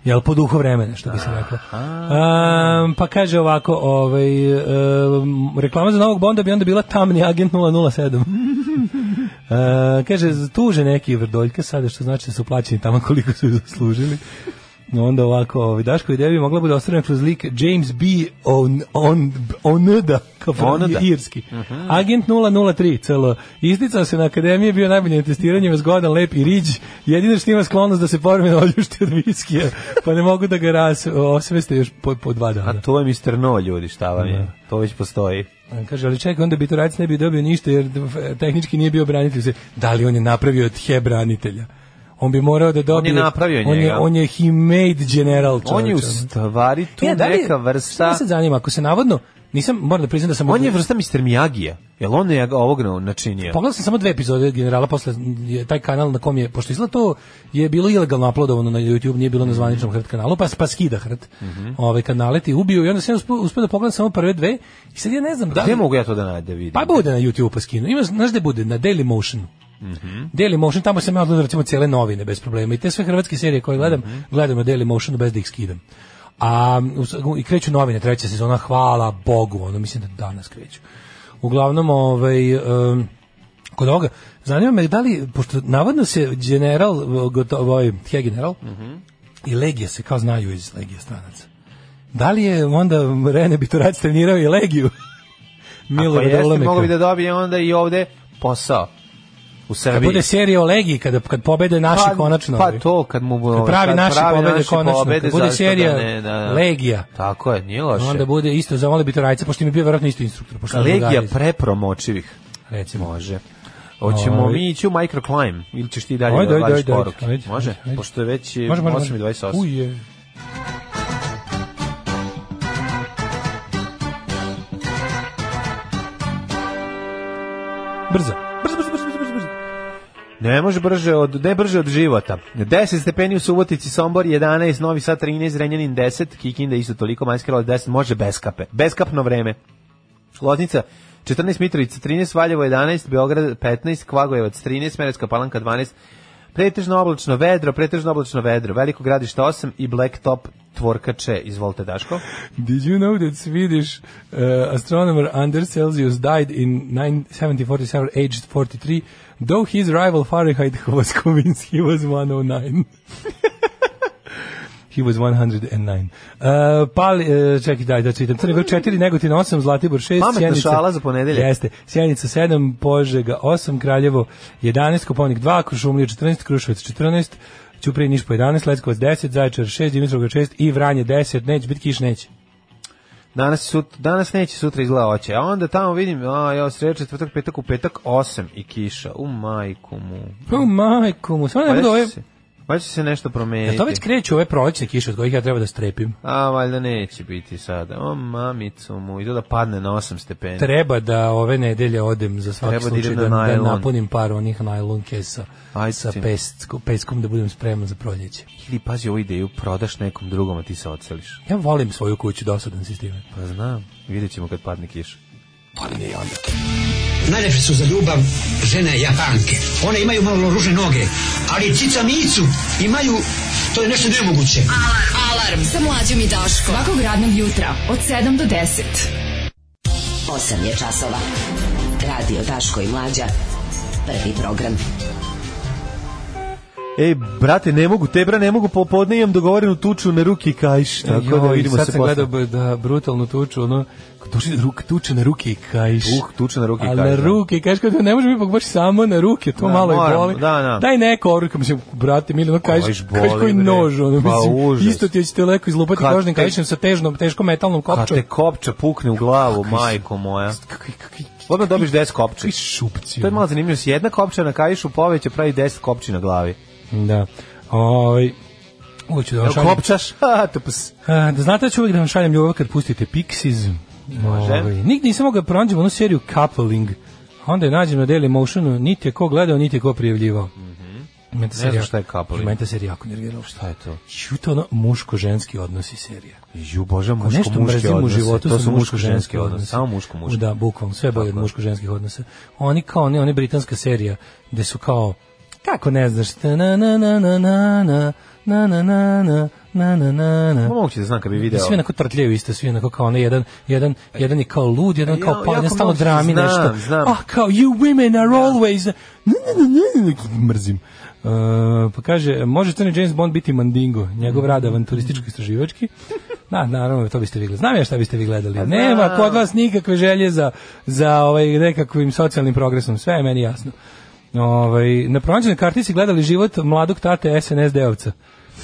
S6: jel po duhu vremena što bi se reklo. Um, pa kaže ovako, ovaj um, reklama za novog Bonda bi onda bila tamni agent 007. Uh, kaže, tuže neki vrdoljke sada, što znači da su plaćeni tamo koliko su zaslužili. No onda ovako, ovaj, Daško ideja bi mogla bude ostvarena kroz lik James B. On, on, Onuda, kao
S5: Onuda.
S6: irski. Agent 003, celo. Isticao se na akademiji, je bio najbolje na testiranju, zgodan, lep i riđ. Jedino što ima sklonost da se povremeno oljušti od viskija, pa ne mogu da ga ras, osveste još po, po dva dana.
S5: A to je Mr. No, ljudi, šta vam je?
S6: Da.
S5: To već postoji.
S6: Kaže, ali čekaj, onda Bitorajac ne bi dobio ništa jer eh, tehnički nije bio branitelj. Da li on je napravio od he branitelja? on bi morao da dobije...
S5: napravio
S6: on je,
S5: njega.
S6: on je he made general.
S5: On je u
S6: čoveče.
S5: stvari tu
S6: E, da li-
S5: neka
S6: Šta
S5: vrsta...
S6: me sad zanima, ako se navodno... Nisam, moram da priznam da sam...
S5: On je vrsta Mr. Miyagija. Jel on je ovog na- načinio?
S6: Pogledao sam samo dve epizode generala posle je taj kanal na kom je pošto izgleda to je bilo ilegalno uploadovano na YouTube, nije bilo na zvaničnom Hrt kanalu, pa pa skida Hrt. Ovaj kanal ti ubio i onda sam ja uspeo, uspeo da pogledam samo prve dve i sad ja ne znam da
S5: Gde
S6: li,
S5: mogu ja to da najdem vidim?
S6: pa bude na YouTube pa skinu. Ima znaš gde bude na Daily Motion.
S5: Mhm.
S6: Daily Motion, tamo sam ja odgledao recimo cijele novine bez problema i te sve hrvatske serije koje gledam,
S5: Mhm.
S6: gledam na Daily Motionu bez da ih skidam. A u- i kreću novine, treća sezona, hvala Bogu, ono mislim da danas kreću. Uglavnom, ovaj, em, kod ovoga, zanima me da li, pošto navodno se general, gotovo, ovaj, he general,
S5: Mhm.
S6: i Legija se kao znaju iz Legije stranaca. Da li je onda Rene Biturac trenirao i Legiju?
S5: Ako
S6: Milorada
S5: jeste,
S6: Olameka.
S5: mogu bi da dobije onda i ovde posao. U
S6: Kad
S5: Srbiji.
S6: Da bude serija o Legiji, kada, kad pobede naši konačno.
S5: Da Pa
S6: ovi.
S5: to, kad mu...
S6: Kad pravi
S5: kad
S6: naši pobede
S5: naši
S6: konačno,
S5: pobede,
S6: kad bude
S5: zašto
S6: serija
S5: da ne, da, da.
S6: Legija.
S5: Tako je, nije loše.
S6: Onda bude isto za Ole Bitorajca, pošto mi je bio verovatno isto instruktor. Pošto je
S5: Legija
S6: drugarica,
S5: prepromočivih.
S6: recimo.
S5: Može. Hoćemo
S6: Ovi.
S5: mi ići u microclimb ili ćeš ti dalje
S6: Ajde,
S5: da
S6: ajde,
S5: vadiš
S6: ajde, ajde,
S5: poruke?
S6: ajde,
S5: može?
S6: ajde, ajde.
S5: Pošto je već je
S6: Može, može,
S5: 8
S6: može.
S5: i 28.
S6: Uje. Brzo. Brzo, brzo, brzo, brzo, brzo.
S5: Ne može brže od ne brže od života. 10 stepeni u Subotici, Sombor 11, Novi Sad 13, Renjanin 10, Kikinda isto toliko, Majska Lola 10, može bez kape. Beskapno vreme. Loznica 14, Mitrovica 13, Valjevo 11, Beograd 15, Kvagojevac 13, Smederska Palanka 12. Pretežno oblačno vedro, pretežno oblačno vedro, Veliko gradište 8 i Blacktop tvorkače. Izvolite Daško.
S6: Did you know that Swedish uh, astronomer Anders Celsius died in 1747, aged 43, though his rival Fahrenheit was convinced he was 109? He was 109. Uh, pali, uh, čekaj, daj da čitam. Crne Gora 4, Negotin 8, Zlatibor 6,
S5: Pametna šala za ponedeljak.
S6: Jeste. Sjenica 7, Požega 8, Kraljevo 11, Koponik 2, Krušumlija 14, Kruševac 14, Ćuprije Niš po 11, Leskovac 10, Zaječar 6, Dimitrovgrad 6 i Vranje 10. Neće biti kiš, neće.
S5: Danas, sut, danas neće, sutra izgleda oće. A onda tamo vidim, a, ja, sreda, četvrtak, petak, u petak 8 i kiša. U majku mu.
S6: Pa majko mu, samo ne budu ove...
S5: Valjda će Pa, se- Valjda će se nešto promeniti.
S6: Jel to već kreću ove prolećne kiše od kojih ja treba da strepim?
S5: A, valjda neće biti sada. O, mamicu mu, idu da padne na 8 stepeni.
S6: Treba da ove nedelje odem za svaki
S5: Treba da
S6: slučaj
S5: idem
S6: da,
S5: na
S6: da
S5: najlon.
S6: napunim par onih najlon kesa
S5: Ajde
S6: sa
S5: ti.
S6: peskom, peskom da budem spreman za proljeće.
S5: Ili pazi ovu ideju, prodaš nekom drugom, a ti se oceliš.
S6: Ja volim svoju kuću, dosadan si s time.
S5: Pa znam, vidjet ćemo kad padne kiša.
S9: Najlepše su za ljubav žene japanke. One imaju malo ružne noge, ali cica micu imaju, to je nešto nemoguće.
S4: Alarm. Alarm sa mlađom i Daškom.
S10: Svakog radnog jutra od 7 do 10.
S11: 8 je časova. Radio Daško i Mlađa. Prvi program.
S5: Ej, brate, ne mogu, tebra ne mogu, popodne imam dogovorenu tuču na ruki i kajš, tako da
S6: Joj,
S5: vidimo
S6: sad
S5: se
S6: sam
S5: posle.
S6: gledao b- da brutalnu tuču, ono, tuče, ruk, tuče na ruke i kajš.
S5: Uh, tuča na ruki i
S6: A
S5: kajš,
S6: na
S5: da.
S6: ruke, i kajš kao da ne možemo ipak baš samo na ruke, to
S5: Da,
S6: malo je
S5: moram,
S6: boli.
S5: da, da.
S6: Daj neko oruka, mislim, brate, mili, ono kajš,
S5: Kajš
S6: kajš
S5: boli,
S6: koji
S5: bre.
S6: nož, ono,
S5: Pa,
S6: mislim,
S5: užas.
S6: isto ti ćete leko izlupati
S5: Kad
S6: kožnim
S5: te-
S6: kajšem sa težnom, teško metalnom
S5: Kad
S6: kopčom.
S5: te kopča pukne u glavu, majko moja. Odmah dobiš 10 kopča.
S6: Kakvi šupci.
S5: To je malo zanimljivo, s jedna kopča na kajšu poveća pravi 10 kopči na glavi.
S6: Da. Ovaj, uvijek ću da vam
S5: Evo
S6: šaljem.
S5: kopčaš, ha, pa tups.
S6: A, da znate da ću uvijek da vam šaljem ljubav kad pustite Pixies.
S5: Može.
S6: Ovaj, Nik nisam mogao da pronađem onu seriju Coupling. A Onda je nađem na Daily Motionu, niti je ko gledao, niti je ko prijavljivao. Mm
S5: Mhm. Ne znam šta je Coupling.
S6: Mene ta serija jako nervirala. Šta
S5: je to?
S6: Ju, to ono muško-ženski odnosi serija.
S5: Ju bože, muško
S6: Nešto
S5: muški
S6: mrzim u
S5: odnos.
S6: životu
S5: To
S6: su
S5: su muško
S6: muško-ženski
S5: ženski
S6: odnosi.
S5: odnos, samo muško muško.
S6: Da, bukvalno, sve bolje od muško-ženskih odnosa. Oni kao, oni, oni britanska serija, gde su kao, kako ne znaš, ta na na na na na na na na na na na na na na
S5: Ma moguće da znam kad bi video.
S6: svi onako trtljaju isto, svi onako kao onaj jedan, jedan, jedan je kao lud, jedan
S5: Ja-
S6: kao pa,
S5: jako
S6: jedan stalno
S5: mnogo-
S6: drami
S5: znam,
S6: nešto.
S5: znam. Da.
S6: Ah, kao you women are always... Ne, ne, ne, ne, ne, mrzim. Uh, pa kaže, može crni James Bond biti Mandingo, njegov rad avanturističko istraživački. Da, naravno, to biste vi gledali. Znam ja šta biste vi
S5: Pa
S6: gledali.
S5: da.
S6: Nema kod vas nikakve želje za, za ovaj, nekakvim socijalnim progresom. Sve je meni jasno. Ovaj, na pronađenoj kartici gledali život mladog tate SNSD-ovca.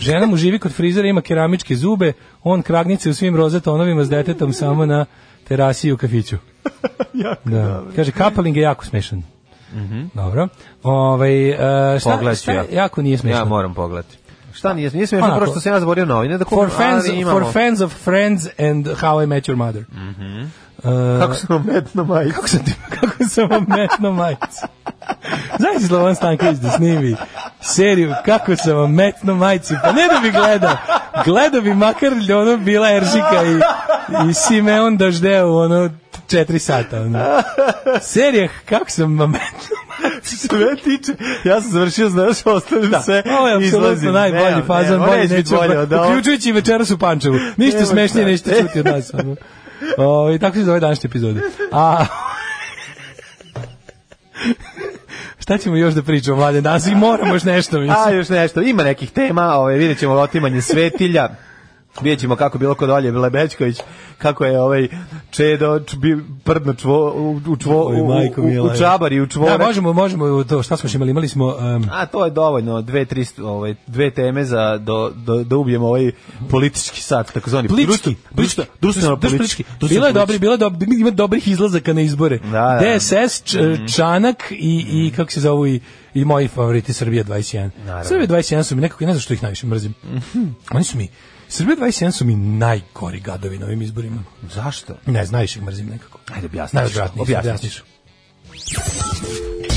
S6: Žena mu živi kod frizera, ima keramičke zube, on kragnice u svim roze tonovima s detetom
S5: Da,
S6: samo na terasi i u kafiću. da. Kaže, Kapaling je jako smešan. Dobro. Ovaj e, šta,
S5: Pogledat Mhm. ću
S6: šta
S5: ja.
S6: jako nije smešno.
S5: Ja moram pogledati. Šta nije, nije smiješno,
S6: Onako.
S5: prvo što sam ja zaborio novine da kupim,
S6: For fans,
S5: ali imamo. Mhm.
S6: for fans of Friends and How I Met Your Mother. E,
S5: Kako sam vam metno majicu?
S6: Kako sam ti, kako sam vam metno majicu? Znaš si Slovan Stanković da snimi seriju kako sam vam metno majicu? Pa ne da bi gledao. Gledao bi makar da ono bila Eršika i, i Simeon Daždeo ono četiri sata. Ono. Serija kako sam vam metno
S5: Sve tiče, ja sam završio, znaš, ostavim da, sve,
S6: ovo je apsolutno
S5: izlazim.
S6: najbolji
S5: Nemam,
S6: fazan,
S5: nemam,
S6: bolji
S5: neće biti
S6: neću,
S5: bolje da od ovog.
S6: uključujući i večeras u Pančevu. Ništa
S5: Nema
S6: smešnije
S5: šta.
S6: nećete čuti od nas. ono. O, I tako se zove današnje epizode. A, šta ćemo još da pričamo, mladen, danas i moramo još nešto,
S5: A,
S6: mislim. Da,
S5: još nešto, ima nekih tema, ovaj, vidjet ćemo otimanje svetilja, vidjet ćemo kako je bilo kod Olje Lebečković, kako je ovaj čedo č- bi, prdno čvo, u, u, čvo,
S6: Oj,
S5: u, u,
S6: majko
S5: u,
S6: mila.
S5: u čabar i u
S6: Da,
S5: čvore.
S6: možemo, možemo, to, šta smo još imali, imali smo... em,
S5: A to je dovoljno, dve, tri, st- ovaj, dve teme za do, do, da ubijemo ovaj politički sat, takozvani.
S6: Plički,
S5: Plički, društveno politički.
S6: Bilo je dobri, bilo je dobri, ima dobrih izlazaka na izbore.
S5: da. Mhm.
S6: DSS, Č- Čanak i, i kako se zovu i, i moji favoriti Srbija 21. Srbija 21 su mi nekako, ja ne znam što ih najviše mrzim.
S5: Mhm.
S6: Oni su mi, Srbija 21 su mi najgori gadovi na ovim izborima.
S5: Zašto?
S6: Ne, znaš ih mrzim nekako.
S5: Ajde, objasniš.
S6: Najodvratniji,
S5: Objasniš.
S6: objasniš.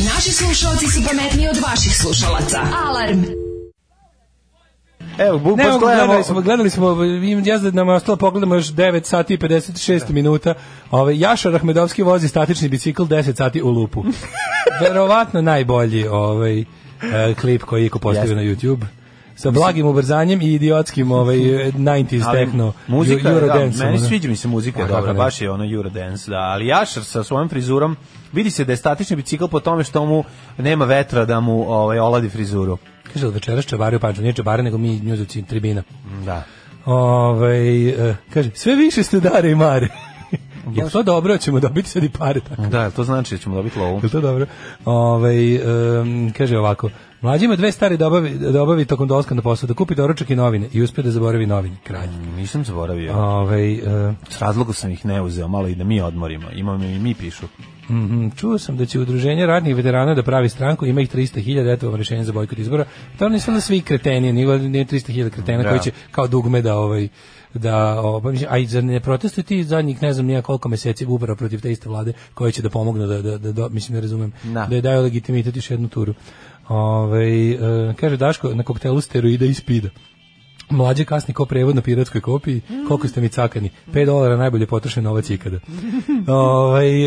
S11: Naši slušalci su pametniji od vaših slušalaca. Alarm.
S5: Evo, bu,
S6: da.
S5: baš
S6: Ne, mogu,
S5: Pa gledamo,
S6: gledali smo, gledali smo, im ja znam da nam je ostalo pogledamo još 9 sati i 56
S5: Da.
S6: minuta. Ovaj Jaša Rahmedovski vozi statični bicikl 10 sati u lupu. Verovatno najbolji ovaj e, klip koji je Iko postavio na YouTube. Sa blagim ubrzanjem i idiotskim ovaj 90s
S5: Ali
S6: techno
S5: muzika,
S6: ju-
S5: je, da,
S6: Eurodance-om,
S5: meni
S6: ono. Pa,
S5: sviđa mi se muzika,
S6: A
S5: je
S6: kako
S5: dobra,
S6: ne?
S5: baš je ono Eurodance, da, ali Jašar sa svojom frizurom, vidi se da je statični bicikl po tome što mu nema vetra da mu ovaj, oladi frizuru.
S6: Kaže da večeras čevario Pančevo, nije čevario nego mi njuzovci tribina.
S5: Da.
S6: Ovaj e, kaže sve više ste dare i mare. Je to dobro, ćemo dobiti sad i pare tako.
S5: Da, jel to znači da ćemo dobiti lovu.
S6: Jel to dobro? Ovaj em, kaže ovako, mlađi ima dve stare dobavi, dobavi tokom dolaska na posao, da kupi doručak i novine i uspe da zaboravi novine, kralj.
S5: Nisam zaboravio.
S6: Ovaj, e,
S5: S razlogom sam ih ne uzeo, malo i da mi odmorimo. Imam i mi pišu.
S6: mhm, čuo sam da će udruženje radnih veterana da pravi stranku, ima ih 300.000, eto vam rešenje za bojkot izbora. To nisu onda svi kreteni, nije nije 300.000 kretena
S5: Da.
S6: koji će kao dugme da ovaj da ovaj, mislim, a i zar ne protestuju ti zadnjih ne znam nija koliko meseci upravo protiv te iste vlade koje će da pomognu da, da, da, da- mislim ne razumem
S5: Da.
S6: da je daju legitimitet još jednu turu Ovaj e, kaže Daško na koktelu steroida i spida Mlađe kasni ko prevod na piratskoj kopiji, koliko ste mi cakani, 5 dolara najbolje potrošen novac ikada. ovaj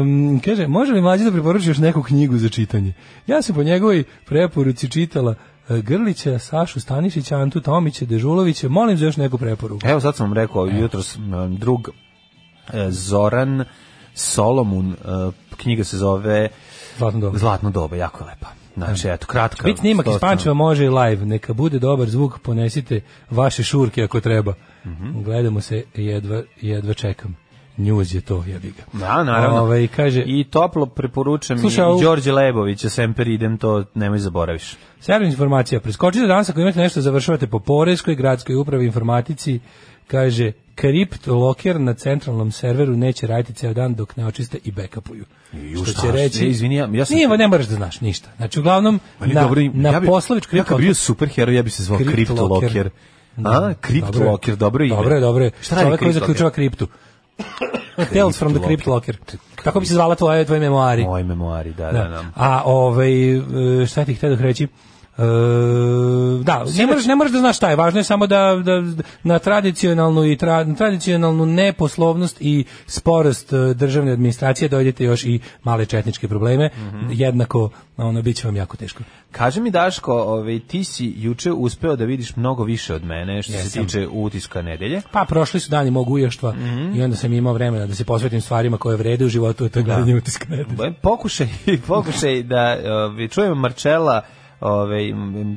S6: em, kaže, može li mlađe da preporuči još neku knjigu za čitanje? Ja sam po njegovoj preporuci čitala e, Grlića, Sašu Stanišića, Antu Tomića, Dežulovića, molim za još neku preporuku.
S5: Evo sad sam vam rekao, jutros m, drug e, Zoran Solomon, e, knjiga se zove
S6: Zlatno dobro.
S5: Zlatno doba, jako je lepa. Znači, eto, kratka.
S6: Bit snimak iz
S5: stotna-
S6: Pančeva može i live, neka bude dobar zvuk, ponesite vaše šurke ako treba.
S5: Mhm.
S6: Gledamo se, jedva, jedva čekam. Njuz je to, jebi ga.
S5: Da, naravno.
S6: Ovaj, kaže,
S5: I toplo preporučam
S6: Slušaj,
S5: i
S6: ovu-
S5: Đorđe Lebovića, Semper idem, to nemoj zaboraviš.
S6: Servis informacija. Preskočite danas ako imate nešto završavate po poreskoj gradskoj upravi informatici. Kaže, kript loker na centralnom serveru neće raditi ceo dan dok ne očiste i backupuju.
S5: Ju, šta, e, izvini, ja- ja sam-
S6: Nije, ne moraš da znaš ništa. Znači, uglavnom,
S5: Ali
S6: na,
S5: Pa dobro,
S6: na
S5: ja bi,
S6: poslovičku...
S5: ja kad bi bio superheroj, ja bi se zvao Kriptoloker. A, Kriptoloker, dobro ime.
S6: Dobro je, dobro je.
S5: Šta radi
S6: Čovjek koji zaključava
S5: Kriptoloker?
S6: kriptu. Tales from the Crypt Locker. Kako bi se zvala tvoje, tvoje memoari?
S5: Moji memoari, da, da, da.
S6: A ovaj e, šta ti htio reći? E, da, ne moraš, ne moraš da znaš šta je, važno je samo da, da na tradicionalnu i tra- na tradicionalnu neposlovnost i sporost e, državne administracije dođete još i male četničke probleme,
S5: Mhm.
S6: jednako ono bit će vam jako teško.
S5: Kaže mi Daško, ovaj, ti si juče uspeo da vidiš mnogo više od mene što se
S6: Jesam.
S5: tiče utiska nedelje.
S6: Pa prošli su dani mog uještva
S5: Mhm.
S6: i onda sam imao vremena da se posvetim stvarima koje vrede u
S5: Da.
S6: životu, a to je gledanje utiska nedelje.
S5: Pokušaj, pokušaj da ovaj, čujem Marčela Ove,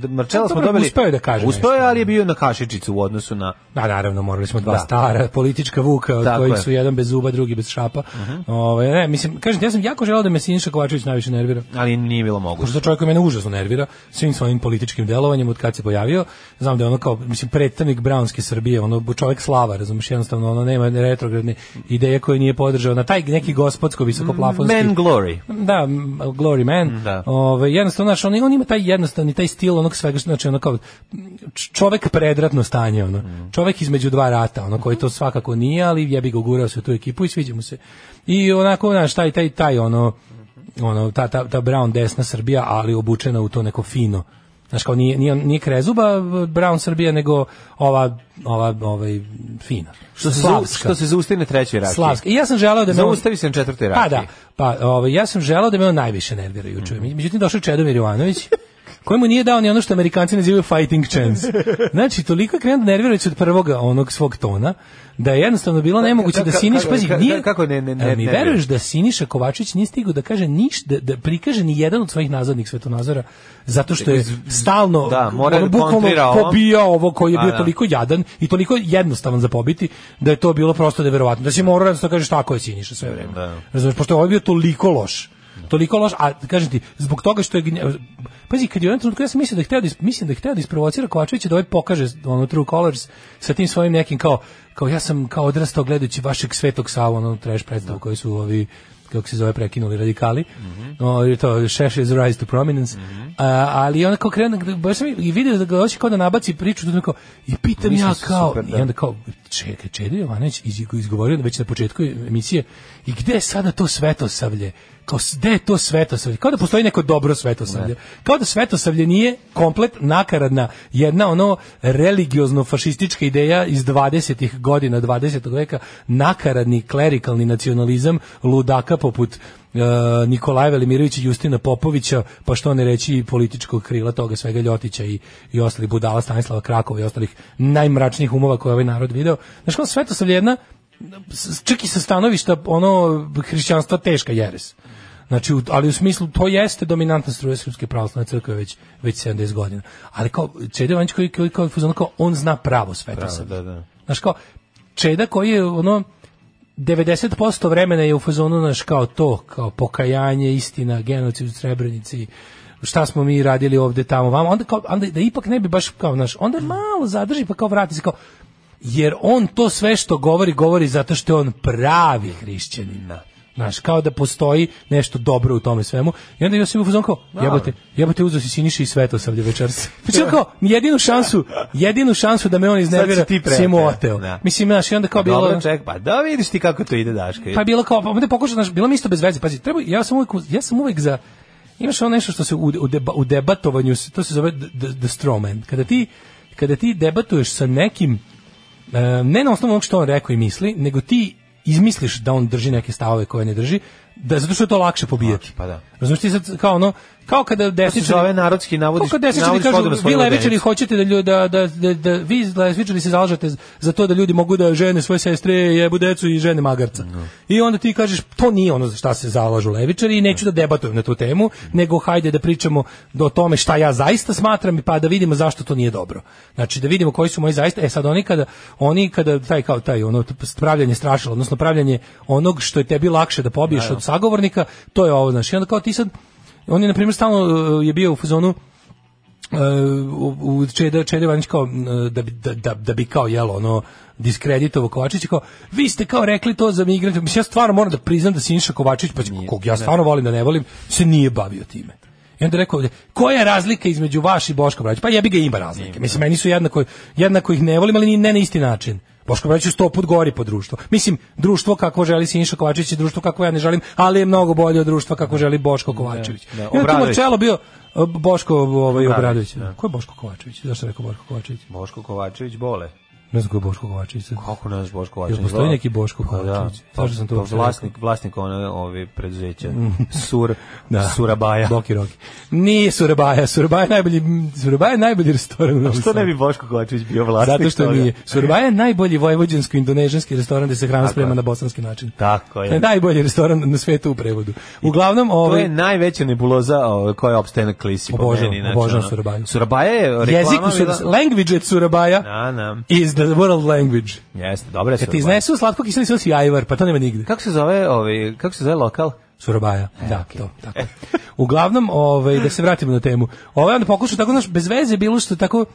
S5: Marcelo smo
S6: Dobro,
S5: dobili...
S6: uspeo je da kaže
S5: Uspeo je,
S6: nešto.
S5: ali je bio na kašičicu u odnosu na...
S6: Da, naravno, morali smo dva
S5: Da.
S6: stara politička vuka, od
S5: Tako
S6: kojih
S5: je. Mhm.
S6: su jedan bez zuba, drugi bez šapa. Ovaj, ne, mislim, kažem, ti, ja sam jako želao da me Siniša Kovačević najviše nervira.
S5: Ali nije bilo moguće.
S6: Pošto to čovjek koji mene užasno nervira svim svojim političkim delovanjem od kad se pojavio. Znam da je ono kao, mislim, predstavnik Brownske Srbije, ono čovjek slava, razumiješ, jednostavno ono nema retrogradne ideje koje nije podržao na taj neki gospodsko visokoplafonski.
S5: Man Glory.
S6: Da, m, Glory Man.
S5: Da.
S6: Ove, jednostavno, znaš, on, on ima taj jednostavni, taj stil onog svega, što- znači ono kao č- čovek predratno stanje, ono. Čovek između dva rata, ono, koji to svakako nije, ali jebi ga ugurao se u tu ekipu i sviđa mu se. I onako, znaš, taj, taj, taj, ono, ono, ta, ta, ta brown desna Srbija, ali obučena u to neko fino. Znaš, kao nije, nije, nije krezuba brown Srbija, nego ova, ova, ovaj, fina.
S5: Što se, zau,
S6: Slavska.
S5: što se zaustavi na trećoj rakiji.
S6: Slavska. I ja sam želeo da me on-
S5: Zaustavi se na četvrtoj rakiji.
S6: pa da, pa ovaj, ja sam želao da me on najviše nervira juče.
S5: Mhm.
S6: Međutim, došao je Čedomir Jovanović, kojemu nije dao ni ono što Amerikanci nazivaju fighting chance. Znači, toliko je krenuo da nervira već od prvoga onog svog tona, da je jednostavno bilo nemoguće
S5: ka-
S6: da
S5: ka-
S6: Siniš,
S5: kako-
S6: pazi,
S5: ka-
S6: nije,
S5: kako ne- ne- ne-
S6: Jel mi
S5: nervira?
S6: veruješ da Siniša Kovačić nije stigao da kaže ništa, da, da prikaže ni jedan od svojih nazadnih svetonazora, zato što je stalno
S5: Da, mora
S6: ono,
S5: da kontrira
S6: bukvalno
S5: ovom.
S6: pobijao ovo koji je
S5: A,
S6: bio
S5: da.
S6: toliko toliko jadan i toliko jednostavan za pobiti da je to bilo prosto neverovatno. Da si morao da kažeš tako je Siniša sve vreme.
S5: Da.
S6: Razumeš, pošto je ovaj bio toliko loš. Toliko loš, a kažem ti, zbog toga što je gnja- Pazi, kad je u jednom trenutku, ja sam mislio da je hteo da, is- mislim da je hteo da isprovocira Kovačevića da ovaj pokaže ono True Colors sa tim svojim nekim kao, kao ja sam kao odrastao gledajući vašeg svetog Savu, ono trash predstavu koju su ovi kako se zove prekinuli radikali. No, i to Šeš is rise to prominence. A, ali ona kao krene baš sam i video da ga hoće kao da nabaci priču tu kao i pitam
S5: Mislim
S6: ja
S5: se
S6: kao
S5: super, da.
S6: i onda kao čekaj Čedo Jovanović iz- izgovorio već na početku emisije i gde je sada to svetosavlje? Kao s- gde je to svetosavlje? Kao da postoji neko dobro svetosavlje. Kao da svetosavlje nije komplet nakaradna jedna ono religiozno fašistička ideja iz 20. godina 20. veka, nakaradni klerikalni nacionalizam ludaka poput e, Nikolaja Velimirovića, Justina Popovića, pa što ne reći i političkog krila toga svega Ljotića i, i ostalih budala Stanislava Krakova i ostalih najmračnijih umova koje je ovaj narod video. Znaš kao svetosavlje je jedna, s- čak i sa stanovišta ono hrišćanstva teška jeres. Znači, u- ali u smislu, to jeste dominantna struja Srpske pravoslavne crkve već, već 70 godina. Ali kao, Čede Vanjić koji, koji kao, je u fazonu kao, on zna pravo svetosavlje.
S5: da, da.
S6: Znaš kao, Čeda koji je ono, 90% vremena je u fazonu naš kao to, kao pokajanje, istina, genocid u Srebrenici, šta smo mi radili ovde tamo, vamo, onda, kao, onda da ipak ne bi baš kao naš, onda malo zadrži pa kao vrati se kao, jer on to sve što govori, govori zato što je on pravi hrišćanin. Znaš, kao da postoji nešto dobro u tome svemu. I onda Josip u fazonu kao, jebote, jebote, uzeo si Siniša i Svetosavlje večeras. Znači, on kao, jedinu šansu, jedinu šansu da me on iznervira,
S5: ti pre-
S6: si mu oteo.
S5: Da.
S6: Mislim, znaš, i onda kao bilo...
S5: Dobro, ček, pa da vidiš ti kako to ide, Daška.
S6: Pa je bilo kao, pa onda pokušao, znaš, bilo mi isto bez veze. Pazi, treba, ja sam uvijek, uz- ja sam uvijek za, imaš ono nešto što se u, u, deba, u debatovanju, se- to se zove the, the, the straw man. Kada ti, kada ti debatuješ sa nekim, e, ne na osnovu onog što on rekao i misli, nego ti izmisliš da on drži neke stavove koje ne drži, da zato što je to lakše pobijati.
S5: Pa da.
S6: Razumeš ti sad kao ono, kao kada
S5: se
S6: desničari
S5: zove narodski navodiš,
S6: kako desničari
S5: navodiš vodu na
S6: kažu, vi
S5: svoju
S6: levičari
S5: ledenicu.
S6: hoćete da, lju- da, da, da, da vi levičari se zalažete za to da ljudi mogu da žene svoje sestre, jebu decu i žene magarca. I onda ti kažeš, to nije ono za šta se zalažu levičari i neću da debatujem na tu temu, nego hajde da pričamo o tome šta ja zaista smatram i pa da vidimo zašto to nije dobro. Znači da vidimo koji su moji zaista, e sad oni kada, oni kada taj kao taj ono t- pravljanje strašila, odnosno pravljanje onog što je tebi lakše da pobiješ od sagovornika, to je ovo, znači onda kao ti sad, on je na primjer stalno e, je bio u fazonu, e, u, u Čeda, Čeda Ivanić kao e, da bi, da, da, da bi kao jelo ono diskreditovo Kovačić kao vi ste kao rekli to za migrante mislim ja stvarno moram da priznam da Siniša Kovačić pa kog ja stvarno volim da ne volim se nije bavio time I onda rekao, ovdje, koja je razlika između vaš i Boška Braća? Pa jebi ga ima razlike. Mislim, meni su jednako, jednako ih ne volim, ali ni- ne na isti način. Boško Braća je sto put gori po društvo. Mislim, društvo kako želi Siniša Kovačević je društvo kako ja ne želim, ali je mnogo bolje od društva kako želi Boško Kovačević.
S5: da,
S6: I onda tu
S5: Obradović.
S6: Marcello bio e, Boško ovaj,
S5: Obradović,
S6: Obradović.
S5: da.
S6: Ko je Boško Kovačević? Zašto sam rekao Boško Kovačević?
S5: Boško Kovačević bole.
S6: Ne znam ko je Boško Kovačević. sad.
S5: Kako ne znaš Boško
S6: Jel
S5: Kovačević?
S6: postoji neki Boško
S5: Pa da,
S6: Kovačević?
S5: pa,
S6: Zašto sam to
S5: pa
S6: uopšte
S5: vlasnik, vlasnik one ove preduzeća.
S6: Mm.
S5: Sur,
S6: Da.
S5: Surabaja.
S6: Boki Roki. Nije Surabaja, Surabaja je najbolji, Surabaja je najbolji restoran. u Novom
S5: Što ne
S6: Sadu.
S5: bi Boško Kovačević bio vlasnik?
S6: Zato što
S5: toga?
S6: nije. Surabaja je najbolji vojvođansko-indonežanski restoran gde se hrana sprema na bosanski način.
S5: Tako
S6: To je
S5: je.
S6: najbolji restoran na svetu u prevodu. Uglavnom,
S5: To je
S6: ovaj,
S5: najveća nebuloza ove, koja je opstaje na klisi. po
S6: Obožavam,
S5: meni, znači,
S6: obožavam
S5: ono,
S6: Surabaju.
S5: Surabaya je reklama
S6: jezik u
S5: bila-
S6: Sur- language at Surabaja
S5: Da, da.
S6: is the world language.
S5: Jeste, dobra je
S6: Kad ti
S5: Surabaya.
S6: iznesu slatko kiseli sos i ajvar, pa to nema nigde.
S5: Kako se zove, ovaj, kako se zove lokal?
S6: Surabaja.
S5: E,
S6: da, to, tako. Uglavnom, ovaj, da se vratimo na temu. Ovaj onda pokušao tako, znaš, bez veze bilo što tako,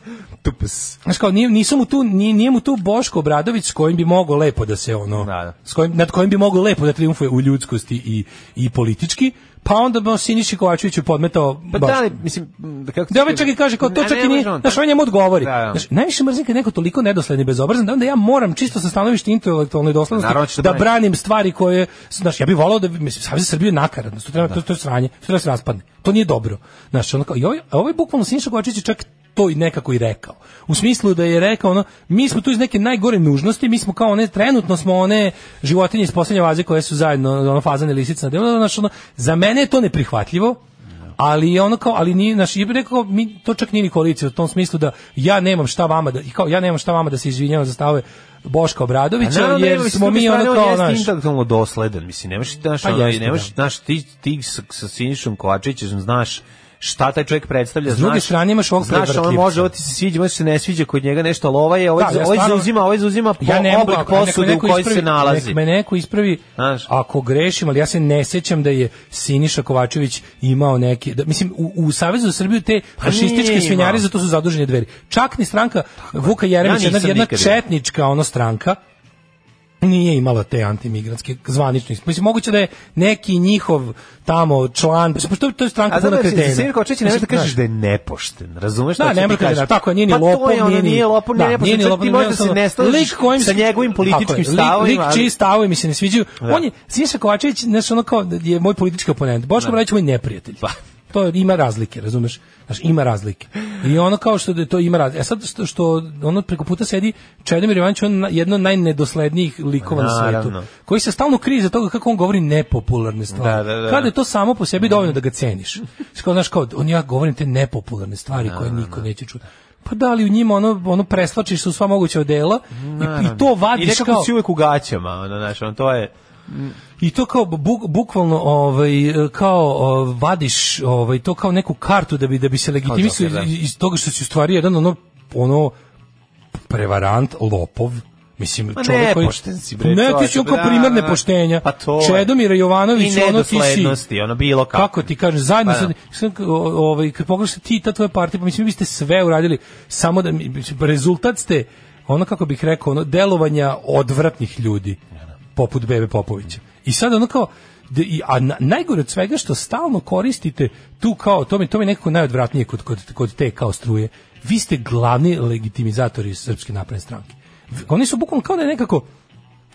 S5: Tupas.
S6: znaš, kao, nije, nisu mu tu, nije, nije mu tu Boško Obradović s kojim bi mogao lepo da se, ono,
S5: Da, da.
S6: S kojim, nad kojim bi mogao lepo da triumfuje u ljudskosti i, i politički, pa onda bi on Siniši Kovačeviću podmetao
S5: Pa
S6: baš
S5: da li, mislim, da kako...
S6: Da ovaj čak i kaže kao to
S5: Ne,
S6: čak
S5: ne
S6: i nije,
S5: može on
S6: znaš,
S5: tako.
S6: on njemu odgovori.
S5: Da, da.
S6: Znaš, najviše mrzim kad je neko toliko nedosledni i bezobrazan da onda ja moram čisto sa stanovišta intelektualne doslednosti
S5: Naravno ćeš da
S6: da
S5: braniš.
S6: branim stvari koje, znaš, ja bih volao da bi- mislim Savez za Srbiju je nakaradno, to treba to, to je sranje, to treba da se raspadne. To nije dobro. Znaš, ono kao i ovaj, a ovaj bukvalno Siniša Kovačić je čak to i nekako i rekao. U smislu da je rekao ono, mi smo tu iz neke najgore nužnosti, mi smo kao one, trenutno smo one životinje iz poslednje vaze koje su zajedno, ono fazane lisice na delu, znaš, ono, za mene je to neprihvatljivo, ali je ono kao ali ni naš i rekao mi to čak nije ni koalicija u tom smislu da ja nemam šta vama da i kao ja nemam šta vama da se izvinjavam za stavove Boška
S5: A
S6: Obradovića
S5: naravno da ima,
S6: Znači, jer
S5: mislim,
S6: smo
S5: s druge
S6: mi
S5: strane,
S6: ono kao
S5: on jeste
S6: naš
S5: intelektualno dosledan, mislim, ne možeš ti, znaš,
S6: Pa
S5: ono,
S6: jeste,
S5: ne možeš,
S6: da.
S5: znaš, ti, ti sa, sa Sinišom Kovačevićem znaš šta taj čovjek predstavlja,
S6: S druge
S5: znaš-
S6: strane imaš ovog
S5: znaš, ono
S6: prevrtljivca.
S5: može, ovo ti se sviđa, može se ne sviđa kod njega nešto, ali ovaj je, ovaj,
S6: Da, ja
S5: ovaj
S6: stvarno-
S5: zauzima, ovaj zauzima po, oblik
S6: ako- ako
S5: posude u
S6: neko
S5: kojoj se
S6: ispravi-
S5: nalazi.
S6: Nek me neko ispravi,
S5: Znaš.
S6: ako grešim, ali ja se ne sećam da je Siniša Kovačević imao neki, da, mislim, u, u Savezu za Srbiju te fašističke
S5: Pa nije
S6: svinjare
S5: imao.
S6: za to su zadužene dveri. Čak ni stranka Vuka Jeremića,
S5: Ja
S6: jedna,
S5: nisam
S6: jedna
S5: nikad imao.
S6: četnička ono stranka, nije imala te antimigrantske zvanične. ispra- Mislim, moguće da je neki njihov tamo član, mislim, pošto to je stranka
S5: A zato da
S6: puna kretena.
S5: si Siniša Kovačević ne možeš da
S6: Mislim,
S5: kažeš
S6: znaš,
S5: da je nepošten, razumeš
S6: Da,
S5: šta ću
S6: ne
S5: ti
S6: mora da
S5: kažem?
S6: da, tako je, nije ni
S5: Pa to je
S6: lopov,
S5: ono,
S6: ni-
S5: nije lopov, nije
S6: da,
S5: nepošten,
S6: nije ni
S5: čak
S6: lopov,
S5: ti
S6: nije
S5: možda
S6: jednostavno-
S5: se ne slažeš
S6: lik kojim
S5: sa
S6: se-
S5: njegovim političkim
S6: Tako je, lik-
S5: stavovima,
S6: Lik
S5: ali- Da.
S6: čiji stavovi mi se ne sviđaju. On je Siniša Kovačević, znaš, ono kao je moj politički oponent. Boško Obradović je moj neprijatelj.
S5: Da. Pa.
S6: To je- ima razlike, razumeš? Znaš, ima razlike. I ono kao što da to ima razlike. E sad što, što ono preko puta sedi Čedomir Jovanović, on na- jedno od najnedoslednijih likova na svetu,
S5: Naravno.
S6: koji se stalno krije za toga kako on govori nepopularne stvari.
S5: Da, da, da.
S6: Kada je to samo po sebi dovoljno da ga ceniš. Kao, znaš, kao, on ja govorim te nepopularne stvari
S5: Da,
S6: koje niko neće čuti. Pa da li u njima ono, ono preslačiš se u sva moguća odela i, i to
S5: I
S6: vadiš
S5: nekako
S6: kao...
S5: si uvek u gaćama, ono, znaš, ono, to je...
S6: I to kao bu- bukvalno ovaj kao o, vadiš ovaj to kao neku kartu da bi da bi se legitimisao
S5: Joker, da.
S6: iz, iz toga što si u stvari jedan ono ono prevarant, lopov. Mislim,
S5: Ma
S6: čovjek koji...
S5: nepošten si, bre,
S6: Ne, ti
S5: čovječe,
S6: si on kao
S5: da,
S6: primer
S5: da, da.
S6: nepoštenja.
S5: Pa to je.
S6: Čedomira Jovanović,
S5: I
S6: Pa ono ti si...
S5: nedoslednosti, ono, bilo kako.
S6: Kako ti kažem, zajedno
S5: Pa da.
S6: sad, sad, o- ovaj, kad pogledaš ti i ta tvoja partija, pa mislim, vi biste sve uradili, samo da, mi- mislim, rezultat ste, ono kako bih rekao, ono, delovanja odvratnih ljudi,
S5: da.
S6: poput Bebe Popovića. I sad ono kao, da- i- a na- najgore od svega što stalno koristite tu kao, to mi, to mi je nekako najodvratnije kod, kod, kod te kao struje, vi ste glavni legitimizatori Srpske napredne stranke. V- Oni su bukvalno kao da je nekako,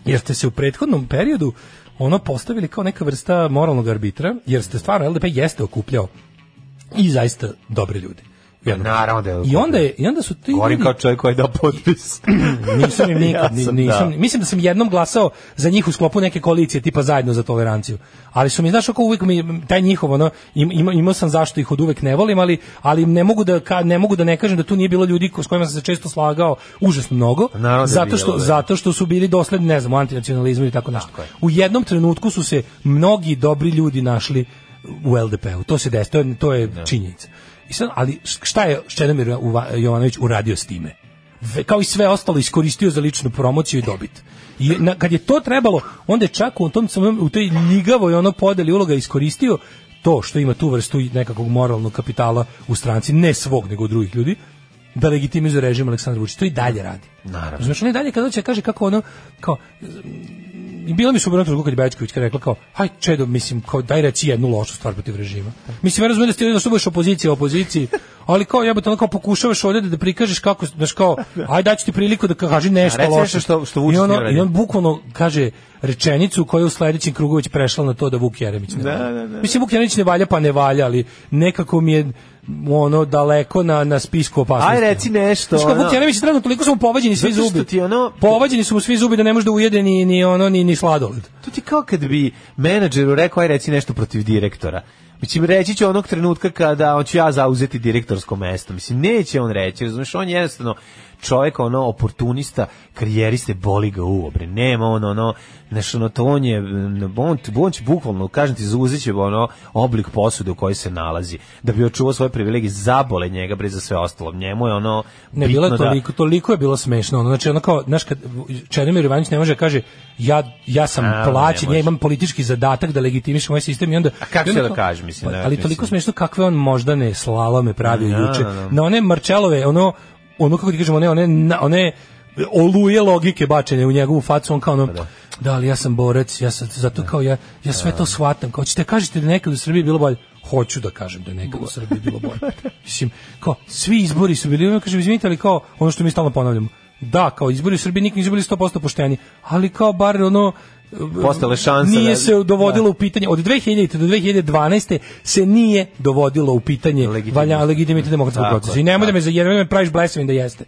S6: jer ste se u prethodnom periodu ono postavili kao neka vrsta moralnog arbitra, jer ste stvarno LDP jeste okupljao i zaista dobre ljude. Jedno.
S5: Naravno da je
S6: I
S5: okupljao.
S6: onda, je, I onda su ti
S5: Govorim
S6: ljudi-
S5: kao čovjek koji je dao potpis.
S6: nisam im nikad,
S5: Ja sam,
S6: ni- nisam,
S5: da.
S6: mislim da sam jednom glasao za njih u sklopu neke koalicije tipa zajedno za toleranciju. Ali su mi znaš kako uvek mi taj njihov ono im, ima, imao sam zašto ih od uvek ne volim, ali ali ne mogu da ka, ne mogu da ne kažem da tu nije bilo ljudi ko- s kojima sam se često slagao užasno mnogo
S5: Naravno da je
S6: zato
S5: bilo,
S6: što
S5: da.
S6: zato što su bili dosledni ne znam u antinacionalizmu ili tako nešto. U jednom trenutku su se mnogi dobri ljudi našli u LDP-u. To se desilo, to je, to je činjenica. I sad, ali šta je Čedomir Uva- Jovanović uradio s time? Ve- kao i sve ostalo iskoristio za ličnu promociju i dobit. I na, kad je to trebalo, onda je čak u tom samom- u toj ljigavoj ono podeli uloga iskoristio to što ima tu vrstu i nekakvog moralnog kapitala u stranci, ne svog nego drugih ljudi, da legitimizuje režim Aleksandra Vučića. To i dalje radi.
S5: Naravno.
S6: Znači, on i dalje kada hoće da kaže kako ono, kao, i bilo mi su brojno trudno kad je Bečković kad je rekla kao, aj čedo, mislim, kao, daj reći jednu lošu stvar protiv režima. Mislim, ja razumijem da ste da što budeš opozicija opoziciji, ali kao jebote, ono kao pokušavaš ovdje da prikažeš kako, znaš kao, aj daću ti priliku da kaži nešto
S5: Da, reci
S6: loše.
S5: nešto što- što Vučić
S6: I, ono,
S5: nije uradio.
S6: I on bukvalno kaže rečenicu koja je u sledećem krugu već prešla na to da Vuk Jeremić ne valja.
S5: da, da.
S6: Mislim, Vuk Jeremić ne valja, pa ne valja, ali nekako mi je ono daleko na na spisku opasnosti.
S5: Aj, reci nešto,
S6: Znači,
S5: ono.
S6: Vukjanović trenutno toliko su mu povađeni svi
S5: Zato što
S6: zubi.
S5: ti, ono-
S6: Povađeni su mu svi zubi da ne može da ujede ni ni ono ni ni sladoled.
S5: To ti kao kad bi menadžeru rekao, aj reci nešto protiv direktora. Mislim, reći će onog trenutka kada ću ja zauzeti direktorsko mesto. Mislim, neće on reći, razumiješ, on je jednostavno čovjek, ono, oportunista, karijeriste, boli ga uvo, bre, nema on, ono, znaš, ono, to on je, mm, on, on će bukvalno, kažem ti, zauzet će, ono, oblik posude u kojoj se nalazi, da bi očuvao svoje privilegije, zabole njega, bre, za sve ostalo. Njemu je, ono, bitno
S6: Ne bilo je
S5: da-
S6: toliko, toliko je bilo smešno. Ono, znači ono kao, znaš kad Čedomir Jovanović ne može da kaže ja ja sam
S5: A, ne
S6: plaćen,
S5: može.
S6: ja imam politički zadatak da legitimišem ovaj sistem i onda A
S5: kako će da kaže, mislim, ne,
S6: ali
S5: mislim.
S6: toliko smešno kakve on možda ne slalome pravi
S5: Da,
S6: juče.
S5: da, da.
S6: Na one Marčelove, ono ono kako ti kažemo, one one na- one oluje logike bačene u njegovu facu, on kao ono, da, ali ja sam borac, ja sam, zato
S5: Da.
S6: kao ja, ja sve to shvatam, kao ćete kažete da je nekad u Srbiji bilo bolje, hoću da kažem da je nekad u Srbiji bilo bolje. Mislim, kao, svi izbori su bili, ono kažem, izvinite, ali kao, ono što mi stalno ponavljamo, da, kao izbori u Srbiji nikad nisu bili 100% pošteni, ali kao bar ono,
S5: Postala je šansa
S6: nije
S5: da-
S6: se dovodilo u pitanje od 2000. do 2012. se nije dovodilo u pitanje
S5: Legitimitet.
S6: valja legitimitet demokratskog
S5: Tako je,
S6: procesa. I nemoj da
S5: tako.
S6: me zajebeš, me praviš blesavim da jeste.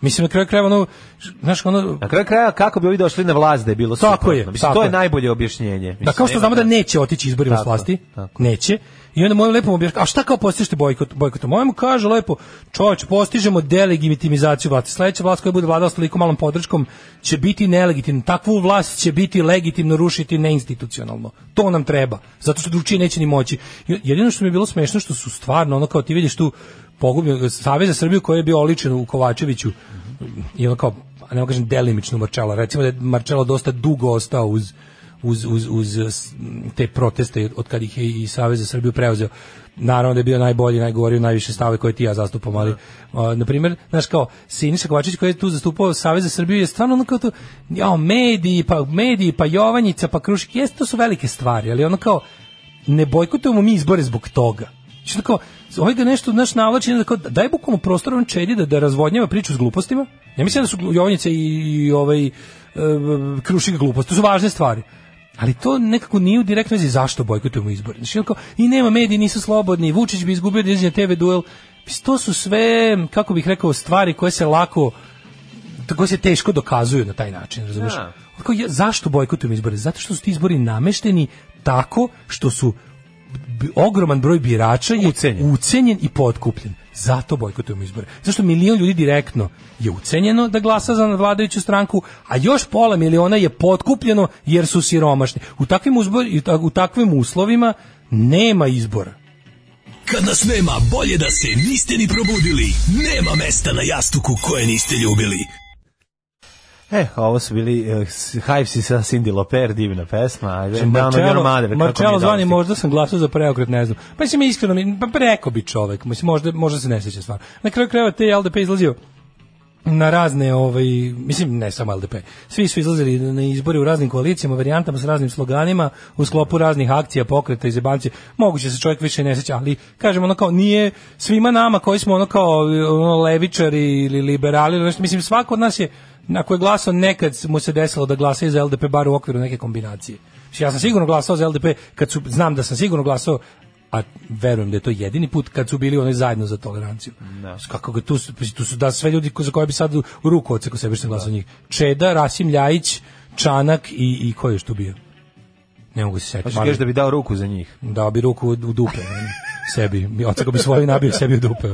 S6: Mislim na kraju krajeva ono š- znaš ono
S5: Na kraju kraja, kako bi ovi došli na vlast da je bilo
S6: Tako
S5: suprotno?
S6: je,
S5: Mislim,
S6: tako
S5: to je,
S6: je.
S5: najbolje objašnjenje.
S6: da
S5: Mislim,
S6: kao što
S5: nema
S6: znamo da
S5: ne-
S6: neće otići izborima s
S5: Tako,
S6: vlasti,
S5: tako.
S6: neće. I onda moj lepo objašnjava, a šta kao postižete bojkot, bojkotom? Ovaj mu kaže lepo, čovječ, postižemo delegitimizaciju vlasti. Sledeća vlast koja bude vladala s toliko malom podrškom će biti nelegitimna. Takvu vlast će biti legitimno rušiti neinstitucionalno. To nam treba, zato što drugčije neće ni moći. I Jedino što mi je bilo smešno što su stvarno, ono kao ti vidiš tu pogubljeno, Savez za Srbiju koji je bio oličen u Kovačeviću, i ono kao, a ne mogu kažem delimično Marčela, recimo da je Marčelo dosta dugo ostao uz uz, uz, uz s- m, te proteste od kad ih je i Savez za Srbiju preuzeo. Naravno da je bio najbolji, najgovorio najviše stave koje ti i ja zastupam, ali a, na primjer, znaš kao Siniša Kovačić koji je tu zastupao Savez za Srbiju je stvarno ono kao to, jao, mediji, pa mediji, pa Jovanjica, pa Krušik, jeste, to su velike stvari, ali ono kao ne bojkotujemo mi izbore zbog toga. Znači ono kao, ovaj ga nešto naš navlači, onda kao, daj bukvalno prostor on čedi da, da razvodnjava priču s glupostima. Ja mislim da su Jovanjice i, i ovaj, e, Krušik glupost, to su važne stvari. Ali to nekako nije u direktnoj vezi zašto bojkotujemo izbore. Znači, ono kao, i nema mediji, nisu slobodni, Vučić bi izgubio da izađe na TV duel. Mislim, To su sve, kako bih rekao, stvari koje se lako, koje se teško dokazuju na taj način, razumiješ?
S5: Da.
S6: Kao, ja, zašto bojkotujemo izbore? Zato što su ti izbori namešteni tako što su b- ogroman broj birača je
S5: Ucenjen.
S6: ucenjen i potkupljen. Zato bojkotujemo izbore. Zašto milion ljudi direktno je ucenjeno da glasa za vladajuću stranku, a još pola miliona je potkupljeno jer su siromašni. U takvim, uzbor- i ta- u takvim uslovima nema izbora.
S12: Kad nas nema, bolje da se niste ni probudili. Nema mesta na jastuku koje niste ljubili.
S5: Eh, ovo su bili uh, Hivesi sa Cindy Loper, divna pesma. Ajde, Down on your mother, kako mi je
S6: Marcello
S5: dobro
S6: zvani,
S5: stiglo.
S6: možda sam glasao za preokret, ne znam. Pa mislim, iskreno, mi- pa preko bi čovek, mislim, možda, možda se ne sjeća stvarno. Na kraju krajeva te je LDP izlazio na razne, ovaj, mislim, ne samo LDP, svi su izlazili na izbore u raznim koalicijama, varijantama s raznim sloganima, u sklopu raznih akcija, pokreta i zebanci, moguće se čovjek više i ne sjeća, ali, kažem, ono kao, nije svima nama koji smo ono kao ono, levičari ili liberali, ili nešto, mislim, svako od nas je, ako je glasao, nekad mu se desilo da glasa i za LDP, bar u okviru neke kombinacije. Znači, Ja sam sigurno glasao za LDP, kad su, znam da sam sigurno glasao a verujem da je to jedini put kad su bili oni zajedno za toleranciju. Kako ga tu, su- mislim, tu su da sve ljudi ko- za koje bi sad u u ruku odsekao sebi što sam glasao njih. Čeda, Rasim Ljajić, Čanak i, i ko je još tu bio? Ne mogu se
S5: Hoćeš
S6: setiti.
S5: kažeš da bi dao ruku za njih.
S6: Dao bi ruku u, u dupe ono, sebi. Odsekao bi svoju i nabio sebi u dupe.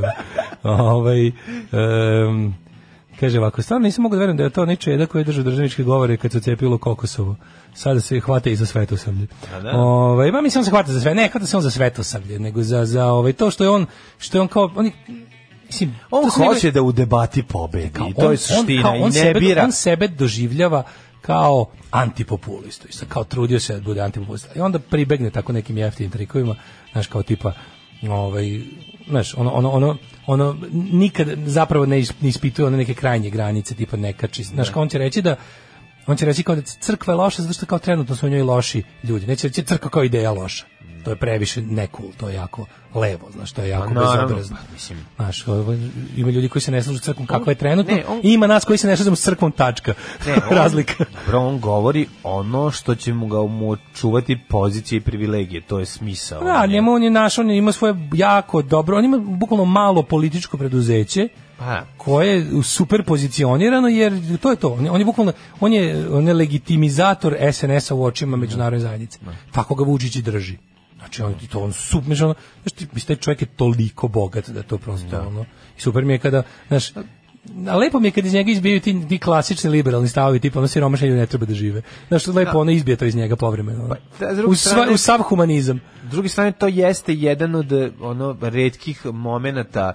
S6: ono. Ovaj, em, kaže ovako, stvarno nisam mogu da verujem da je to onaj Čeda koji je držao državničke govore kad se cepilo Kokosovo. Sada se hvate i za svetosavlje.
S5: da?
S6: Ovaj ma mislim on se hvata za sve, ne hvata se on za svetosavlje, nego za za ovaj to što je on što je on kao on je, mislim
S5: On
S6: to su njegove-
S5: hoće da u debati pobedi,
S6: kao,
S5: to je suština
S6: kao, on
S5: i ne
S6: sebe,
S5: bira.
S6: On sebe doživljava kao antipopulistu. I sad kao trudio se da bude antipopulista. I onda pribegne tako nekim jeftinim trikovima, znaš, kao tipa, ovaj, znaš, ono, ono, ono, ono nikad zapravo ne, is- ne ispituje one neke krajnje granice, tipa nekači. Znaš, kao on će reći da on će reći kao da crkva je loša zato što kao trenutno su u njoj loši ljudi. Neće reći crkva kao ideja je loša. To je previše nekul, to je jako levo, znaš, to je jako
S5: Ma, naravno,
S6: bezobrazno.
S5: pa, mislim.
S6: Znaš, ovo, ima ljudi koji se ne slažu s crkvom kakva je trenutno,
S5: ne, on-
S6: i ima nas koji se ne slažemo s crkvom tačka.
S5: on-
S6: Razlika.
S5: Dobro, on govori ono što će mu ga mu čuvati pozicije i privilegije, to je smisao.
S6: Da, njemu on je naš, on je ima svoje jako dobro, on ima bukvalno malo političko preduzeće,
S5: Pa,
S6: koje je super pozicionirano jer to je to on je, on je bukvalno on je on je legitimizator SNS-a u očima međunarodne zajednice
S5: Da.
S6: tako ga Vučić i drži znači on i to on su mislim, ono, znaš ti mislim, taj čovjek je toliko bogat da je to prosto ono i super mi je kada znaš A lepo mi je kad iz njega izbijaju ti, ti klasični liberalni stavovi, tipa ono siromašni ljudi ne treba da žive. Znaš, lepo ono izbije to iz njega povremeno. ono.
S5: da, s druge
S6: u, sva-
S5: strane-
S6: u sav humanizam.
S5: S druge strane, to jeste jedan od ono retkih momenata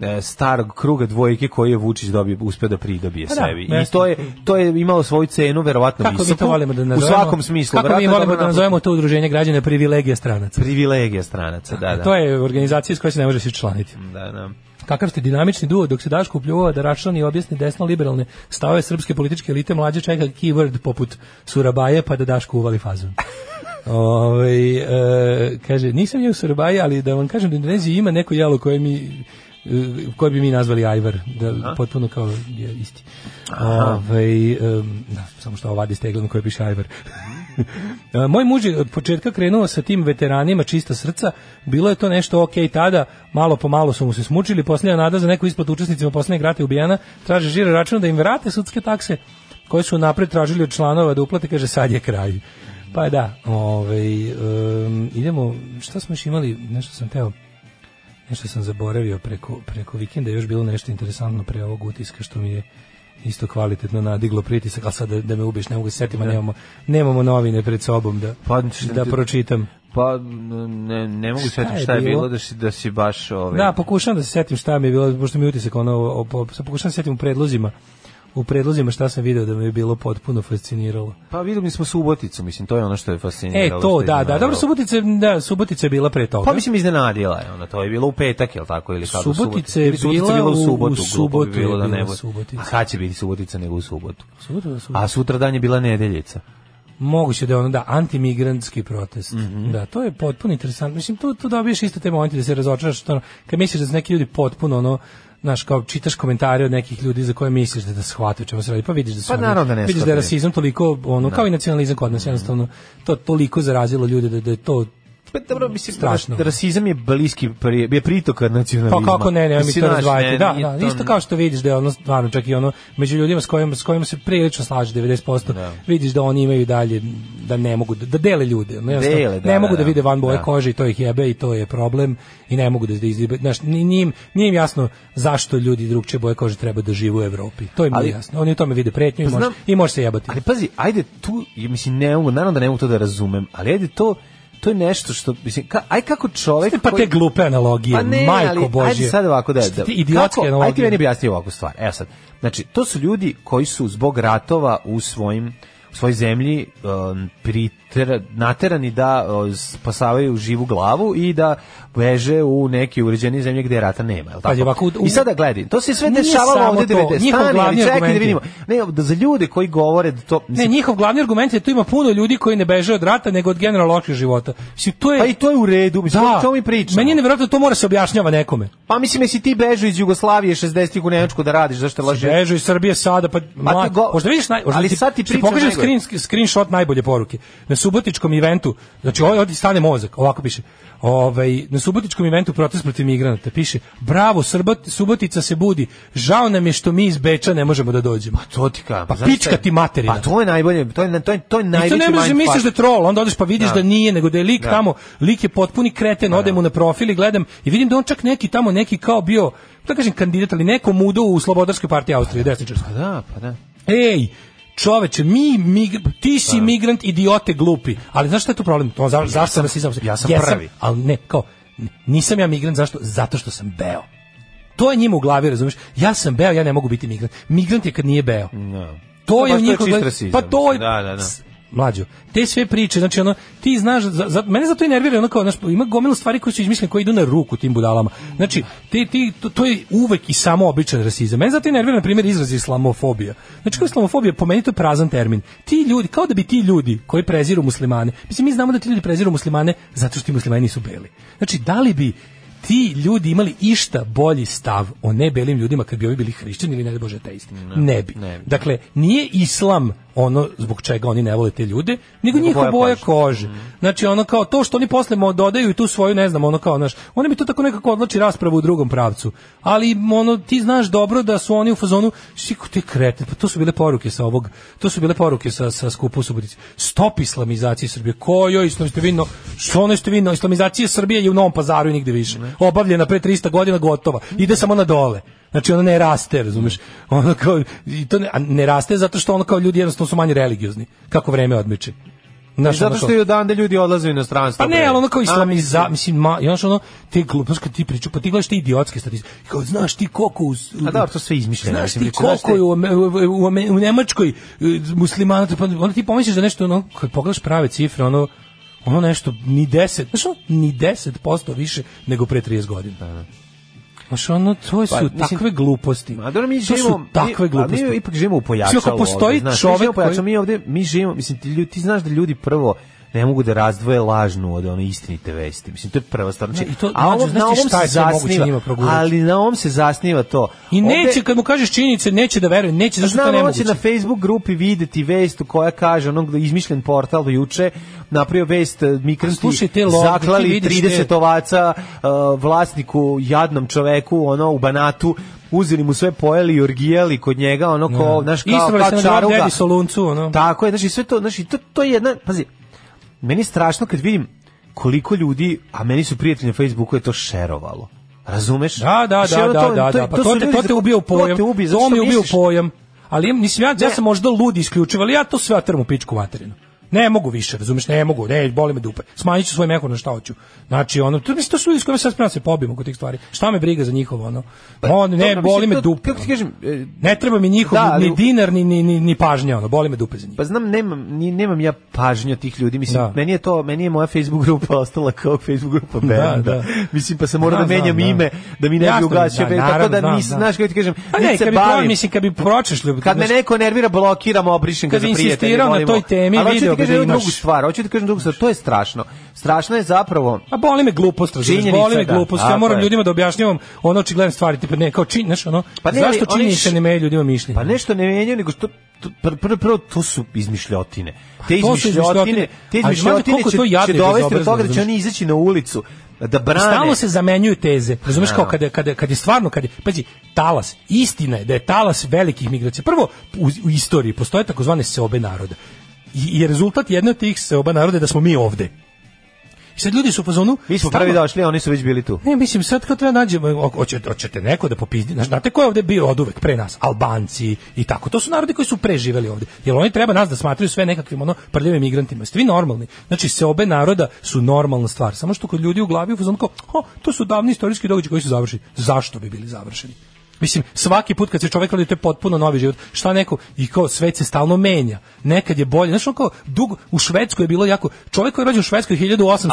S5: e, starog kruga dvojke koji je Vučić dobio, uspeo da pridobije
S6: Pa da,
S5: sebi. I
S6: jeste.
S5: to je, to je imalo svoju cenu, verovatno
S6: Kako mi
S5: visoku,
S6: to volimo da
S5: u
S6: nazovemo?
S5: svakom smislu.
S6: Kako mi
S5: verovatno
S6: volimo
S5: dobro
S6: da nazovemo
S5: napravljeno.
S6: to udruženje građana privilegija stranaca?
S5: privilegija stranaca, da, da.
S6: To je organizacija iz koje se ne može svi članiti.
S5: Da, da.
S6: Kakav ste dinamični duo dok se Daško upljuvao da račlani i objasni desno liberalne stave srpske političke elite mlađe čeka keyword poput Surabaje pa da Daško uvali fazon. Ovaj, e, kaže, nisam ja u Surabaji, ali da vam kažem da u Indoneziji ima neko jelo koje mi e, koje bi mi nazvali ajvar, da potpuno kao je isti. Ovaj, em, da, samo što ovadi steglom koji piše ajvar. E, Moj muž je od početka krenuo sa tim veteranima čista srca, bilo je to nešto ok tada, malo po malo su mu se smučili, posljednja nada za neku isplatu učesnicima posljednjeg rata je ubijena, traže žiro račun da im vrate sudske takse koje su napred tražili od članova da uplate, kaže sad je kraj. Pa da, ovaj, em, idemo, šta smo još imali, nešto sam teo, nešto sam zaboravio preko, preko vikenda, još bilo nešto interesantno pre ovog utiska što mi je isto kvalitetno nadiglo pritisak, ali sad da, da me ubiješ, ne mogu se setim, a nemamo, nemamo novine pred sobom da,
S5: Pa, šta
S6: da
S5: ti-
S6: pročitam.
S5: Pa ne, ne mogu
S6: Šta
S5: setiti
S6: je
S5: šta je bilo
S6: bilo?
S5: da si, da si baš ovaj
S6: Da, pokušavam da se setim šta mi je bilo, pošto mi je utisak ono, o, po- sad pokušavam da se setim u predlozima, u predlozima šta sam video da me je bilo potpuno fasciniralo.
S5: Pa videli smo Suboticu, mislim, to je ono što je
S6: E,
S5: fasciniralo. što
S6: to,
S5: je
S6: da, da,
S5: iznenadilo.
S6: dobro, Subotica, da, Subotica je bila pre toga.
S5: Pa mislim iznenadila je ona, to je bilo u petak, je li tako ili kako
S6: Subotica je
S5: Ili Subotica
S6: bila
S5: bila
S6: u- u
S5: u subotu, glupo bi
S6: subotu je
S5: bilo da
S6: bila
S5: ne bude.
S6: Subotica.
S5: A kad će biti Subotica nego u subotu?
S6: Subotica, da, Subotica.
S5: A sutra dan je bila nedeljica.
S6: Moguće da je ono da antimigrantski protest.
S5: Mhm.
S6: Da, to je potpuno interesantno. Mislim tu tu dobiješ isto te momente da se razočaraš što ono, kad misliš da su neki ljudi potpuno ono znaš kao čitaš komentare od nekih ljudi za koje misliš da da shvate o čemu se radi pa vidiš da su
S5: Pa
S6: oni-
S5: naravno da ne
S6: vidiš da je
S5: shvataju. Da. Mhm.
S6: rasizam toliko ono kao i nacionalizam kod nas jednostavno to toliko zarazilo ljude da da je to
S5: Pa dobro, mislim,
S6: Strašno.
S5: da rasizam je bliski, pri, je pritoka
S6: Pa
S5: nacionalizma.
S6: kako ne, ne, mi
S5: Mislim,
S6: to
S5: znaš,
S6: razdvajati.
S5: ne,
S6: Da,
S5: nije
S6: da,
S5: to-
S6: isto kao što vidiš da je ono stvarno čak i ono među ljudima s kojima s kojima se prilično slaže 90%, vidiš da oni imaju i dalje da ne mogu da, da dele ljude, ono, jednostavno,
S5: Dele, da,
S6: ne
S5: da,
S6: mogu da,
S5: da.
S6: vide van boje
S5: Da.
S6: kože i to ih jebe i to je problem i ne mogu da da izdibe, znaš, ni- nije im, nije im jasno zašto ljudi drugčije boje kože treba da žive u Evropi. To im
S5: Ali-
S6: nije jasno. Oni u tome vide pretnju i
S5: Pa
S6: može
S5: znam-
S6: i može se jebati.
S5: Ali pazi, ajde tu, ja mislim, ne mogu, naravno da ne mogu to da razumem, ali ajde to, to je nešto što, mislim, ka, aj kako čovek...
S6: Pa te
S5: koji-
S6: glupe analogije,
S5: Pa ne,
S6: majko
S5: ali,
S6: božje.
S5: Ajde sad ovako da, da
S6: Ti idiotske
S5: kako,
S6: analogije.
S5: Ajde ti meni objasni ovakvu stvar. Evo sad. Znači, to su ljudi koji su zbog ratova u svojim u svojoj zemlji um, priter, naterani da uh, spasavaju živu glavu i da beže u neke uređene zemlje gde rata nema. Je li
S6: Pazi,
S5: tako?
S6: Pa ovako, u-
S5: I sada gledaj, to se sve
S6: Nije samo
S5: dešavalo ovde
S6: to,
S5: 90.
S6: njihov
S5: Stani, ali
S6: glavni
S5: čekaj da
S6: argument je-
S5: vidimo. Ne, da za ljude koji govore da to...
S6: Ne,
S5: mislim,
S6: njihov glavni argument je da tu ima puno ljudi koji ne beže od rata nego od generalno lošeg života. Mislim, to je
S5: pa i to je u redu, mislim, da, to mi pričamo.
S6: Meni je nevjerojatno da to mora se objašnjava nekome.
S5: Pa mislim, jesi ti bežu iz Jugoslavije 60-ih u Nemačku da radiš, zašto laži?
S6: Bežu iz Srbije sada, pa mlad,
S5: go-
S6: možda vidiš naj, možda
S5: ali sad ti
S6: što
S5: pričam
S6: pokažem
S5: najgore.
S6: screen, screenshot najbolje poruke. Na subotičkom eventu, znači ovaj ovdje stane mozak, ovako piše. Ovaj, na subotičkom eventu protest protiv migranata piše Bravo, Srbot, Subotica se budi. Žao nam je što mi iz Beča ne možemo da dođemo.
S5: To ti kažem.
S6: Pa
S5: znaš
S6: pička
S5: šta je?
S6: ti materina.
S5: Pa to je najbolje, to je to je to je
S6: I to
S5: najveći
S6: ne možeš da
S5: mindfuck.
S6: misliš da je troll, onda odeš pa vidiš da,
S5: Da.
S6: nije, nego da je lik
S5: Da.
S6: tamo, lik je potpuni kreten, odem mu na profil i gledam i vidim da on čak neki tamo, neki kao bio, da kažem kandidat, ali neko mudo u Slobodarskoj partiji Austrije, desničarskoj.
S5: Pa da, pa da.
S6: Ej, čoveče, mi, mig- ti si migrant, idiote, glupi. Ali znaš šta je tu problem? To, za, zašto sam rasizam?
S5: ja sam
S6: Jesam,
S5: prvi.
S6: Ali ne, kao, n- nisam ja migrant, zašto? Zato što sam beo. To je njima u glavi, razumiješ? Ja sam beo, ja ne mogu biti migrant. Migrant je kad nije beo.
S5: No.
S6: To
S5: Pa
S6: je
S5: baš to
S6: u
S5: je
S6: njihovoj
S5: čist
S6: glavi-
S5: rasizam,
S6: Pa to je
S5: mislim, da, da, da.
S6: mlađu. Te sve priče, znači ono, ti znaš, za, za, mene zato i nervira, ono kao, znaš, ima gomila stvari koje su izmišljene, koje idu na ruku tim budalama. Znači, ti, ti, to, to je uvek i samo običan rasizam. Mene zato i nervira, na primjer, izraz islamofobija. Znači, kao islamofobija, po meni to je prazan termin. Ti ljudi, kao da bi ti ljudi koji preziru muslimane, mislim, mi znamo da ti ljudi preziru muslimane zato što ti muslimani nisu beli. Znači, da li bi ti ljudi imali išta bolji stav o nebelim ljudima kad bi ovi bili hrišćani ili ne daj bože ateisti? Ne, bi. Dakle, nije islam ono zbog čega oni ne vole te ljude, nego
S13: Nego
S6: njihova
S13: boja
S6: boja
S13: kože.
S6: kože. Znači ono kao to što oni posle mo dodaju i tu svoju ne znam, ono kao naš, oni mi to tako nekako odlači raspravu u drugom pravcu. Ali ono ti znaš dobro da su oni u fazonu siku te krete, pa to su bile poruke sa ovog, to su bile poruke sa sa skupa u Subotici. Stop islamizaciji Srbije. Kojoj islamizaciji vidno? Što ne ste vidno? Islamizacija Srbije je u Novom Pazaru i nigde više. Obavljena pre 300 godina gotova. Ide samo na dole. Znači ona ne raste, razumeš? Ono kao i to ne, a ne raste zato što ono kao ljudi jednostavno su manje religiozni. Kako vreme odmiče. Znaš,
S5: I zato
S6: ono
S5: što
S6: kao-
S5: i odande ljudi odlaze u inostranstvo.
S6: pa ne,
S5: bre.
S6: ali ono kao
S5: A,
S6: islamiza, mislim, ma, i ono što ono, te gluposti kad ti priču, pa ti gledaš te idiotske statistike, kao, znaš ti koliko u...
S5: A da, to sve izmišljeno.
S6: Znaš
S5: mislim,
S6: ti
S5: znači, znaš
S6: koliko je u, Ame- u, u, Ame- u Nemačkoj e, muslimana, pa onda ti pomisliš da nešto, ono, kad pogledaš prave cifre, ono, ono nešto, ni 10, znaš ono, ni 10% više nego pre 30 godina. Da, Znaš, ono, to su
S5: Pa, mislim-
S6: takve gluposti.
S5: Ma dobro, mi
S6: to
S5: živimo,
S6: su
S5: mi-
S6: takve gluposti.
S5: A mi ipak živimo u pojačalu.
S6: Mislim, ako postoji
S5: ovde, znaš, mi živimo
S6: čovek
S5: u pojačalu,
S6: koji-
S5: mi ovde mi živimo, mislim ti ljudi, ti znaš da ljudi prvo ne mogu da razdvoje lažnu od ono istinite vesti. Mislim to je prva stvar. Znači,
S6: Ne, i to,
S5: a
S6: mlađe,
S5: ovom, na
S6: znaš ti
S5: ovom
S6: šta je
S5: se
S6: sve moguće
S5: zasniva,
S6: njima progurati?
S5: ali na ovom se zasniva to.
S6: I
S5: Ovde- Pa
S6: neće, kad mu kažeš činjenice, neće da veruje, neće, zašto to
S5: Znam,
S6: ne
S5: on će na Facebook grupi videti vest u koja kaže onog da je izmišljen portal do juče napravio vest e, migranti
S6: Slušaj, te logike, ti
S5: zaklali
S6: vidiš
S5: 30
S6: te-
S5: ovaca e, vlasniku jadnom čoveku ono u Banatu uzeli mu sve pojeli i orgijali kod njega ono ko znaš kao,
S6: Istovali
S5: kao
S6: ste Da. na dvom
S5: čaruga
S6: dedi Soluncu, ono.
S5: tako je znači sve to znači to to je jedna pazi meni je strašno kad vidim koliko ljudi a meni su prijatelji na Facebooku je to šerovalo razumeš
S6: Da, da,
S5: Znači,
S6: da,
S5: ono,
S6: da, da,
S5: to-
S6: da, pa
S5: to
S6: to,
S5: su
S6: te,
S5: ljudi
S6: to
S5: za-
S6: te ubio u
S5: to te
S6: pojam.
S5: ubije, zato
S6: to mi
S5: što
S6: je ubio u
S5: misliš-
S6: pojam. Ali ja- mislim, ja, ja sam možda lud isključivo, ali ja to sve trmu pičku materinu. Ne mogu više, razumeš, ne mogu, ne, boli me dupe. Smanjit ću svoj mehur na šta hoću. Znači, ono, to, mislim, to su ljudi s kojima se ja spremam da se pobijemo kod tih stvari. Šta me briga za njihovo, ono? On, Pa ne,
S5: Pa, Dobro,
S6: boli
S5: mislim,
S6: me
S5: to-
S6: dupe.
S5: Kako ti kažem, e,
S6: Ne treba mi njihov
S5: Da, ali-
S6: ni dinar, ni, ni, ni, ni pažnja, ono, boli me dupe za njih.
S5: Pa znam, nemam, ni, nemam ja pažnju od tih ljudi. Mislim,
S6: Da.
S5: meni je to, meni je moja Facebook grupa ostala kao Facebook grupa
S6: Da,
S5: benda.
S6: da.
S5: Mislim, pa sam morao da,
S6: Znam,
S5: menjam
S6: znam,
S5: ime, da mi ne bi
S6: Jasno,
S5: ugasio.
S6: da,
S5: bend, tako
S6: naravno,
S5: da,
S6: znam,
S5: nis,
S6: znam.
S5: znaš kako ti kažem,
S6: Pa
S5: nit
S6: ne,
S5: se
S6: kad bi,
S5: bavim.
S6: pro, mislim, kad bi da pročeš ljubav,
S5: Kad me
S6: znaš-
S5: neko nervira, blokiram, obrišem ga
S6: Kad
S5: za
S6: bi
S5: prijatelje.
S6: insistirao na
S5: volimo.
S6: toj temi,
S5: Ali hoću
S6: video
S5: ti
S6: bi
S5: kažem
S6: da
S5: jednu
S6: imaš-
S5: drugu stvar, hoću ti kažem drugu stvar, to je strašno. Strašno je zapravo...
S6: A boli me glupost, razumiješ,
S5: Činjenica,
S6: boli me
S5: da.
S6: glupost, ja
S5: Tako
S6: moram
S5: je.
S6: ljudima da objašnjavam ono očigledne stvari, tipa ne, kao čin, znaš, ono,
S5: Pa ne, ali
S6: zašto
S5: oni
S6: činjenice
S5: š-
S6: ne menjaju ljudima mišljenje?
S5: Pa nešto ne menjaju, nego što to- pr- pr- prvo to su izmišljotine. Te
S6: Pa to su
S5: izmišljotine,
S6: izmišljotine.
S5: te
S6: Ali znate
S5: izmišljotine
S6: koliko je to
S5: će,
S6: jadno
S5: će
S6: i
S5: dovesti do
S6: bezobrazno,
S5: toga da će
S6: razumeš?
S5: oni izaći na ulicu da brane.
S6: Pa Stalno se zamenjuju teze. Razumeš
S5: Da.
S6: kao kada kada kad je stvarno kad je pazi talas, istina je da je talas velikih migracija. Prvo u, u istoriji postoje takozvane seobe naroda. I, i rezultat jedne od tih seoba naroda je da smo mi ovde. I sad ljudi su u fazonu...
S5: Mi smo
S6: stalno-
S5: prvi došli, a oni su već bili tu.
S6: Ne, mislim, sad kad treba nađemo, o- hoće, hoćete neko da popizdi, znaš, znate ko je ovde bio od uvek pre nas? Albanci i tako. To su narodi koji su preživeli ovde. Jer oni treba nas da smatraju sve nekakvim ono prljavim migrantima. Jeste vi normalni? Znači, se obe naroda su normalna stvar. Samo što kod ljudi u glavi u fazonu kao, "O, to su davni istorijski događaji koji su završeni. Zašto bi bili završeni? Mislim, svaki put kad se čovjek rodi, to je potpuno novi život. Šta neko, i kao svet se stalno menja. Nekad je bolje. Znaš, ono kao, dugo, u Švedskoj je bilo jako, čovjek koji je rođen u Švedskoj 1890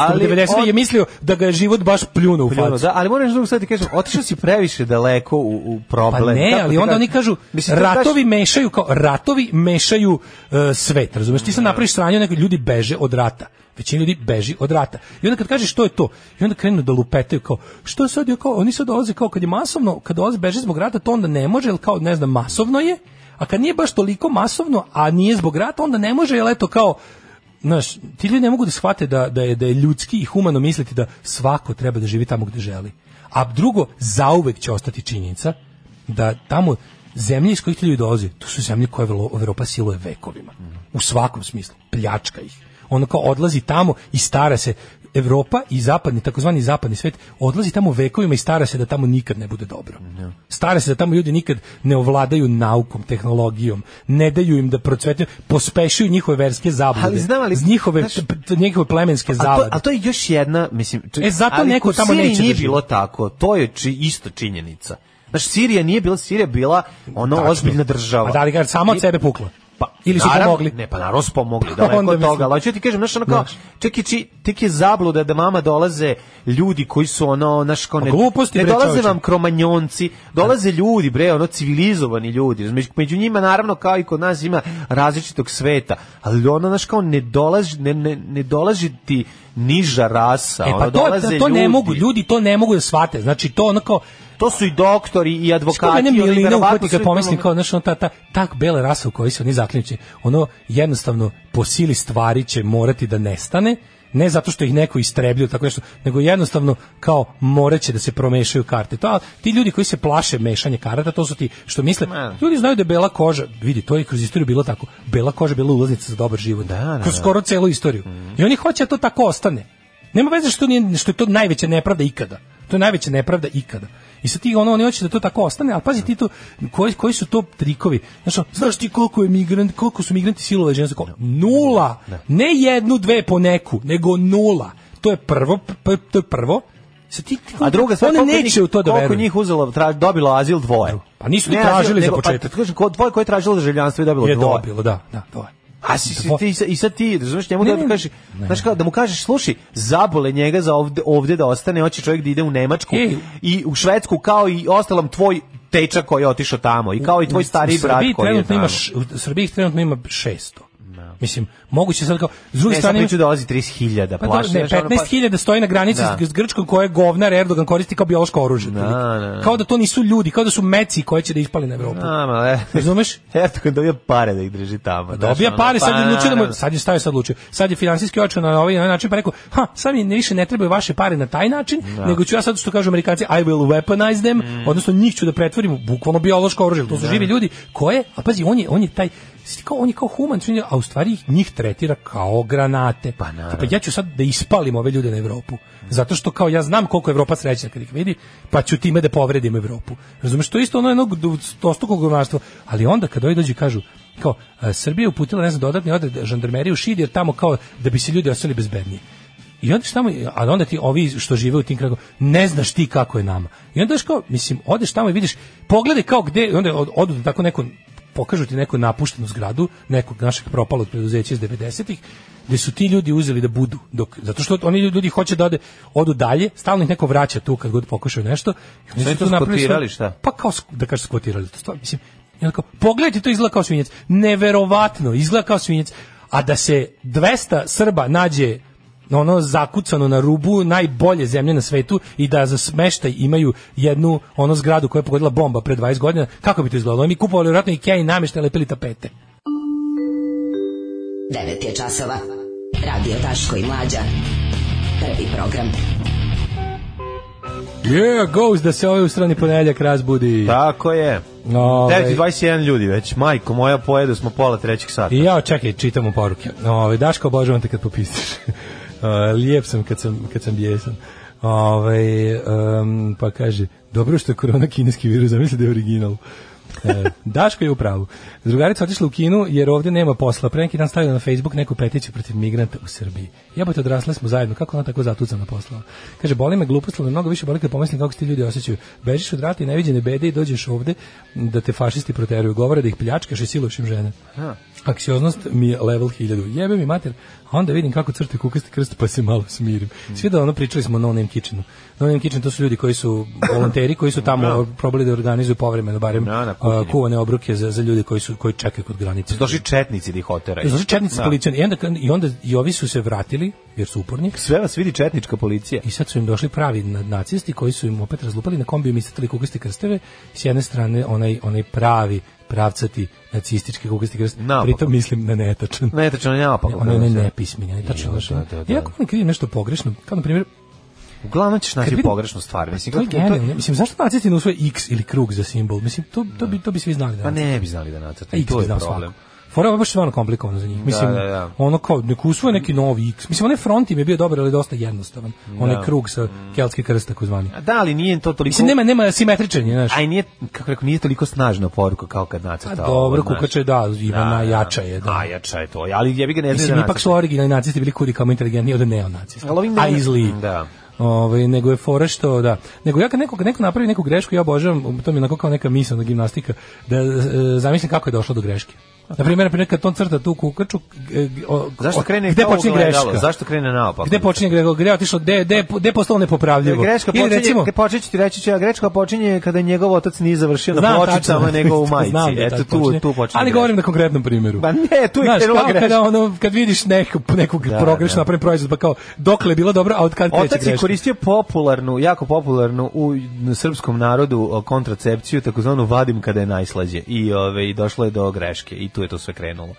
S5: Ali on-
S6: je mislio da ga je život baš pljuno u
S5: Pljuno,
S6: facu.
S5: da, ali moram nešto drugo sad ti kažem, otišao si previše daleko u, u
S6: Pa
S5: problem.
S6: ne,
S5: Kako ti
S6: ali onda
S5: kažem?
S6: oni kažu
S5: Mislim, to je baš-
S6: ratovi mešaju kao ratovi mešaju e, svet, razumeš? Ti
S5: Da.
S6: sad napraviš sranje, neki ljudi beže od rata. Većina ljudi beži od rata. I onda kad kažeš što je to, i onda krenu da lupetaju kao što sad je kao oni sad dolaze kao kad je masovno, kad dolaze beže zbog rata, to onda ne može, jel kao ne znam, masovno je. A kad nije baš toliko masovno, a nije zbog rata, onda ne može, jel eto kao Znaš, ti ljudi ne mogu da shvate da, da, je, da je ljudski i humano misliti da svako treba da živi tamo gde želi. A drugo, zauvek će ostati činjenica da tamo zemlje iz kojih ti ljudi dolaze, to su zemlje koje Evro- Evropa siluje vekovima. U svakom smislu. Pljačka ih. Ono kao odlazi tamo i stara se Evropa i zapadni, takozvani zapadni svet odlazi tamo vekovima i stara se da tamo nikad ne bude dobro. Stara se da tamo ljudi nikad ne ovladaju naukom, tehnologijom, ne daju im da procvetaju, pospešuju njihove verske zablude,
S5: Ali znam, ali-
S6: z njihove, p- njihove plemenske
S5: A to,
S6: zavade.
S5: a to je još jedna, mislim... to-
S6: E, zato
S5: ali
S6: neko
S5: u
S6: tamo
S5: Siriji
S6: neće da
S5: nije
S6: živi.
S5: bilo tako, to je či, isto činjenica. Znaš, Sirija nije bila, Sirija je bila ono
S6: Tačno.
S5: ozbiljna država.
S6: A da li ga sama od
S5: I-
S6: sebe pukla?
S5: Pa,
S6: Ili su E,
S5: Naravno,
S6: pomogli?
S5: Ne, pa naravno su pomogli,
S6: Pa
S5: daleko
S6: onda
S5: od
S6: mislim.
S5: toga. Ali hoću da ti kažem, znaš, ono kao, čak i či, tek je zabluda da vama dolaze ljudi koji su ono, znaš, kao ne,
S6: A gluposti,
S5: ne
S6: bre,
S5: dolaze
S6: čoveče.
S5: vam kromanjonci, dolaze ljudi, bre, ono, civilizovani ljudi. Među, među njima, naravno, kao i kod nas ima različitog sveta, ali ono, znaš, kao ne dolazi, ne, ne, ne dolazi ti niža rasa,
S6: E
S5: ono,
S6: pa to,
S5: dolaze
S6: to
S5: ljudi.
S6: ne mogu, ljudi to ne mogu da shvate. Znači to ono kao
S5: To su i doktori i
S6: Kako
S5: advokati.
S6: mene
S5: oni
S6: milina
S5: verovatno
S6: uhvati kad
S5: sve
S6: pomislim
S5: to-
S6: kao, znaš, ono, ta, ta, tak bela rasa u kojoj se oni zaključe, ono jednostavno po sili stvari će morati da nestane, ne zato što ih neko istrebljuje tako nešto, nego jednostavno kao moraće da se promešaju karte. To, a ti ljudi koji se plaše mešanje karata, to su ti što misle. Ljudi znaju da je bela koža, vidi, to je i kroz istoriju bilo tako. Bela koža je bila ulaznica za dobar život.
S5: Da,
S6: Kroz skoro celu istoriju.
S5: Mhm.
S6: I oni hoće da to tako ostane. Nema veze što nije što je to najveća nepravda ikada. To je najveća nepravda ikada. I sad ti ono oni hoće da to tako ostane, ali pazi ti tu koji, koji su to trikovi. Znaš, ono, znaš ti koliko je migrant, koliko su migranti silovali žensko? Nula.
S5: Da.
S6: Ne jednu, dve po neku, nego nula. To je prvo, p- to je prvo. Sad ti, ti-
S5: A druga stvar,
S6: one
S5: koliko
S6: neće
S5: njih-
S6: u to da
S5: Koliko
S6: veruju.
S5: njih uzelo, tra, dobilo azil dvoje.
S6: Pa nisu ni
S5: Ne azil,
S6: tražili za
S5: nego-
S6: početak.
S5: Pa, kažem, ko, dvoje koje je tražilo državljanstvo i dobilo
S6: Je
S5: dvoje.
S6: dobilo, da, da, to je.
S5: A si, si
S6: Dvoje.
S5: ti, i sad ti, razumeš, njemu da
S6: Ne, ne,
S5: kažeš, znaš kao, da mu kažeš, slušaj, zabole njega za ovde, ovde da ostane, hoće čovjek da ide u Nemačku
S6: Ej.
S5: i u Švedsku, kao i ostalom tvoj tečak koji je otišao tamo i kao i tvoj stariji
S6: U
S5: brat
S6: Srbiji
S5: koji je
S6: trenutno
S5: tamo.
S6: ima, š- u Srbiji ih trenutno ima 600. Mislim, moguće sad kao, s druge
S5: Ne, E, sad
S6: strane...
S5: priču dolazi 30.000,
S6: Pa dobro,
S5: plaši.
S6: ne, 15.000 stoji na granici
S5: Da.
S6: s Grčkom koje govnar Erdogan koristi kao biološko oružje. otprilike.
S5: da, da.
S6: Kao da to nisu ljudi, kao da su meci koje će da ispali na Evropu. Razumeš?
S5: Erdogan e, dobija pare da ih drži tamo. znaš,
S6: Dobija
S5: ono,
S6: pare, sad
S5: pa
S6: je odlučio da mu,
S5: naravno.
S6: sad je stavio sad odlučio. Sad je finansijski očeo na ovaj na ovaj način pa rekao, ha, sad mi više ne trebaju vaše pare na taj način, nego ću ja sad što kažu Amerikanci, I will weaponize them, odnosno njih ću da pretvorim u bukvalno biološko oružje. To su živi ljudi koje, a pazi, on je on je taj kao on je kao human, čini, a u stvari ih- njih tretira kao granate. Pa ja ću sad da ispalim ove ljude na Evropu. Zato što kao ja znam koliko je Evropa srećna kad ih vidi, pa ću time da povredim Evropu. Razumeš, to je isto ono jednog dostokog govnarstva. Ali onda kad ovi dođu i kažu, kao e, Srbija je uputila ne znam dodatni odred žandarmerije u Šid jer tamo kao da bi se ljudi ostali bezbedniji. I onda tamo, a onda ti ovi što žive u tim kraju, ne znaš ti kako je nama. I onda daš kao, mislim, odeš tamo i vidiš, pogledaj kao gde, i onda od- odu da tako neko, pokažu ti neku napuštenu zgradu, nekog našeg propalog preduzeća iz 90-ih, gde su ti ljudi uzeli da budu, dok, zato što oni ljudi hoće da ode, odu dalje, stalno ih neko vraća tu kad god pokušaju nešto. I oni
S5: Sve
S6: su
S5: to
S6: tu napravili svoj-
S5: skotirali, šta?
S6: pa kao sk- da kažeš skotirali to stvar, mislim. I onako, pogledajte to izgleda kao svinjac. Neverovatno, izgleda kao svinjac. A da se 200 Srba nađe ono zakucano na rubu najbolje zemlje na svetu i da za smeštaj imaju jednu ono zgradu koja je pogodila bomba pre 20 godina, kako bi to izgledalo? Mi kupovali vjerojatno Ikea i namještaj lepili tapete.
S11: 9 je časova. Radio Daško i Mlađa. Prvi program.
S6: Yeah, goes da se ovaj u strani ponedjeljak razbudi.
S5: Tako je.
S6: Ovaj,
S5: 9.21 ljudi već, majko moja pojedu smo pola trećeg sata.
S6: I ja čekaj, čitam mu poruke. Ove, Daško, obožavam te kad popisiš. E, Lijep sam kad sam, kad sam bijesan. Ove, em, pa kaže, dobro što je korona kineski virus, zamisli da je original. E, Daško je u pravu. Drugarica otišla u Kinu jer ovdje nema posla. Pre neki dan stavila na Facebook neku peticiju protiv migranta u Srbiji. Jebote, odrasle smo zajedno. Kako ona tako zatucana poslala? Kaže, boli me glupost, ali mnogo više boli kad pomislim kako se ti ljudi osjećaju. Bežiš od rata i neviđene bede i dođeš ovde da te fašisti proteruju. Govore da ih pljačkaš i siluš im žene. Aksioznost mi je level 1000. Jebe mi mater. A onda vidim kako crte kukasti krst pa se malo smirim.
S5: Mm.
S6: Svi da ono pričali smo o No Name Kitchenu. No Name Kitchen to su ljudi koji su volonteri koji su tamo probali da organizuju povremeno barem
S5: Da, na
S6: a, kuvane obruke za, za ljude koji su koji čekaju kod granice.
S5: Došli četnici da ih oteraju.
S6: Znači četnici
S5: Da.
S6: policija i onda i onda i ovi su se vratili jer su uporni.
S5: Sve vas vidi četnička policija.
S6: I sad su im došli pravi na- nacisti koji su im opet razlupali na kombiju mislili kukaste krsteve. S jedne strane onaj onaj pravi pravcati nacistički kukasti krst.
S5: Naopako.
S6: Pritom mislim na netačan.
S5: Netačno ne da, napak.
S6: Ono je nepismeni, ono je tačno
S5: Jo,
S6: znaš,
S5: da, da, da.
S6: Iako oni kriju nešto pogrešno, kao na primjer,
S5: Uglavnom ćeš naći
S6: Kad vidim-
S5: pogrešnu stvar. Mislim,
S6: to je
S5: kako- to-
S6: genijalno. Mislim, zašto nacisti ne usvoje X ili krug za simbol? Mislim, to, to, bi, to bi svi znali.
S5: Pa
S6: danas.
S5: ne bi znali da nacrta.
S6: X
S5: I to
S6: bi
S5: je
S6: znao
S5: problem.
S6: svako. Fora je baš stvarno komplikovano za njih. Mislim,
S5: da, da.
S6: ono kao, nek usvoje neki novi X. Mislim, onaj front im je bio dobar, ali dosta jednostavan. Onaj
S5: Da.
S6: krug sa keltski krst, tako zvani.
S5: A Da, ali nije to toliko...
S6: Mislim, nema, nema simetričan, je, znaš.
S5: Aj, nije, kako rekao, nije toliko snažna poruka kao kad
S6: A
S5: nacrta.
S6: Pa dobro,
S5: ovo, znaš.
S6: kukače, da, ima
S5: Da, da,
S6: najjača je, da.
S5: Najjača je to, ali jebi ga ne znaju
S6: Mislim,
S5: da
S6: ipak su originalni nacisti bili kudi kamo inteligentniji od neonacista.
S5: Ali ovi ne-
S6: A i zliji.
S5: Da.
S6: Ovaj nego je fora što da. Nego ja kad neko kad neko napravi neku grešku ja obožavam, to mi je onako kao neka misaona gimnastika da e, zamislim kako je došlo do greške. Na primjer, primjer kad on crta tu kukaču, g- g- o-
S5: Zašto
S6: o-
S5: krene
S6: gde
S5: kao
S6: počinje
S5: ogledalo?
S6: greška?
S5: Zašto krene naopako?
S6: Gde počinje greška? Gde je otišlo? Gde gde gde je postalo nepopravljivo?
S5: Greška
S6: Ili
S5: počinje,
S6: recimo,
S5: recimo, počet ću ti reći ću ja, greška počinje kada njegov otac nije završio na pločicama, nego u majici.
S6: Znam da
S5: Eto,
S6: tako
S5: tu,
S6: počinje.
S5: tu počinje
S6: Ali
S5: greška.
S6: govorim na konkretnom primjeru.
S5: Ba ne, tu je
S6: Znaš,
S5: krenula
S6: kao
S5: greška.
S6: Kada ono, kad vidiš neku, nekog
S5: Da,
S6: da, progrešno
S5: da.
S6: napravljen proizvod, pa kao, dokle je bilo dobro, a od kad kreće
S5: Otac je
S6: greška?
S5: koristio popularnu, jako popularnu u srpskom narodu o, kontracepciju, takozvanu vadim kada je najslađe. I ove, i došlo je do greške i tu je to sve krenulo.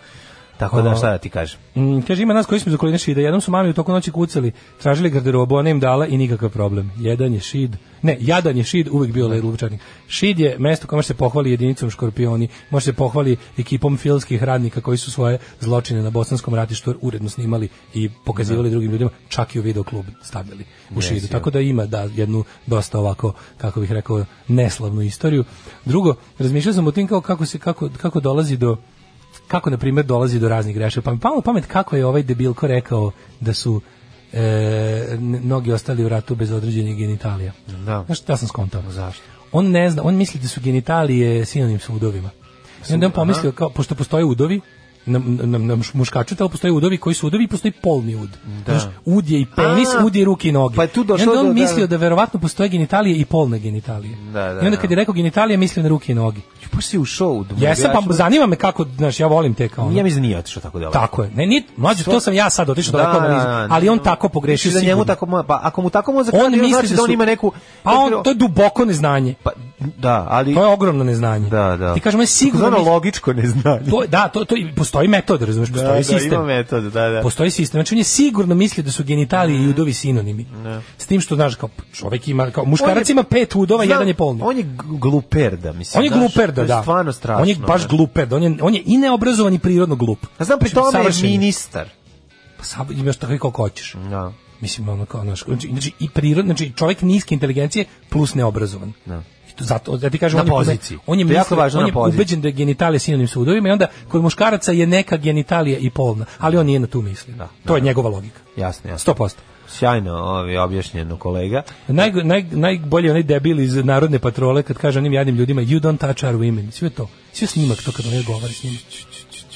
S5: Tako da
S6: A.
S5: šta da ti kažem?
S6: Mm, kaže, ima nas koji smo zakoljeni šida. Jednom su mami u toku noći kucali, tražili garderobu, ona im dala i nikakav problem. Jedan je šid, ne, jadan je šid, uvek bio Lupčanik. Šid je mesto koje može se pohvali jedinicom škorpioni, može se pohvali ekipom filskih radnika koji su svoje zločine na bosanskom ratištu uredno snimali i pokazivali drugim ljudima, čak i u videoklub stavljali u
S5: Yes,
S6: šidu.
S5: ja.
S6: Tako da ima da jednu dosta ovako kako bih rekao neslavnu istoriju. Drugo, razmišljao sam o tim kao kako se kako kako dolazi do kako na primjer dolazi do raznih grešaka. Pa mi palo na pamet kako je ovaj debilko rekao da su e, n- mnogi ostali u ratu bez određenih genitalija.
S5: Da.
S6: Znaš šta ja sam skontao?
S5: Zašto?
S6: On ne zna, on misli da su genitalije sinonim sa udovima. I onda je on
S5: Aha.
S6: pomislio, kao, pošto postoje udovi, na, na, na muškaču tela postoje udovi koji su udovi i postoji polni ud.
S5: Da.
S6: Znaš, ud je i penis,
S5: A.
S6: ud je i ruke i noge.
S5: Pa je tu
S6: I
S5: došlo
S6: onda on
S5: do- da-
S6: mislio da verovatno postoje genitalije i polne genitalije.
S5: Da, da,
S6: I onda
S5: da.
S6: kad je rekao genitalije, mislio na ruke i noge.
S5: Pa si ušao u dvojaču.
S6: Jesam, pa zanima me kako, znaš, ja volim te kao ono.
S5: da- Ja mislim da nije otišao tako daleko.
S6: Tako je. Ne, ni, mlađe, to sam ja sad otišao da, da, ali on tako pogrešio
S5: da njemu
S6: sigurno.
S5: tako mo- pa ako mu tako mozak
S6: on
S5: radi,
S6: misli
S5: znači da,
S6: da su-
S5: on ima neku
S6: Pa on, to je duboko neznanje.
S5: pa da, ali
S6: To je ogromno neznanje.
S5: da, da.
S6: Ti kažem, je sigurno...
S5: Ono
S6: misli-
S5: logičko neznanje.
S6: To, da, to, to, i postoji metod, razumiješ,
S5: Da,
S6: postoji
S5: da,
S6: sistem.
S5: ima metod, da, da.
S6: Postoji sistem. Znači, on je sigurno misli da su genitalije
S5: Mm.
S6: i udovi sinonimi. S tim što, znaš, kao čovek ima, kao muškarac
S5: Da. On je-
S6: ima pet udova,
S5: Znam,
S6: jedan je polni.
S5: On je gl- gluperda, mislim.
S6: On je
S5: znaš,
S6: gluperda,
S5: to je
S6: da.
S5: Stvarno strašno.
S6: On je baš
S5: znaš.
S6: gluperda. On je, on je i neobrazovan i prirodno glup.
S5: A znam, pri
S6: Znači,
S5: tome je
S6: savršen
S5: ministar.
S6: Pa sab, imaš tako i koliko hoćeš.
S5: Da.
S6: Mislim, ono kao, znaš, znači, znači, i prirodno, znači, čovjek niske inteligencije plus neobrazovan.
S5: Da.
S6: I to zato, ja ti kažem,
S5: Na
S6: on je,
S5: poziciji.
S6: On je,
S5: To je jako
S6: mislio-
S5: važno
S6: on
S5: na
S6: je
S5: poziciji.
S6: ubeđen da je genitalija sinonim sa udovima i onda kod muškaraca je neka genitalija i polna, ali on nije na tu misli.
S5: Da,
S6: to je njegova logika.
S5: Jasno, jasno.
S6: 100%.
S5: Sjajno ovi, objašnjeno, kolega.
S6: Naj, naj, najbolji je onaj debil iz narodne patrole kad kaže onim jadnim ljudima you don't touch our women. Sve to. Sve snimak to kad on govori s njim.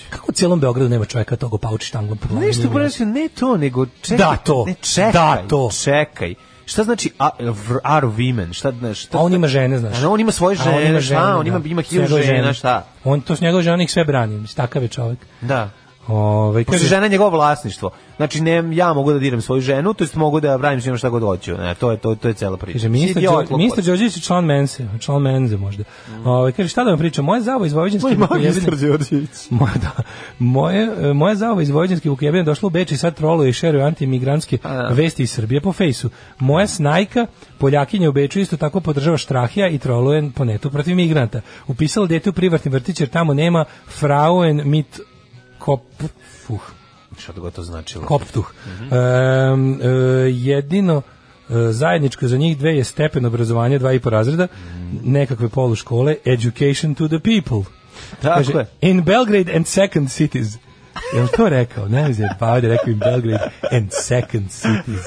S6: Kako u cijelom Beogradu nema čovjeka toga pauči štanglom po glavi?
S5: Nešto brzo, ne to, nego čekaj.
S6: Da, to.
S5: Ne, čekaj,
S6: Da, to.
S5: Čekaj. Šta znači a- vr- are women? Šta, znaš, šta,
S6: A Pa on ima žene, znaš.
S5: A on ima svoje
S6: A on
S5: žene,
S6: ima
S5: šta? On
S6: da.
S5: ima, ima hiljadu
S6: Njegove
S5: žena, šta?
S6: On to s njegove žene ih sve brani, mislim, takav je čovjek.
S5: Da.
S6: Ovaj
S5: Pošto
S6: kaže
S5: žena je njegovo vlasništvo. Znači ne, ja mogu da diram svoju ženu, to jest mogu da pravim s njom šta god hoću. Ne, to je to to je Mm. cela priča.
S6: Kaže, ministar,
S5: Idiot,
S6: Đor-
S5: lopov.
S6: ministar Đorđević je član Mense, član Menze možda. Ovaj kaže, šta da vam pričam, moje zavo iz Vojvođanske Vukojevine- Moja, da, moje, e, moja zava iz Vojvođanske Vukojevine došla u Beč i sad troluje i šeruje antimigrantske
S5: da.
S6: vesti iz Srbije po fejsu. Moja snajka, Poljakinja u Beču, isto tako podržava štrahija i troluje po netu protiv migranta. Upisala dete u privatni vrtić jer tamo nema frauen mit kop... Fuh.
S5: Šta god to značilo?
S6: Koptuh. Em, e, jedino e, zajedničko za njih dve je stepen obrazovanja, dva i po razreda, nekakve poluškole, education to the people.
S5: Tako
S6: Kaže,
S5: je.
S6: in Belgrade and second cities. Je li to rekao? Ne znam, pa ovdje je rekao in Belgrade and second cities.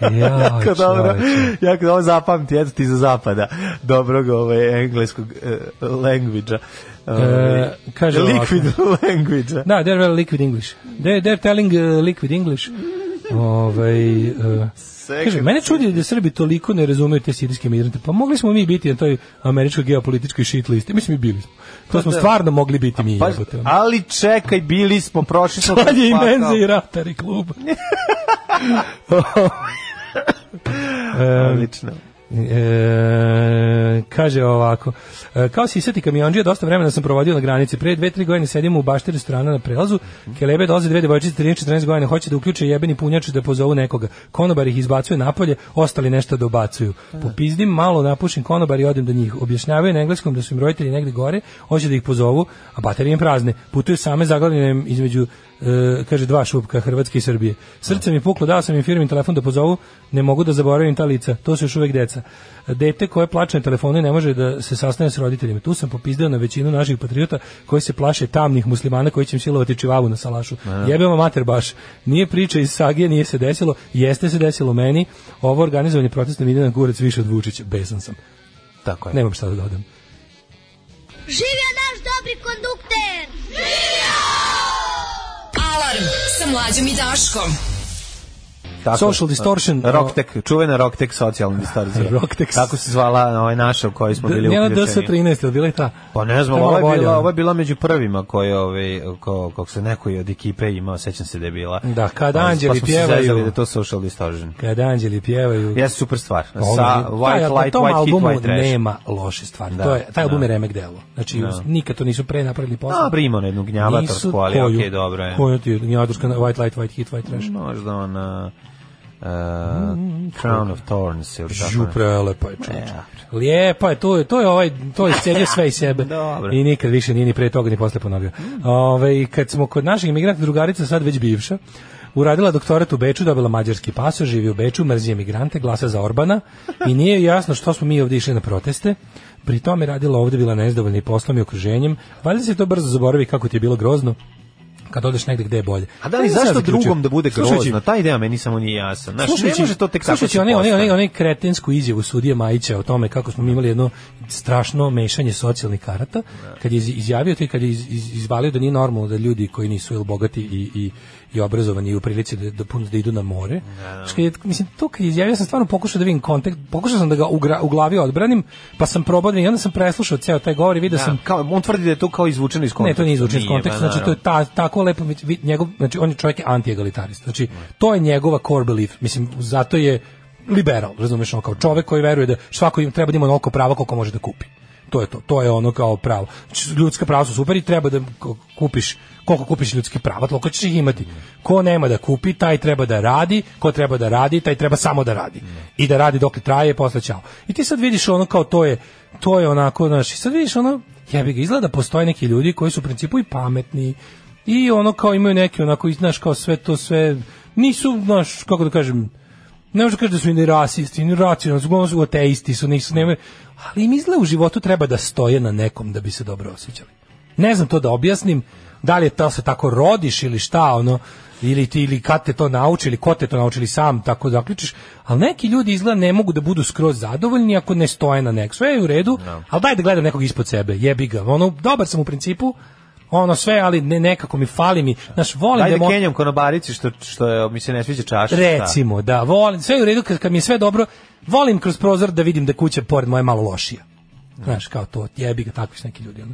S6: Ja,
S5: Jako dobro,
S6: čoveče.
S5: jako dobro zapamti, eto ti za zapada dobrog ovaj, engleskog uh, language-a. Ovaj,
S6: E, kaže
S5: liquid language-a.
S6: Da, they're very liquid English. They, they're telling uh, liquid English. Ovaj uh, kaže, mene čudi da Srbi toliko ne razumeju te sirijske migrante. Pa mogli smo mi biti na toj američkoj geopolitičkoj shit listi. Mislim, mi bili smo. To smo stvarno mogli biti mi.
S5: da. Pa,
S6: jebote, ono.
S5: ali čekaj, bili smo, prošli smo...
S6: Sad je i
S5: kroz pakao.
S6: menze i ratar i klub.
S5: Odlično.
S6: E, kaže ovako e, kao sisati kamionđija dosta vremena sam provodio na granici pre 2-3 godine sedim u bašteri strana na prelazu kelebe dolaze dve devojčice 13-14 godina hoće da uključe jebeni punjač da pozovu nekoga konobar ih izbacuje napolje ostali nešto dobacuju popizdim malo napušim konobar i odem do njih objašnjavaju na engleskom da su im roditelji negde gore hoće da ih pozovu a baterije im prazne putuju same zaglavljene između e, kaže dva šupka Hrvatske i Srbije. Srce mi puklo, dao sam im firmin telefon da pozovu, ne mogu da zaboravim ta lica, to su još uvek deca. Dete koje plače na telefonu i ne može da se sastane s roditeljima. Tu sam popizdeo na većinu naših patriota koji se plaše tamnih muslimana koji će im silovati čivavu na salašu. Jebe vam mater baš. Nije priča iz sagije, nije se desilo, jeste se desilo meni. Ovo organizovanje protesta mi ide na kurac više od Vučića, besan sam.
S5: Tako je.
S6: Nemam šta da dodam.
S7: Živio naš dobar
S13: dobri kondukter!
S10: Alarm sa mlađom i Daškom.
S5: Tako,
S6: Social distortion.
S5: Rocktek, čuvena Rocktek socijalna distorzija.
S6: Rocktek.
S5: Tako se zvala ovaj naša u kojoj smo
S6: D-
S5: bili
S6: Njena
S5: uključeni.
S6: DS13, ili bila je ta?
S5: Pa ne znam,
S6: Ta malo
S5: ovo je,
S6: bolja,
S5: bila,
S6: ono.
S5: ovo je bila među prvima koje, ovaj, ko, kako se neko od ekipe imao, sećam se da je bila.
S6: Da, kad
S5: Pa-
S6: anđeli
S5: pa smo se
S6: pjevaju.
S5: zezali da je to social distortion.
S6: Kad anđeli pjevaju.
S5: Jeste super stvar. Sa
S6: Ono, taj-
S5: White
S6: na
S5: Light,
S6: Da, tom
S5: White Heat,
S6: albumu
S5: White Trash.
S6: nema loše stvari.
S5: Da,
S6: to je, taj album
S5: da.
S6: je remek delo. Znači,
S5: Da.
S6: uz- nikad to nisu pre napravili posle.
S5: Dobro, ima na jednu gnjavatorsku, ali
S6: koju-
S5: okej, dobro je.
S6: Koju ti je gnjavatorska White Light, White Heat, White Trash?
S5: Možda ona... Uh,
S6: Mm,
S5: Crown of Thorns ili tako.
S6: Žu, prelepa je čoveče. Lijepa je, to je, to je ovaj, to je scelio sve i sebe.
S5: Dobro. Mm.
S6: I nikad više nije ni pre toga ni posle ponovio. Ove, i kad smo kod naših imigranata, drugarica sad već bivša, uradila doktorat u Beču, dobila mađarski paso, živi u Beču, mrzi emigrante, glasa za Orbana i nije joj jasno što smo mi ovdje išli na proteste. Pri tome radila ovdje, bila nezadovoljna i poslom i okruženjem. Valjda se to brzo zaboravi kako ti je bilo grozno kad odeš negde gde je bolje. E,
S5: A da
S6: Ja
S5: li
S6: sam
S5: zašto
S6: Pa zaključio.
S5: drugom da bude
S6: Slušajući-
S5: grozno? Taj ideja meni samo nije jasan. Znaš,
S6: slušajući,
S5: ne može to tek tako da
S6: slušajući
S5: se
S6: one, one,
S5: postavi.
S6: one, one kretinsku izjavu sudije Majića o tome kako smo mi imali jedno strašno mešanje socijalnih karata, kad je iz- izjavio to i kad je iz, iz- izvalio da nije normalno da ljudi koji nisu ili bogati i, i, i obrazovani i u prilici da, da, puno da idu na more.
S5: Da.
S6: Što je, mislim, to kad je izjavio sam stvarno pokušao da vidim kontekst, pokušao sam da ga u, gra- u glavi odbranim, pa sam probao da i onda sam preslušao ceo taj govor i vidio
S5: Da,
S6: sam
S5: kao, on tvrdi da je to kao izvučeno iz
S6: ne,
S5: konteksta.
S6: to nije izvučeno iz konteksta,
S5: pa
S6: znači to je ta, tako lepo, mi- vi- njegov, znači on je čovjek je anti-egalitarist, znači to je njegova core belief, mislim, zato je liberal, razumeš, on kao čovjek koji veruje da svako im treba da ima onoliko prava koliko može da kupi. To je to, to je ono kao pravo. Znači, ljudska prava su super i treba da ko- kupiš koliko kupiš ljudskih prava, toliko ćeš ih imati. Ko nema da kupi, taj treba da radi, ko treba da radi, taj treba samo da radi. I da radi dok traje, posle ćao. I ti sad vidiš ono kao to je, to je onako, znaš, i sad vidiš ono, ja bih izgleda da postoje neki ljudi koji su u principu i pametni i ono kao imaju neki onako i znaš kao sve to sve nisu znaš kako da kažem ne možeš da kažeš da su i ni rasisti, ni racionalni, uglavnom su ateisti, su nisu nemaju, ali im izgleda u životu treba da stoje na nekom da bi se dobro osjećali. Ne znam to da objasnim, da li je to se tako rodiš ili šta, ono, ili ti ili kad te to nauči ili ko te to nauči ili sam tako zaključiš, ali neki ljudi izgleda ne mogu da budu skroz zadovoljni ako ne stoje na nek. Sve je u redu, ali daj da gledam nekog ispod sebe, jebi ga. Ono, dobar sam u principu, ono sve, ali ne, nekako mi fali mi. Znaš, volim
S5: Ajde
S6: da... mo-
S5: Kenjom konobarici što, što je, mi se ne sviđa čaša. šta?
S6: Recimo, da, volim, sve je u redu, kad, kad mi je sve dobro, volim kroz prozor da vidim da kuća pored moje malo lošija.
S5: Da.
S6: Znaš, kao to, jebi ga, takvi su neki ljudi. jel?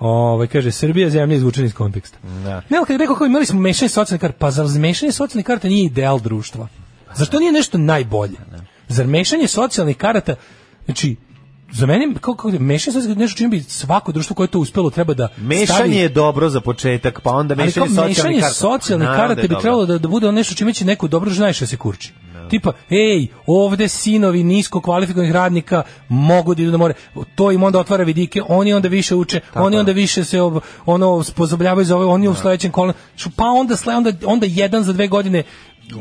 S6: Ovaj, kaže, Srbija je zemlja izvučena iz konteksta.
S5: Da.
S6: Ne, ali kad je rekao kao imali smo mešanje socijalne karte, pa zar mešanje socijalnih karata nije ideal društva? Zar to nije nešto najbolje?
S5: Da.
S6: Zar mešanje socijalnih karata, znači, za mene, kako, kako, mešanje socijalnih karata je nešto čim bi svako društvo koje je to uspelo treba da
S5: Mešanje
S6: stavi-
S5: je dobro za početak, pa onda
S6: ali kao
S5: mešanje socijalnih karata.
S6: mešanje socijalnih
S5: Naravno
S6: karata
S5: da je
S6: bi
S5: dobro.
S6: trebalo da, da bude ono nešto čime će neko dobro da znaš da se kurči. Tipa, ej, ovde sinovi nisko kvalifikovanih radnika mogu da idu na more. To im onda otvara vidike, oni onda više uče, oni onda više se ob- ono sposobljavaju za ovo, oni
S5: Da.
S6: u sledećem kolonu. Šu- Pa onda, sle, onda, onda jedan za dve godine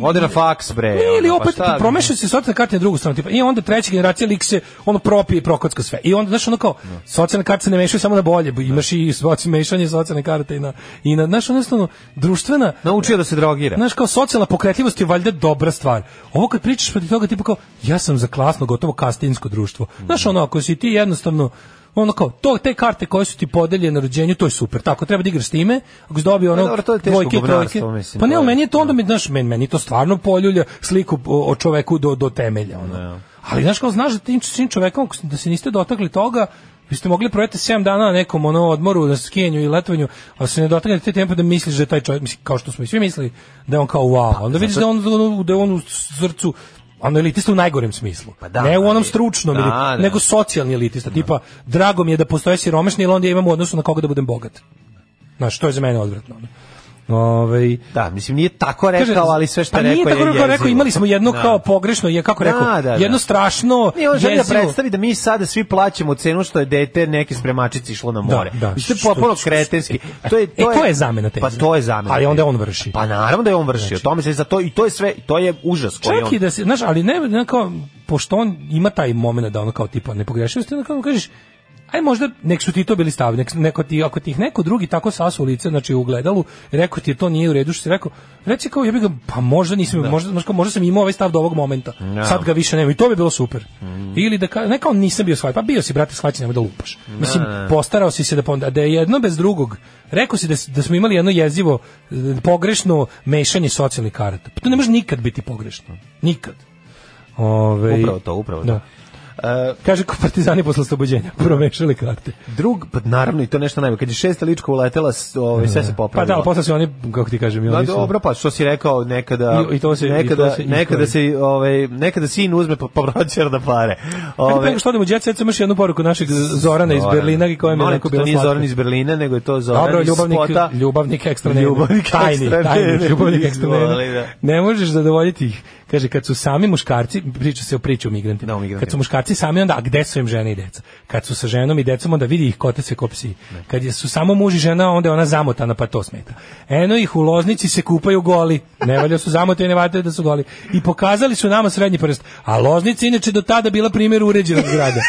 S5: Ode na faks, bre.
S6: ne, E, ili
S5: ono, pa
S6: opet
S5: da, šta-
S6: promešaju se socijalne karte na drugu stranu, tipa, i onda treća generacija lik se ono propije i prokocka sve. I onda znaš ono kao
S5: Da.
S6: socijalne karte se ne mešaju samo na bolje, bo imaš i soci- mešanje socijalne karte i na i na znaš ono jednostavno, društvena
S5: Naučio da se drogira.
S6: Znaš, kao socijalna pokretljivost je valjda dobra stvar. Ovo kad pričaš protiv toga, tipa kao, ja sam za klasno, gotovo kastinsko društvo.
S5: Mhm.
S6: Znaš, ono, ako si ti jednostavno, ono kao, to, te karte koje su ti podeljene na rođenju, to je super. Tako, treba da igraš s time, ako si dobio ono,
S5: Pa dobro, to je teško
S6: dvojke,
S5: govnarstvo,
S6: trojke.
S5: mislim,
S6: Pa
S5: to
S6: ne, ali
S5: je-
S6: meni je to onda, mi, znaš, meni, meni to stvarno poljulja sliku o, o čoveku do, do temelja. Ono. Ali, znaš, kao, znaš da tim, s tim čovekom, ako s- da se niste dotakli toga, vi ste mogli provjeti 7 dana na nekom ono odmoru, na skijenju i letovanju, ali se ne dotakne te tempe da misliš da je taj čovjek, mislim, kao što smo i svi mislili, da je on kao wow,
S5: Pa,
S6: onda vidiš da, on, da on- da je on u srcu ono elitista u najgorem smislu.
S5: da,
S6: ne u onom
S5: ali-
S6: stručnom,
S5: da,
S6: ili-
S5: da.
S6: nego socijalni elitista. Tipa, drago mi je da postoje siromašni, ili onda ja imam u odnosu na koga da budem bogat. Znaš, to je za mene odvratno. Ovaj, Ove,
S5: Da, mislim, nije tako rekao, ali sve što
S6: pa
S5: je rekao
S6: nije tako
S5: je
S6: rekao, rekao,
S5: jezivo.
S6: imali smo jedno
S5: Da.
S6: kao pogrešno, je kako rekao,
S5: Da, da, da.
S6: jedno strašno
S5: Nije on želi da
S6: jezivo-
S5: predstavi da mi sada svi plaćamo cenu što je dete neke spremačice išlo na more.
S6: Da, da.
S5: Mislim, to
S6: Što-
S5: je potpuno
S6: što-
S5: kretenski. To je,
S6: E, to je zamena teze.
S5: Pa to je zamena.
S6: Ali onda
S5: teze.
S6: on vrši.
S5: Pa naravno da je on vršio. tome se za to, I to je sve, to je užas. koji
S6: Čak
S5: on...
S6: i da se, znaš, ali ne, ne kao, pošto on ima taj moment da ono kao tipa ne pogrešio, onda kao kažeš, aj možda nek su ti to bili stav, nek, neko ti, ako ti ih neko drugi tako sasu u lice, znači u gledalu, rekao ti je to nije u redu, što si rekao, reci kao, ja bih ga, pa možda nisam,
S5: Da.
S6: možda, znaš kao, možda sam imao ovaj stav do ovog momenta,
S5: Da. Mm.
S6: sad ga više nema i to bi bilo super. Ili da ka, ne kao nisam bio shvaćen, pa bio si, brate, shvaćen, nemoj da lupaš. Mislim,
S5: da.
S6: postarao si se da ponda, da je jedno bez drugog, rekao si da, s- da smo imali jedno jezivo, e, pogrešno mešanje socijalnih karata. Pa to ne može nikad biti pogrešno. Nikad. Ove,
S5: Upravo to, upravo
S6: da.
S5: to. E,
S6: Kaže ko partizani posle oslobođenja, promešali karte.
S5: Drug, pa naravno i to je nešto najbolje. Kad je šesta lička uletela, s- ovaj, sve se
S6: Pa
S5: popravilo.
S6: da, ali posle su oni, kako ti kažem, i
S5: Pa
S6: oni su...
S5: dobro, pa što si rekao nekada
S6: I- i to se- i to
S5: nekada
S6: se
S5: nekada se ovaj nekada sin uzme pa povraćar da pare.
S6: Ajde, pre nego što odemo u Jet Set, samo još jednu poruku našeg Zorana iz Berlina i koja mi je
S5: ovaj, Molim te,
S6: neko
S5: to
S6: bila
S5: nije
S6: slatka.
S5: Zoran iz Berlina, nego je to Zoran
S6: Dobro,
S5: iz
S6: ljubavnik,
S5: spota.
S6: ljubavnik ekstra nene.
S5: Ljubavnik
S6: tajni,
S5: ekstra
S6: tajni,
S5: nene.
S6: ljubavnik ekstra nene.
S5: Izvoli, da.
S6: Ne možeš zadovoljiti ih. Kaže, kad su sami muškarci, priča se o priči o migrantima,
S5: Da, o migrantima.
S6: kad su muškarci sami, onda, a gde su im žene i deca? Kad su sa ženom i decom, onda vidi ih kote se kopsi. Kad je- su samo muž i žena, onda je ona zamotana, pa to smeta. Eno ih u loznici se kupaju goli. Ne valja su zamotani, ne vataju da su goli. I pokazali su nama srednji prst. A loznica je inače do tada bila primjer uređenog grada.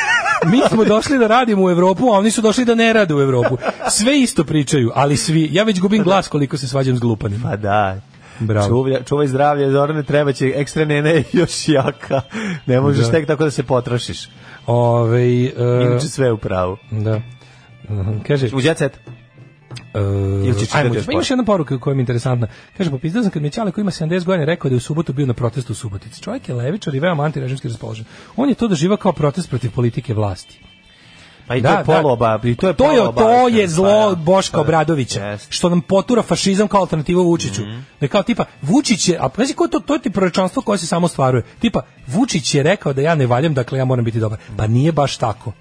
S6: Mi smo došli da radimo u Evropu, a oni su došli da ne rade u Evropu. Sve isto pričaju, ali svi. Ja već gubim glas koliko se svađam s glupanima.
S5: Pa da.
S6: Bravo.
S5: Čuvlja, čuvaj zdravlje, Zorane, treba će ekstra nene još jaka. Ne možeš
S6: Da.
S5: tek tako da se potrošiš.
S6: Ove, e,
S5: Inače sve u pravu.
S6: da. Mhm, Kaže,
S5: U Jet Set.
S6: Uh,
S5: Ili ćeš čitati
S6: ajmo,
S5: još
S6: pa imaš
S5: poruku?
S6: jedna poruka koja mi je interesantna. Kaže, popizdao sam kad mi je Ćale koji ima 70 godina rekao da je u subotu bio na protestu u Subotici. Čovjek je levičar i veoma antirežimski raspoložen. On je to doživao kao protest protiv politike vlasti.
S5: Pa i to je poloba, i to je
S6: Da, to je,
S5: poluoba-
S6: to je zlo
S5: Pa da,
S6: Boška
S5: pa da,
S6: Obradovića,
S5: jeste. Mhm.
S6: što nam potura fašizam kao alternativu Vučiću. Da je kao tipa, Vučić je, a pazi ko je to, to je ti proročanstvo koje se samo stvaruje. Tipa, Vučić je rekao da ja ne valjam, dakle ja moram biti dobar. Pa nije baš tako.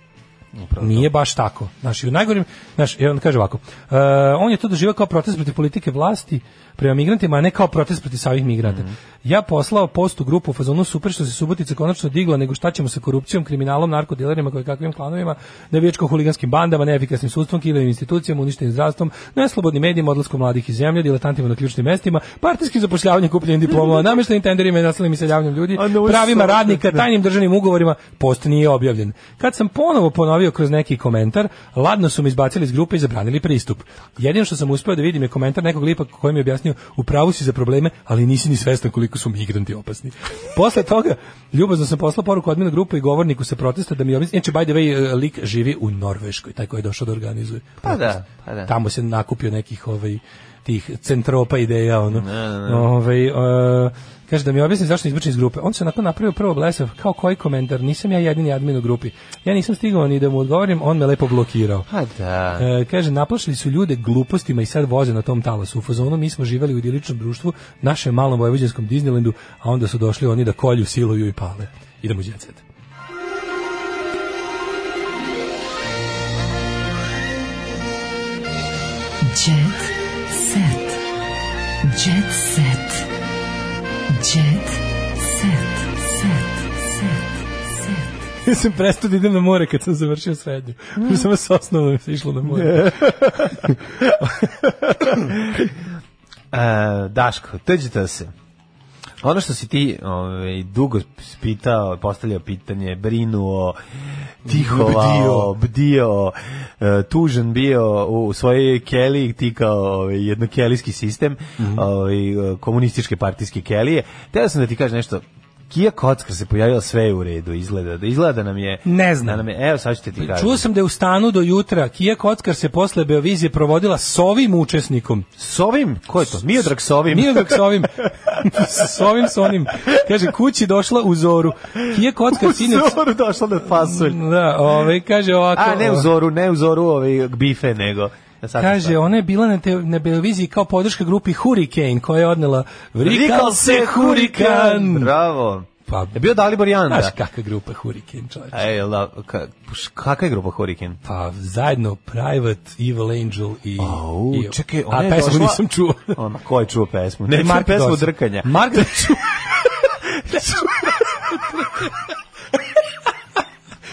S6: Nije baš tako. Znaš, i u najgorim, znaš, i on kaže ovako, e, on je to doživio kao protest protiv politike vlasti prema migrantima, a ne kao protest protiv samih migranta. Ja poslao post u grupu u fazonu super što se Subotica konačno digla, nego šta ćemo sa korupcijom, kriminalom, narkodilerima, koje kakvim klanovima, nevijačko huliganskim bandama, neefikasnim sudstvom, kilenim institucijama, uništenim zdravstvom, neslobodnim medijima, odlaskom mladih iz zemlje, diletantima na ključnim mestima, partijskim zapošljavanjem, kupljenjem diploma, namještenim tenderima i nasilnim iseljavanjem ljudi,
S5: A no,
S6: pravima
S5: sad,
S6: radnika,
S5: da.
S6: tajnim državnim ugovorima, post nije objavljen. Kad sam ponovo ponovio kroz neki komentar, ladno su me izbacili iz grupe i zabranili pristup. Jedino što sam uspeo da vidim je komentar nekog lipa koji mi je objasnio u pravu si za probleme, ali nisi ni svestan koliko su migranti opasni. Posle toga, ljubazno sam poslao poruku adminu grupe i govorniku sa protesta da mi objasni, znači by the way, lik živi u Norveškoj, taj koji je došao da organizuje.
S5: Pa
S6: protest.
S5: da, pa da.
S6: Tamo se nakupio nekih ovaj tih centropa ideja ono.
S5: ne,
S6: Ovaj, e, kaže da mi objasni zašto je izbačen iz grupe. On se nakon napravio prvo blesav, kao koji komentar, nisam ja jedini admin u grupi. Ja nisam stigao ni da mu odgovorim, on me lepo blokirao.
S5: Pa da.
S6: E, kaže, naplašili su ljude glupostima i sad voze na tom talasu. U fazonu mi smo živeli u idiličnom društvu, našem malom vojvođanskom Disneylandu, a onda su došli oni da kolju, siluju i pale. Idemo u djecet.
S4: Jet set. Jet set. Jet set. Set. Set. Set.
S6: Ja sam prestao da idem na more kad sam završio srednju. Mm. Samo s osnovno se išlo na more.
S5: E, Daško, tuđite se. Ono što si ti ovaj, dugo pitao, postavljao pitanje, brinuo, tihovao, bdio, e, tužan bio u svojoj keli, ti kao ovaj, jednokelijski sistem,
S6: Mhm.
S5: ovaj, komunističke partijske kelije. Teo sam da ti kažem nešto, Kija Kockar se pojavila sve je u redu, izgleda da izgleda da nam je
S6: Ne znam.
S5: da nam je, evo sad ću ti ti kažem.
S6: Čuo sam da je u stanu do jutra Kija Kockar se posle Beovizije provodila s ovim učesnikom.
S5: S ovim, ko je to? Miodrag s ovim.
S6: Nije dok s ovim. s ovim s onim. Kaže, kući došla u zoru. Kija Kockar sinoć...
S5: Zoru došla na fasulj.
S6: Da, ovaj, kaže ovako...
S5: A ne u zoru, ne u zoru ove bife, nego... Ja sad
S6: Kaže,
S5: sam-
S6: ona je bila na, te, na televiziji kao podrška grupi Hurricane, koja je odnela Vrikal se Hurikan!
S5: Bravo. da.
S6: Pa,
S5: Je bio Dalibor Janda.
S6: znaš kakva grupa Hurricane, čovječe.
S5: Ej, la, ka, š- kakva je grupa Hurikin?
S6: Pa zajedno Private, Evil Angel i...
S5: Au,
S6: i
S5: čekaj, ona
S6: a
S5: je
S6: pesmu
S5: došla-
S6: nisam čuo.
S5: Ono, ko je čuo pesmu? Ne, čuo
S6: Mark
S5: pesmu
S6: Dawson.
S5: drkanja.
S6: Mark da čuo.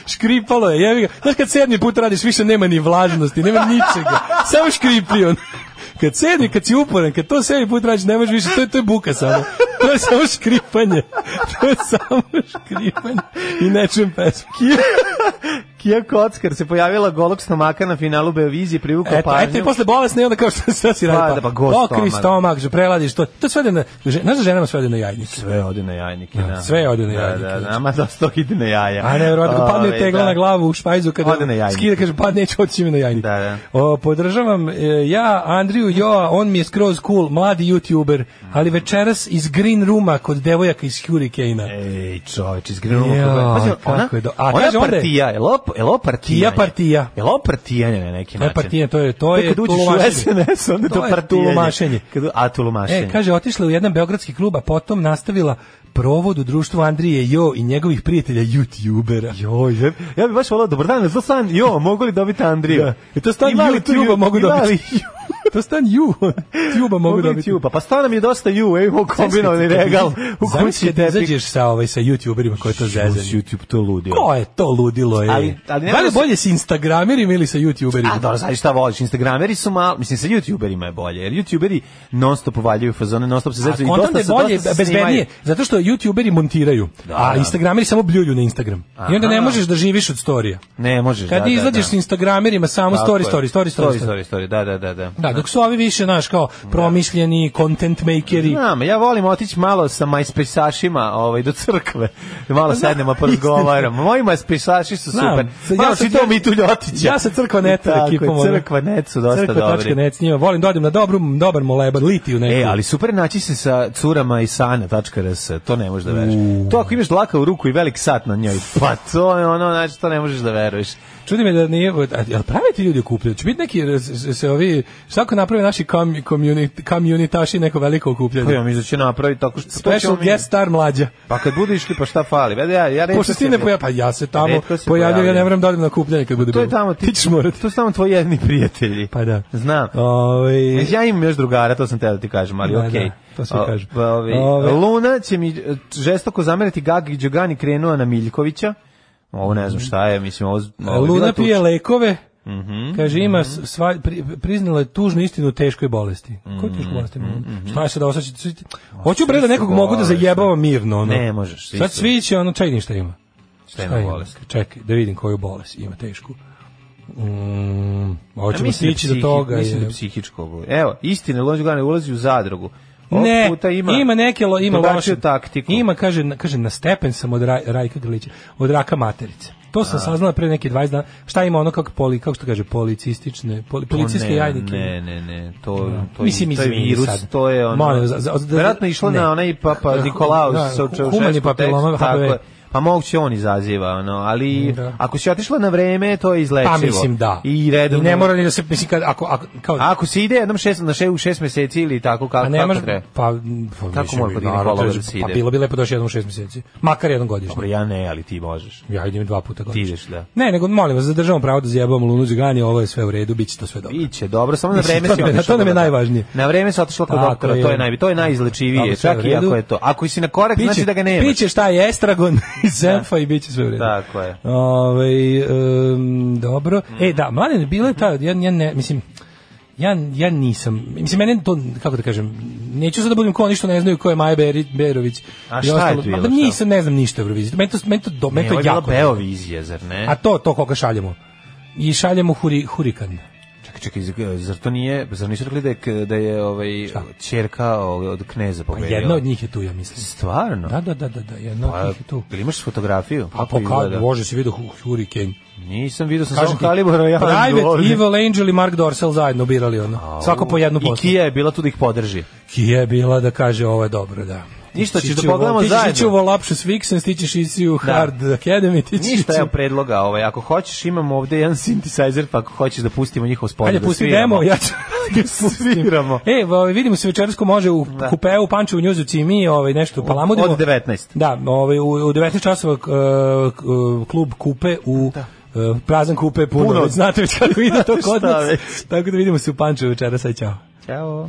S6: Škripalo je, jevi ga. Znaš kad sedmi put radiš, više nema ni vlažnosti, nema ničega. Samo škripi on. Kad sedmi, kad si uporan, kad to sedmi put radiš, nemaš više, to je, to je buka samo. To je samo škripanje. To je samo škripanje. I ne čujem pesmu.
S5: Kija Kockar se pojavila golog stomaka na finalu Beovizije, privukla
S6: eto,
S5: pažnju.
S6: Eto i posle bolesne, i onda kao što se si
S5: Pa,
S6: radi.
S5: da, pa go stomak.
S6: Okri stomak, že preladiš to. To sve ode na, že- znaš da ženama sve ode na jajnike?
S5: Sve ode na jajnike,
S6: Da,
S5: da.
S6: sve ode na
S5: Da,
S6: jajnike,
S5: Da, da,
S6: znači.
S5: nama dosta ide na jaja.
S6: A ne, verovatno, kad padne
S5: Ove,
S6: tegla
S5: da.
S6: na glavu u špajzu kada
S5: Ode na jajnik.
S6: skida, kaže, pa neću oći mi na jajnik.
S5: Da, da.
S6: O, podržavam e, ja Andriju Joa, on mi je skroz cool, mladi youtuber, ali večeras iz Green Rooma kod devojaka iz Hurricane-a.
S5: E,
S6: E,
S5: Ej, čoveč, izgrenulo
S6: Joj,
S5: kako je. Pazi, ona,
S6: kako je do- a
S5: ona
S6: kaže
S5: je
S6: onda-
S5: partija, je lo, je lo partija?
S6: Kija partija.
S5: Je lo partijanje na neki
S6: Ne
S5: način?
S6: partije, to pa je to
S5: To je
S6: je
S5: kad uđeš u
S6: tulumašenje.
S5: SNS, onda je to,
S6: To je
S5: partijanje.
S6: tulumašenje.
S5: Kad, a, tulumašenje.
S6: E, kaže, otišla je u jedan beogradski klub, a potom nastavila provod u društvu Andrije Jo i njegovih prijatelja youtubera.
S5: Joj, ja, ja bih baš volao, dobar dan, za san, jo, mogu li dobiti Andriju?
S6: Da. I to stan YouTube-a mogu dobiti. to stan ju, Tuba mogu dobiti.
S5: YouTube, pa stana mi je dosta ju, ej, moj kombinovani regal u kući
S6: Zamisli kad
S5: tepik.
S6: izađeš sa, ovaj, sa youtuberima koje to zezanje.
S5: YouTube to ludio.
S6: Ko je to ludilo, je?
S5: Ali- ali ne
S6: da li je
S5: mogu se-
S6: bolje s Instagramerima ili sa YouTuberima?
S5: A dobro, znaš šta voliš, Instagrameri su malo, mislim sa YouTuberima je bolje, jer YouTuberi non stop uvaljuju fazone, non stop se
S6: A
S5: zezuju i
S6: kontam
S5: dosta
S6: da je
S5: se,
S6: bolje,
S5: dosta se
S6: bezbednije,
S5: snimaju.
S6: zato što YouTuberi montiraju,
S5: Da,
S6: a
S5: da.
S6: Instagrameri samo bljulju na Instagram. I onda ne
S5: Aha.
S6: možeš da živiš od storija.
S5: Ne, možeš,
S6: Kad
S5: da, da,
S6: izlađeš
S5: da.
S6: s Instagramerima samo
S5: Tako
S6: story,
S5: je.
S6: story, story, story, story.
S5: story, story, da, da, da, da.
S6: Da, dok su ovi više, znaš, kao promišljeni content makeri.
S5: Znam, ja volim otići malo sa MySpace-ašima ovaj, do crkve, da malo sednemo pa razgovaram. Moji MySpace-aši su
S6: Znam,
S5: super.
S6: sa- ja
S5: Malo ja
S6: sam
S5: čitam
S6: ja-
S5: i tu Ljotića.
S6: Ja sa crkva neta
S5: Tako je,
S6: ekipom. ono.
S5: Crkva net su dosta
S6: Crkva
S5: dobri.
S6: tačka net s njima. Volim da odem na dobru, dobar molebar, litiju neku.
S5: E, ali super naći se sa curama i sana.rs, to ne možeš da veruješ. To ako imaš dlaka u ruku i velik sat na njoj, pa to je ono, znači, to ne možeš da veruješ.
S6: Čudi me da nije, a- jel prave ti ljudi okupljaju? Će biti neki, raz- se ovi, šta ako naprave naši kam, community, communitaši neko veliko
S5: Pa ja
S6: okupljanje?
S5: mislim da će napraviti tako što... to
S6: Special
S5: ćemo mi-
S6: guest star mlađa.
S5: Pa kad budu išli, pa šta fali? Ja, ja, da ja
S6: Pošto ti ne poja- pa ja se tamo pojavljam, ja ne moram da odem na okupljanje kad bude
S5: To je
S6: bilo.
S5: tamo ti,
S6: ti ćeš morati.
S5: To su tamo tvoji jedni prijatelji.
S6: Pa da.
S5: Znam. E,
S6: Ovaj,
S5: Ja imam još drugara, to sam teo da ti kažem, ali
S6: Da,
S5: okej.
S6: da, to svi
S5: O,
S6: kažu.
S5: pa ovi-
S6: Ove-
S5: Luna će mi e, žestoko zameriti Gagi Đogani krenuo na Miljkovića. Ovo ne znam šta je, mislim, ovo... ovo je bila
S6: Luna
S5: tuča. Mhm,
S6: pije lekove, Kaže, ima sva, pri, priznala je tužnu istinu o teškoj bolesti. Koju
S5: Mhm,
S6: tešku bolesti? Šta je sad osjećati? Hoću bre da nekog
S5: su
S6: mogu da
S5: bolesti.
S6: zajebavam mirno. Ono.
S5: Ne možeš, svi
S6: Sad
S5: su.
S6: svi će, ono, čaj ništa ima.
S5: Šta ima
S6: Šta ima?
S5: bolest?
S6: Čekaj, da vidim koju bolest ima tešku. Mm,
S5: Ja
S6: hoćemo
S5: mislim da
S6: stići do
S5: psihi-
S6: toga.
S5: Mislim da
S6: je.
S5: je psihičko obolje. Evo, istina, Luna Đogani ulazi u zadrugu. Ovog
S6: ne,
S5: puta ima,
S6: neke lo, ima
S5: drugačiju
S6: loše
S5: taktiku.
S6: Ima kaže na, kaže na stepen sam od Raj- Rajka Grlića, od raka materice. To sam saznala pre neke 20 dana. Šta ima ono kako poli kako što kaže policistične poli,
S5: To
S6: policijske
S5: Pa ne,
S6: jajnike.
S5: Ne, ne, ne, to, to,
S6: Mislim,
S5: Mislim, to je
S6: izvini
S5: virus,
S6: sad.
S5: to je ono...
S6: Molim vas, za- za-
S5: Verovatno je išlo
S6: ne.
S5: na onaj Papa
S6: Da,
S5: Nikolaus
S6: da,
S5: sa Čaušesku.
S6: humani papiloma, HPV.
S5: Pa moguće on izaziva, ono, ali
S6: Da.
S5: ako si otišla na vreme, to je izlečivo.
S6: Pa mislim da.
S5: I redovno.
S6: ne mora ni da se mislim kad ako ako kao
S5: Ako se ide jednom šest, na šest, u šest meseci ili tako, kako,
S6: A ne
S5: kako
S6: može,
S5: treba?
S6: pa, pa
S5: Kako mora kod ginekologa da se
S6: Pa
S5: ide?
S6: bilo bi lepo doći jednom u šest mjeseci. Makar jednom godišnje.
S5: Dobro, ja ne, ali ti možeš.
S6: Ja idem dva puta
S5: Ti
S6: godišnje.
S5: ideš, da.
S6: Ne, nego molim vas, zadržavamo pravo da zjebamo Lunu Đugani, ovo je sve u redu, biće to sve dobro.
S5: Biće, dobro, samo na
S6: Mislim,
S5: vreme
S6: to
S5: si
S6: nam je-
S5: otišla
S6: to nam je
S5: kod doktora.
S6: najvažnije.
S5: Na vreme si otišla kod
S6: Tako
S5: doktora,
S6: je.
S5: to je naj to je najizlečivije,
S6: Dobro, sve
S5: čak
S6: u
S5: i
S6: redu.
S5: ako je to. Ako si na korak, znači da ga nemaš. Da.
S6: Piće šta je estragon i zemfa i biće sve u redu.
S5: Tako je.
S6: Ovaj, em, dobro. E, da, mladen, bilo je ta, ja, ja ne, mislim, ja, ja nisam, mislim, mene to, kako da kažem, neću sad da budem ko oni što ne znaju ko je Maja Beri, Berović.
S5: A
S6: i
S5: šta je
S6: ostalo.
S5: tu bilo,
S6: Ma,
S5: šta?
S6: Nisam, ne znam ništa o Euroviziji. Meni to, meni to, do- meni
S5: Ne,
S6: to
S5: ovo je bila
S6: jako.
S5: Beovizija, zar ne?
S6: A to, to koga šaljemo. I šaljemo huri, hurikan.
S5: Čekaj, čekaj, zar- zar to nije, zar nisu rekli da je, k- da je ovaj, ćerka ovaj, od kneza
S6: Pa
S5: pobedila?
S6: jedna od njih je tu, ja mislim.
S5: Stvarno?
S6: Da, da, da, da, da jedna od
S5: Pa,
S6: njih je tu. Pa,
S5: ili imaš fotografiju?
S6: A
S5: Kako izgleda?
S6: pokad, bože, si vidio hu- hurikan.
S5: Nisam vidio sam
S6: Kažem
S5: samo
S6: ti,
S5: kalibora. Ja
S6: Private,
S5: ovdje.
S6: Evil Angel i Mark Dorsal zajedno birali ono. Svako po jednu
S5: I
S6: poslu.
S5: Kija je bila tu da ih podrži.
S6: Kija je bila da kaže ovo je dobro, da.
S5: Ništa,
S6: Ti
S5: ćeš da
S6: u-
S5: pogledamo
S6: Ti ćeš ići
S5: zajedno. Da.
S6: u Volapšus Vixens, ti ćeš ići u Hard Academy, ti ćeš
S5: Ništa
S6: ići
S5: je
S6: u...
S5: predloga, ovaj, ako hoćeš imamo ovdje jedan synthesizer, pa ako hoćeš da pustimo njihov spolje
S6: Ajde,
S5: da
S6: pusti
S5: sviramo.
S6: demo, ja ću...
S5: da sviramo.
S6: E, ovaj, vidimo se večeras ko može u
S5: Da.
S6: kupeu, panče u njuzuci i mi ovaj, nešto palamudimo.
S5: Od 19.
S6: Da, ovaj, u, u 19 časova eh, k- eh, klub kupe u... eh, prazan kupe puno,
S5: Da. Puno.
S6: već znate već kako ide to kod
S5: Šta
S6: nas
S5: već.
S6: tako da vidimo se u Pančevu večeras aj čao
S5: Ćao.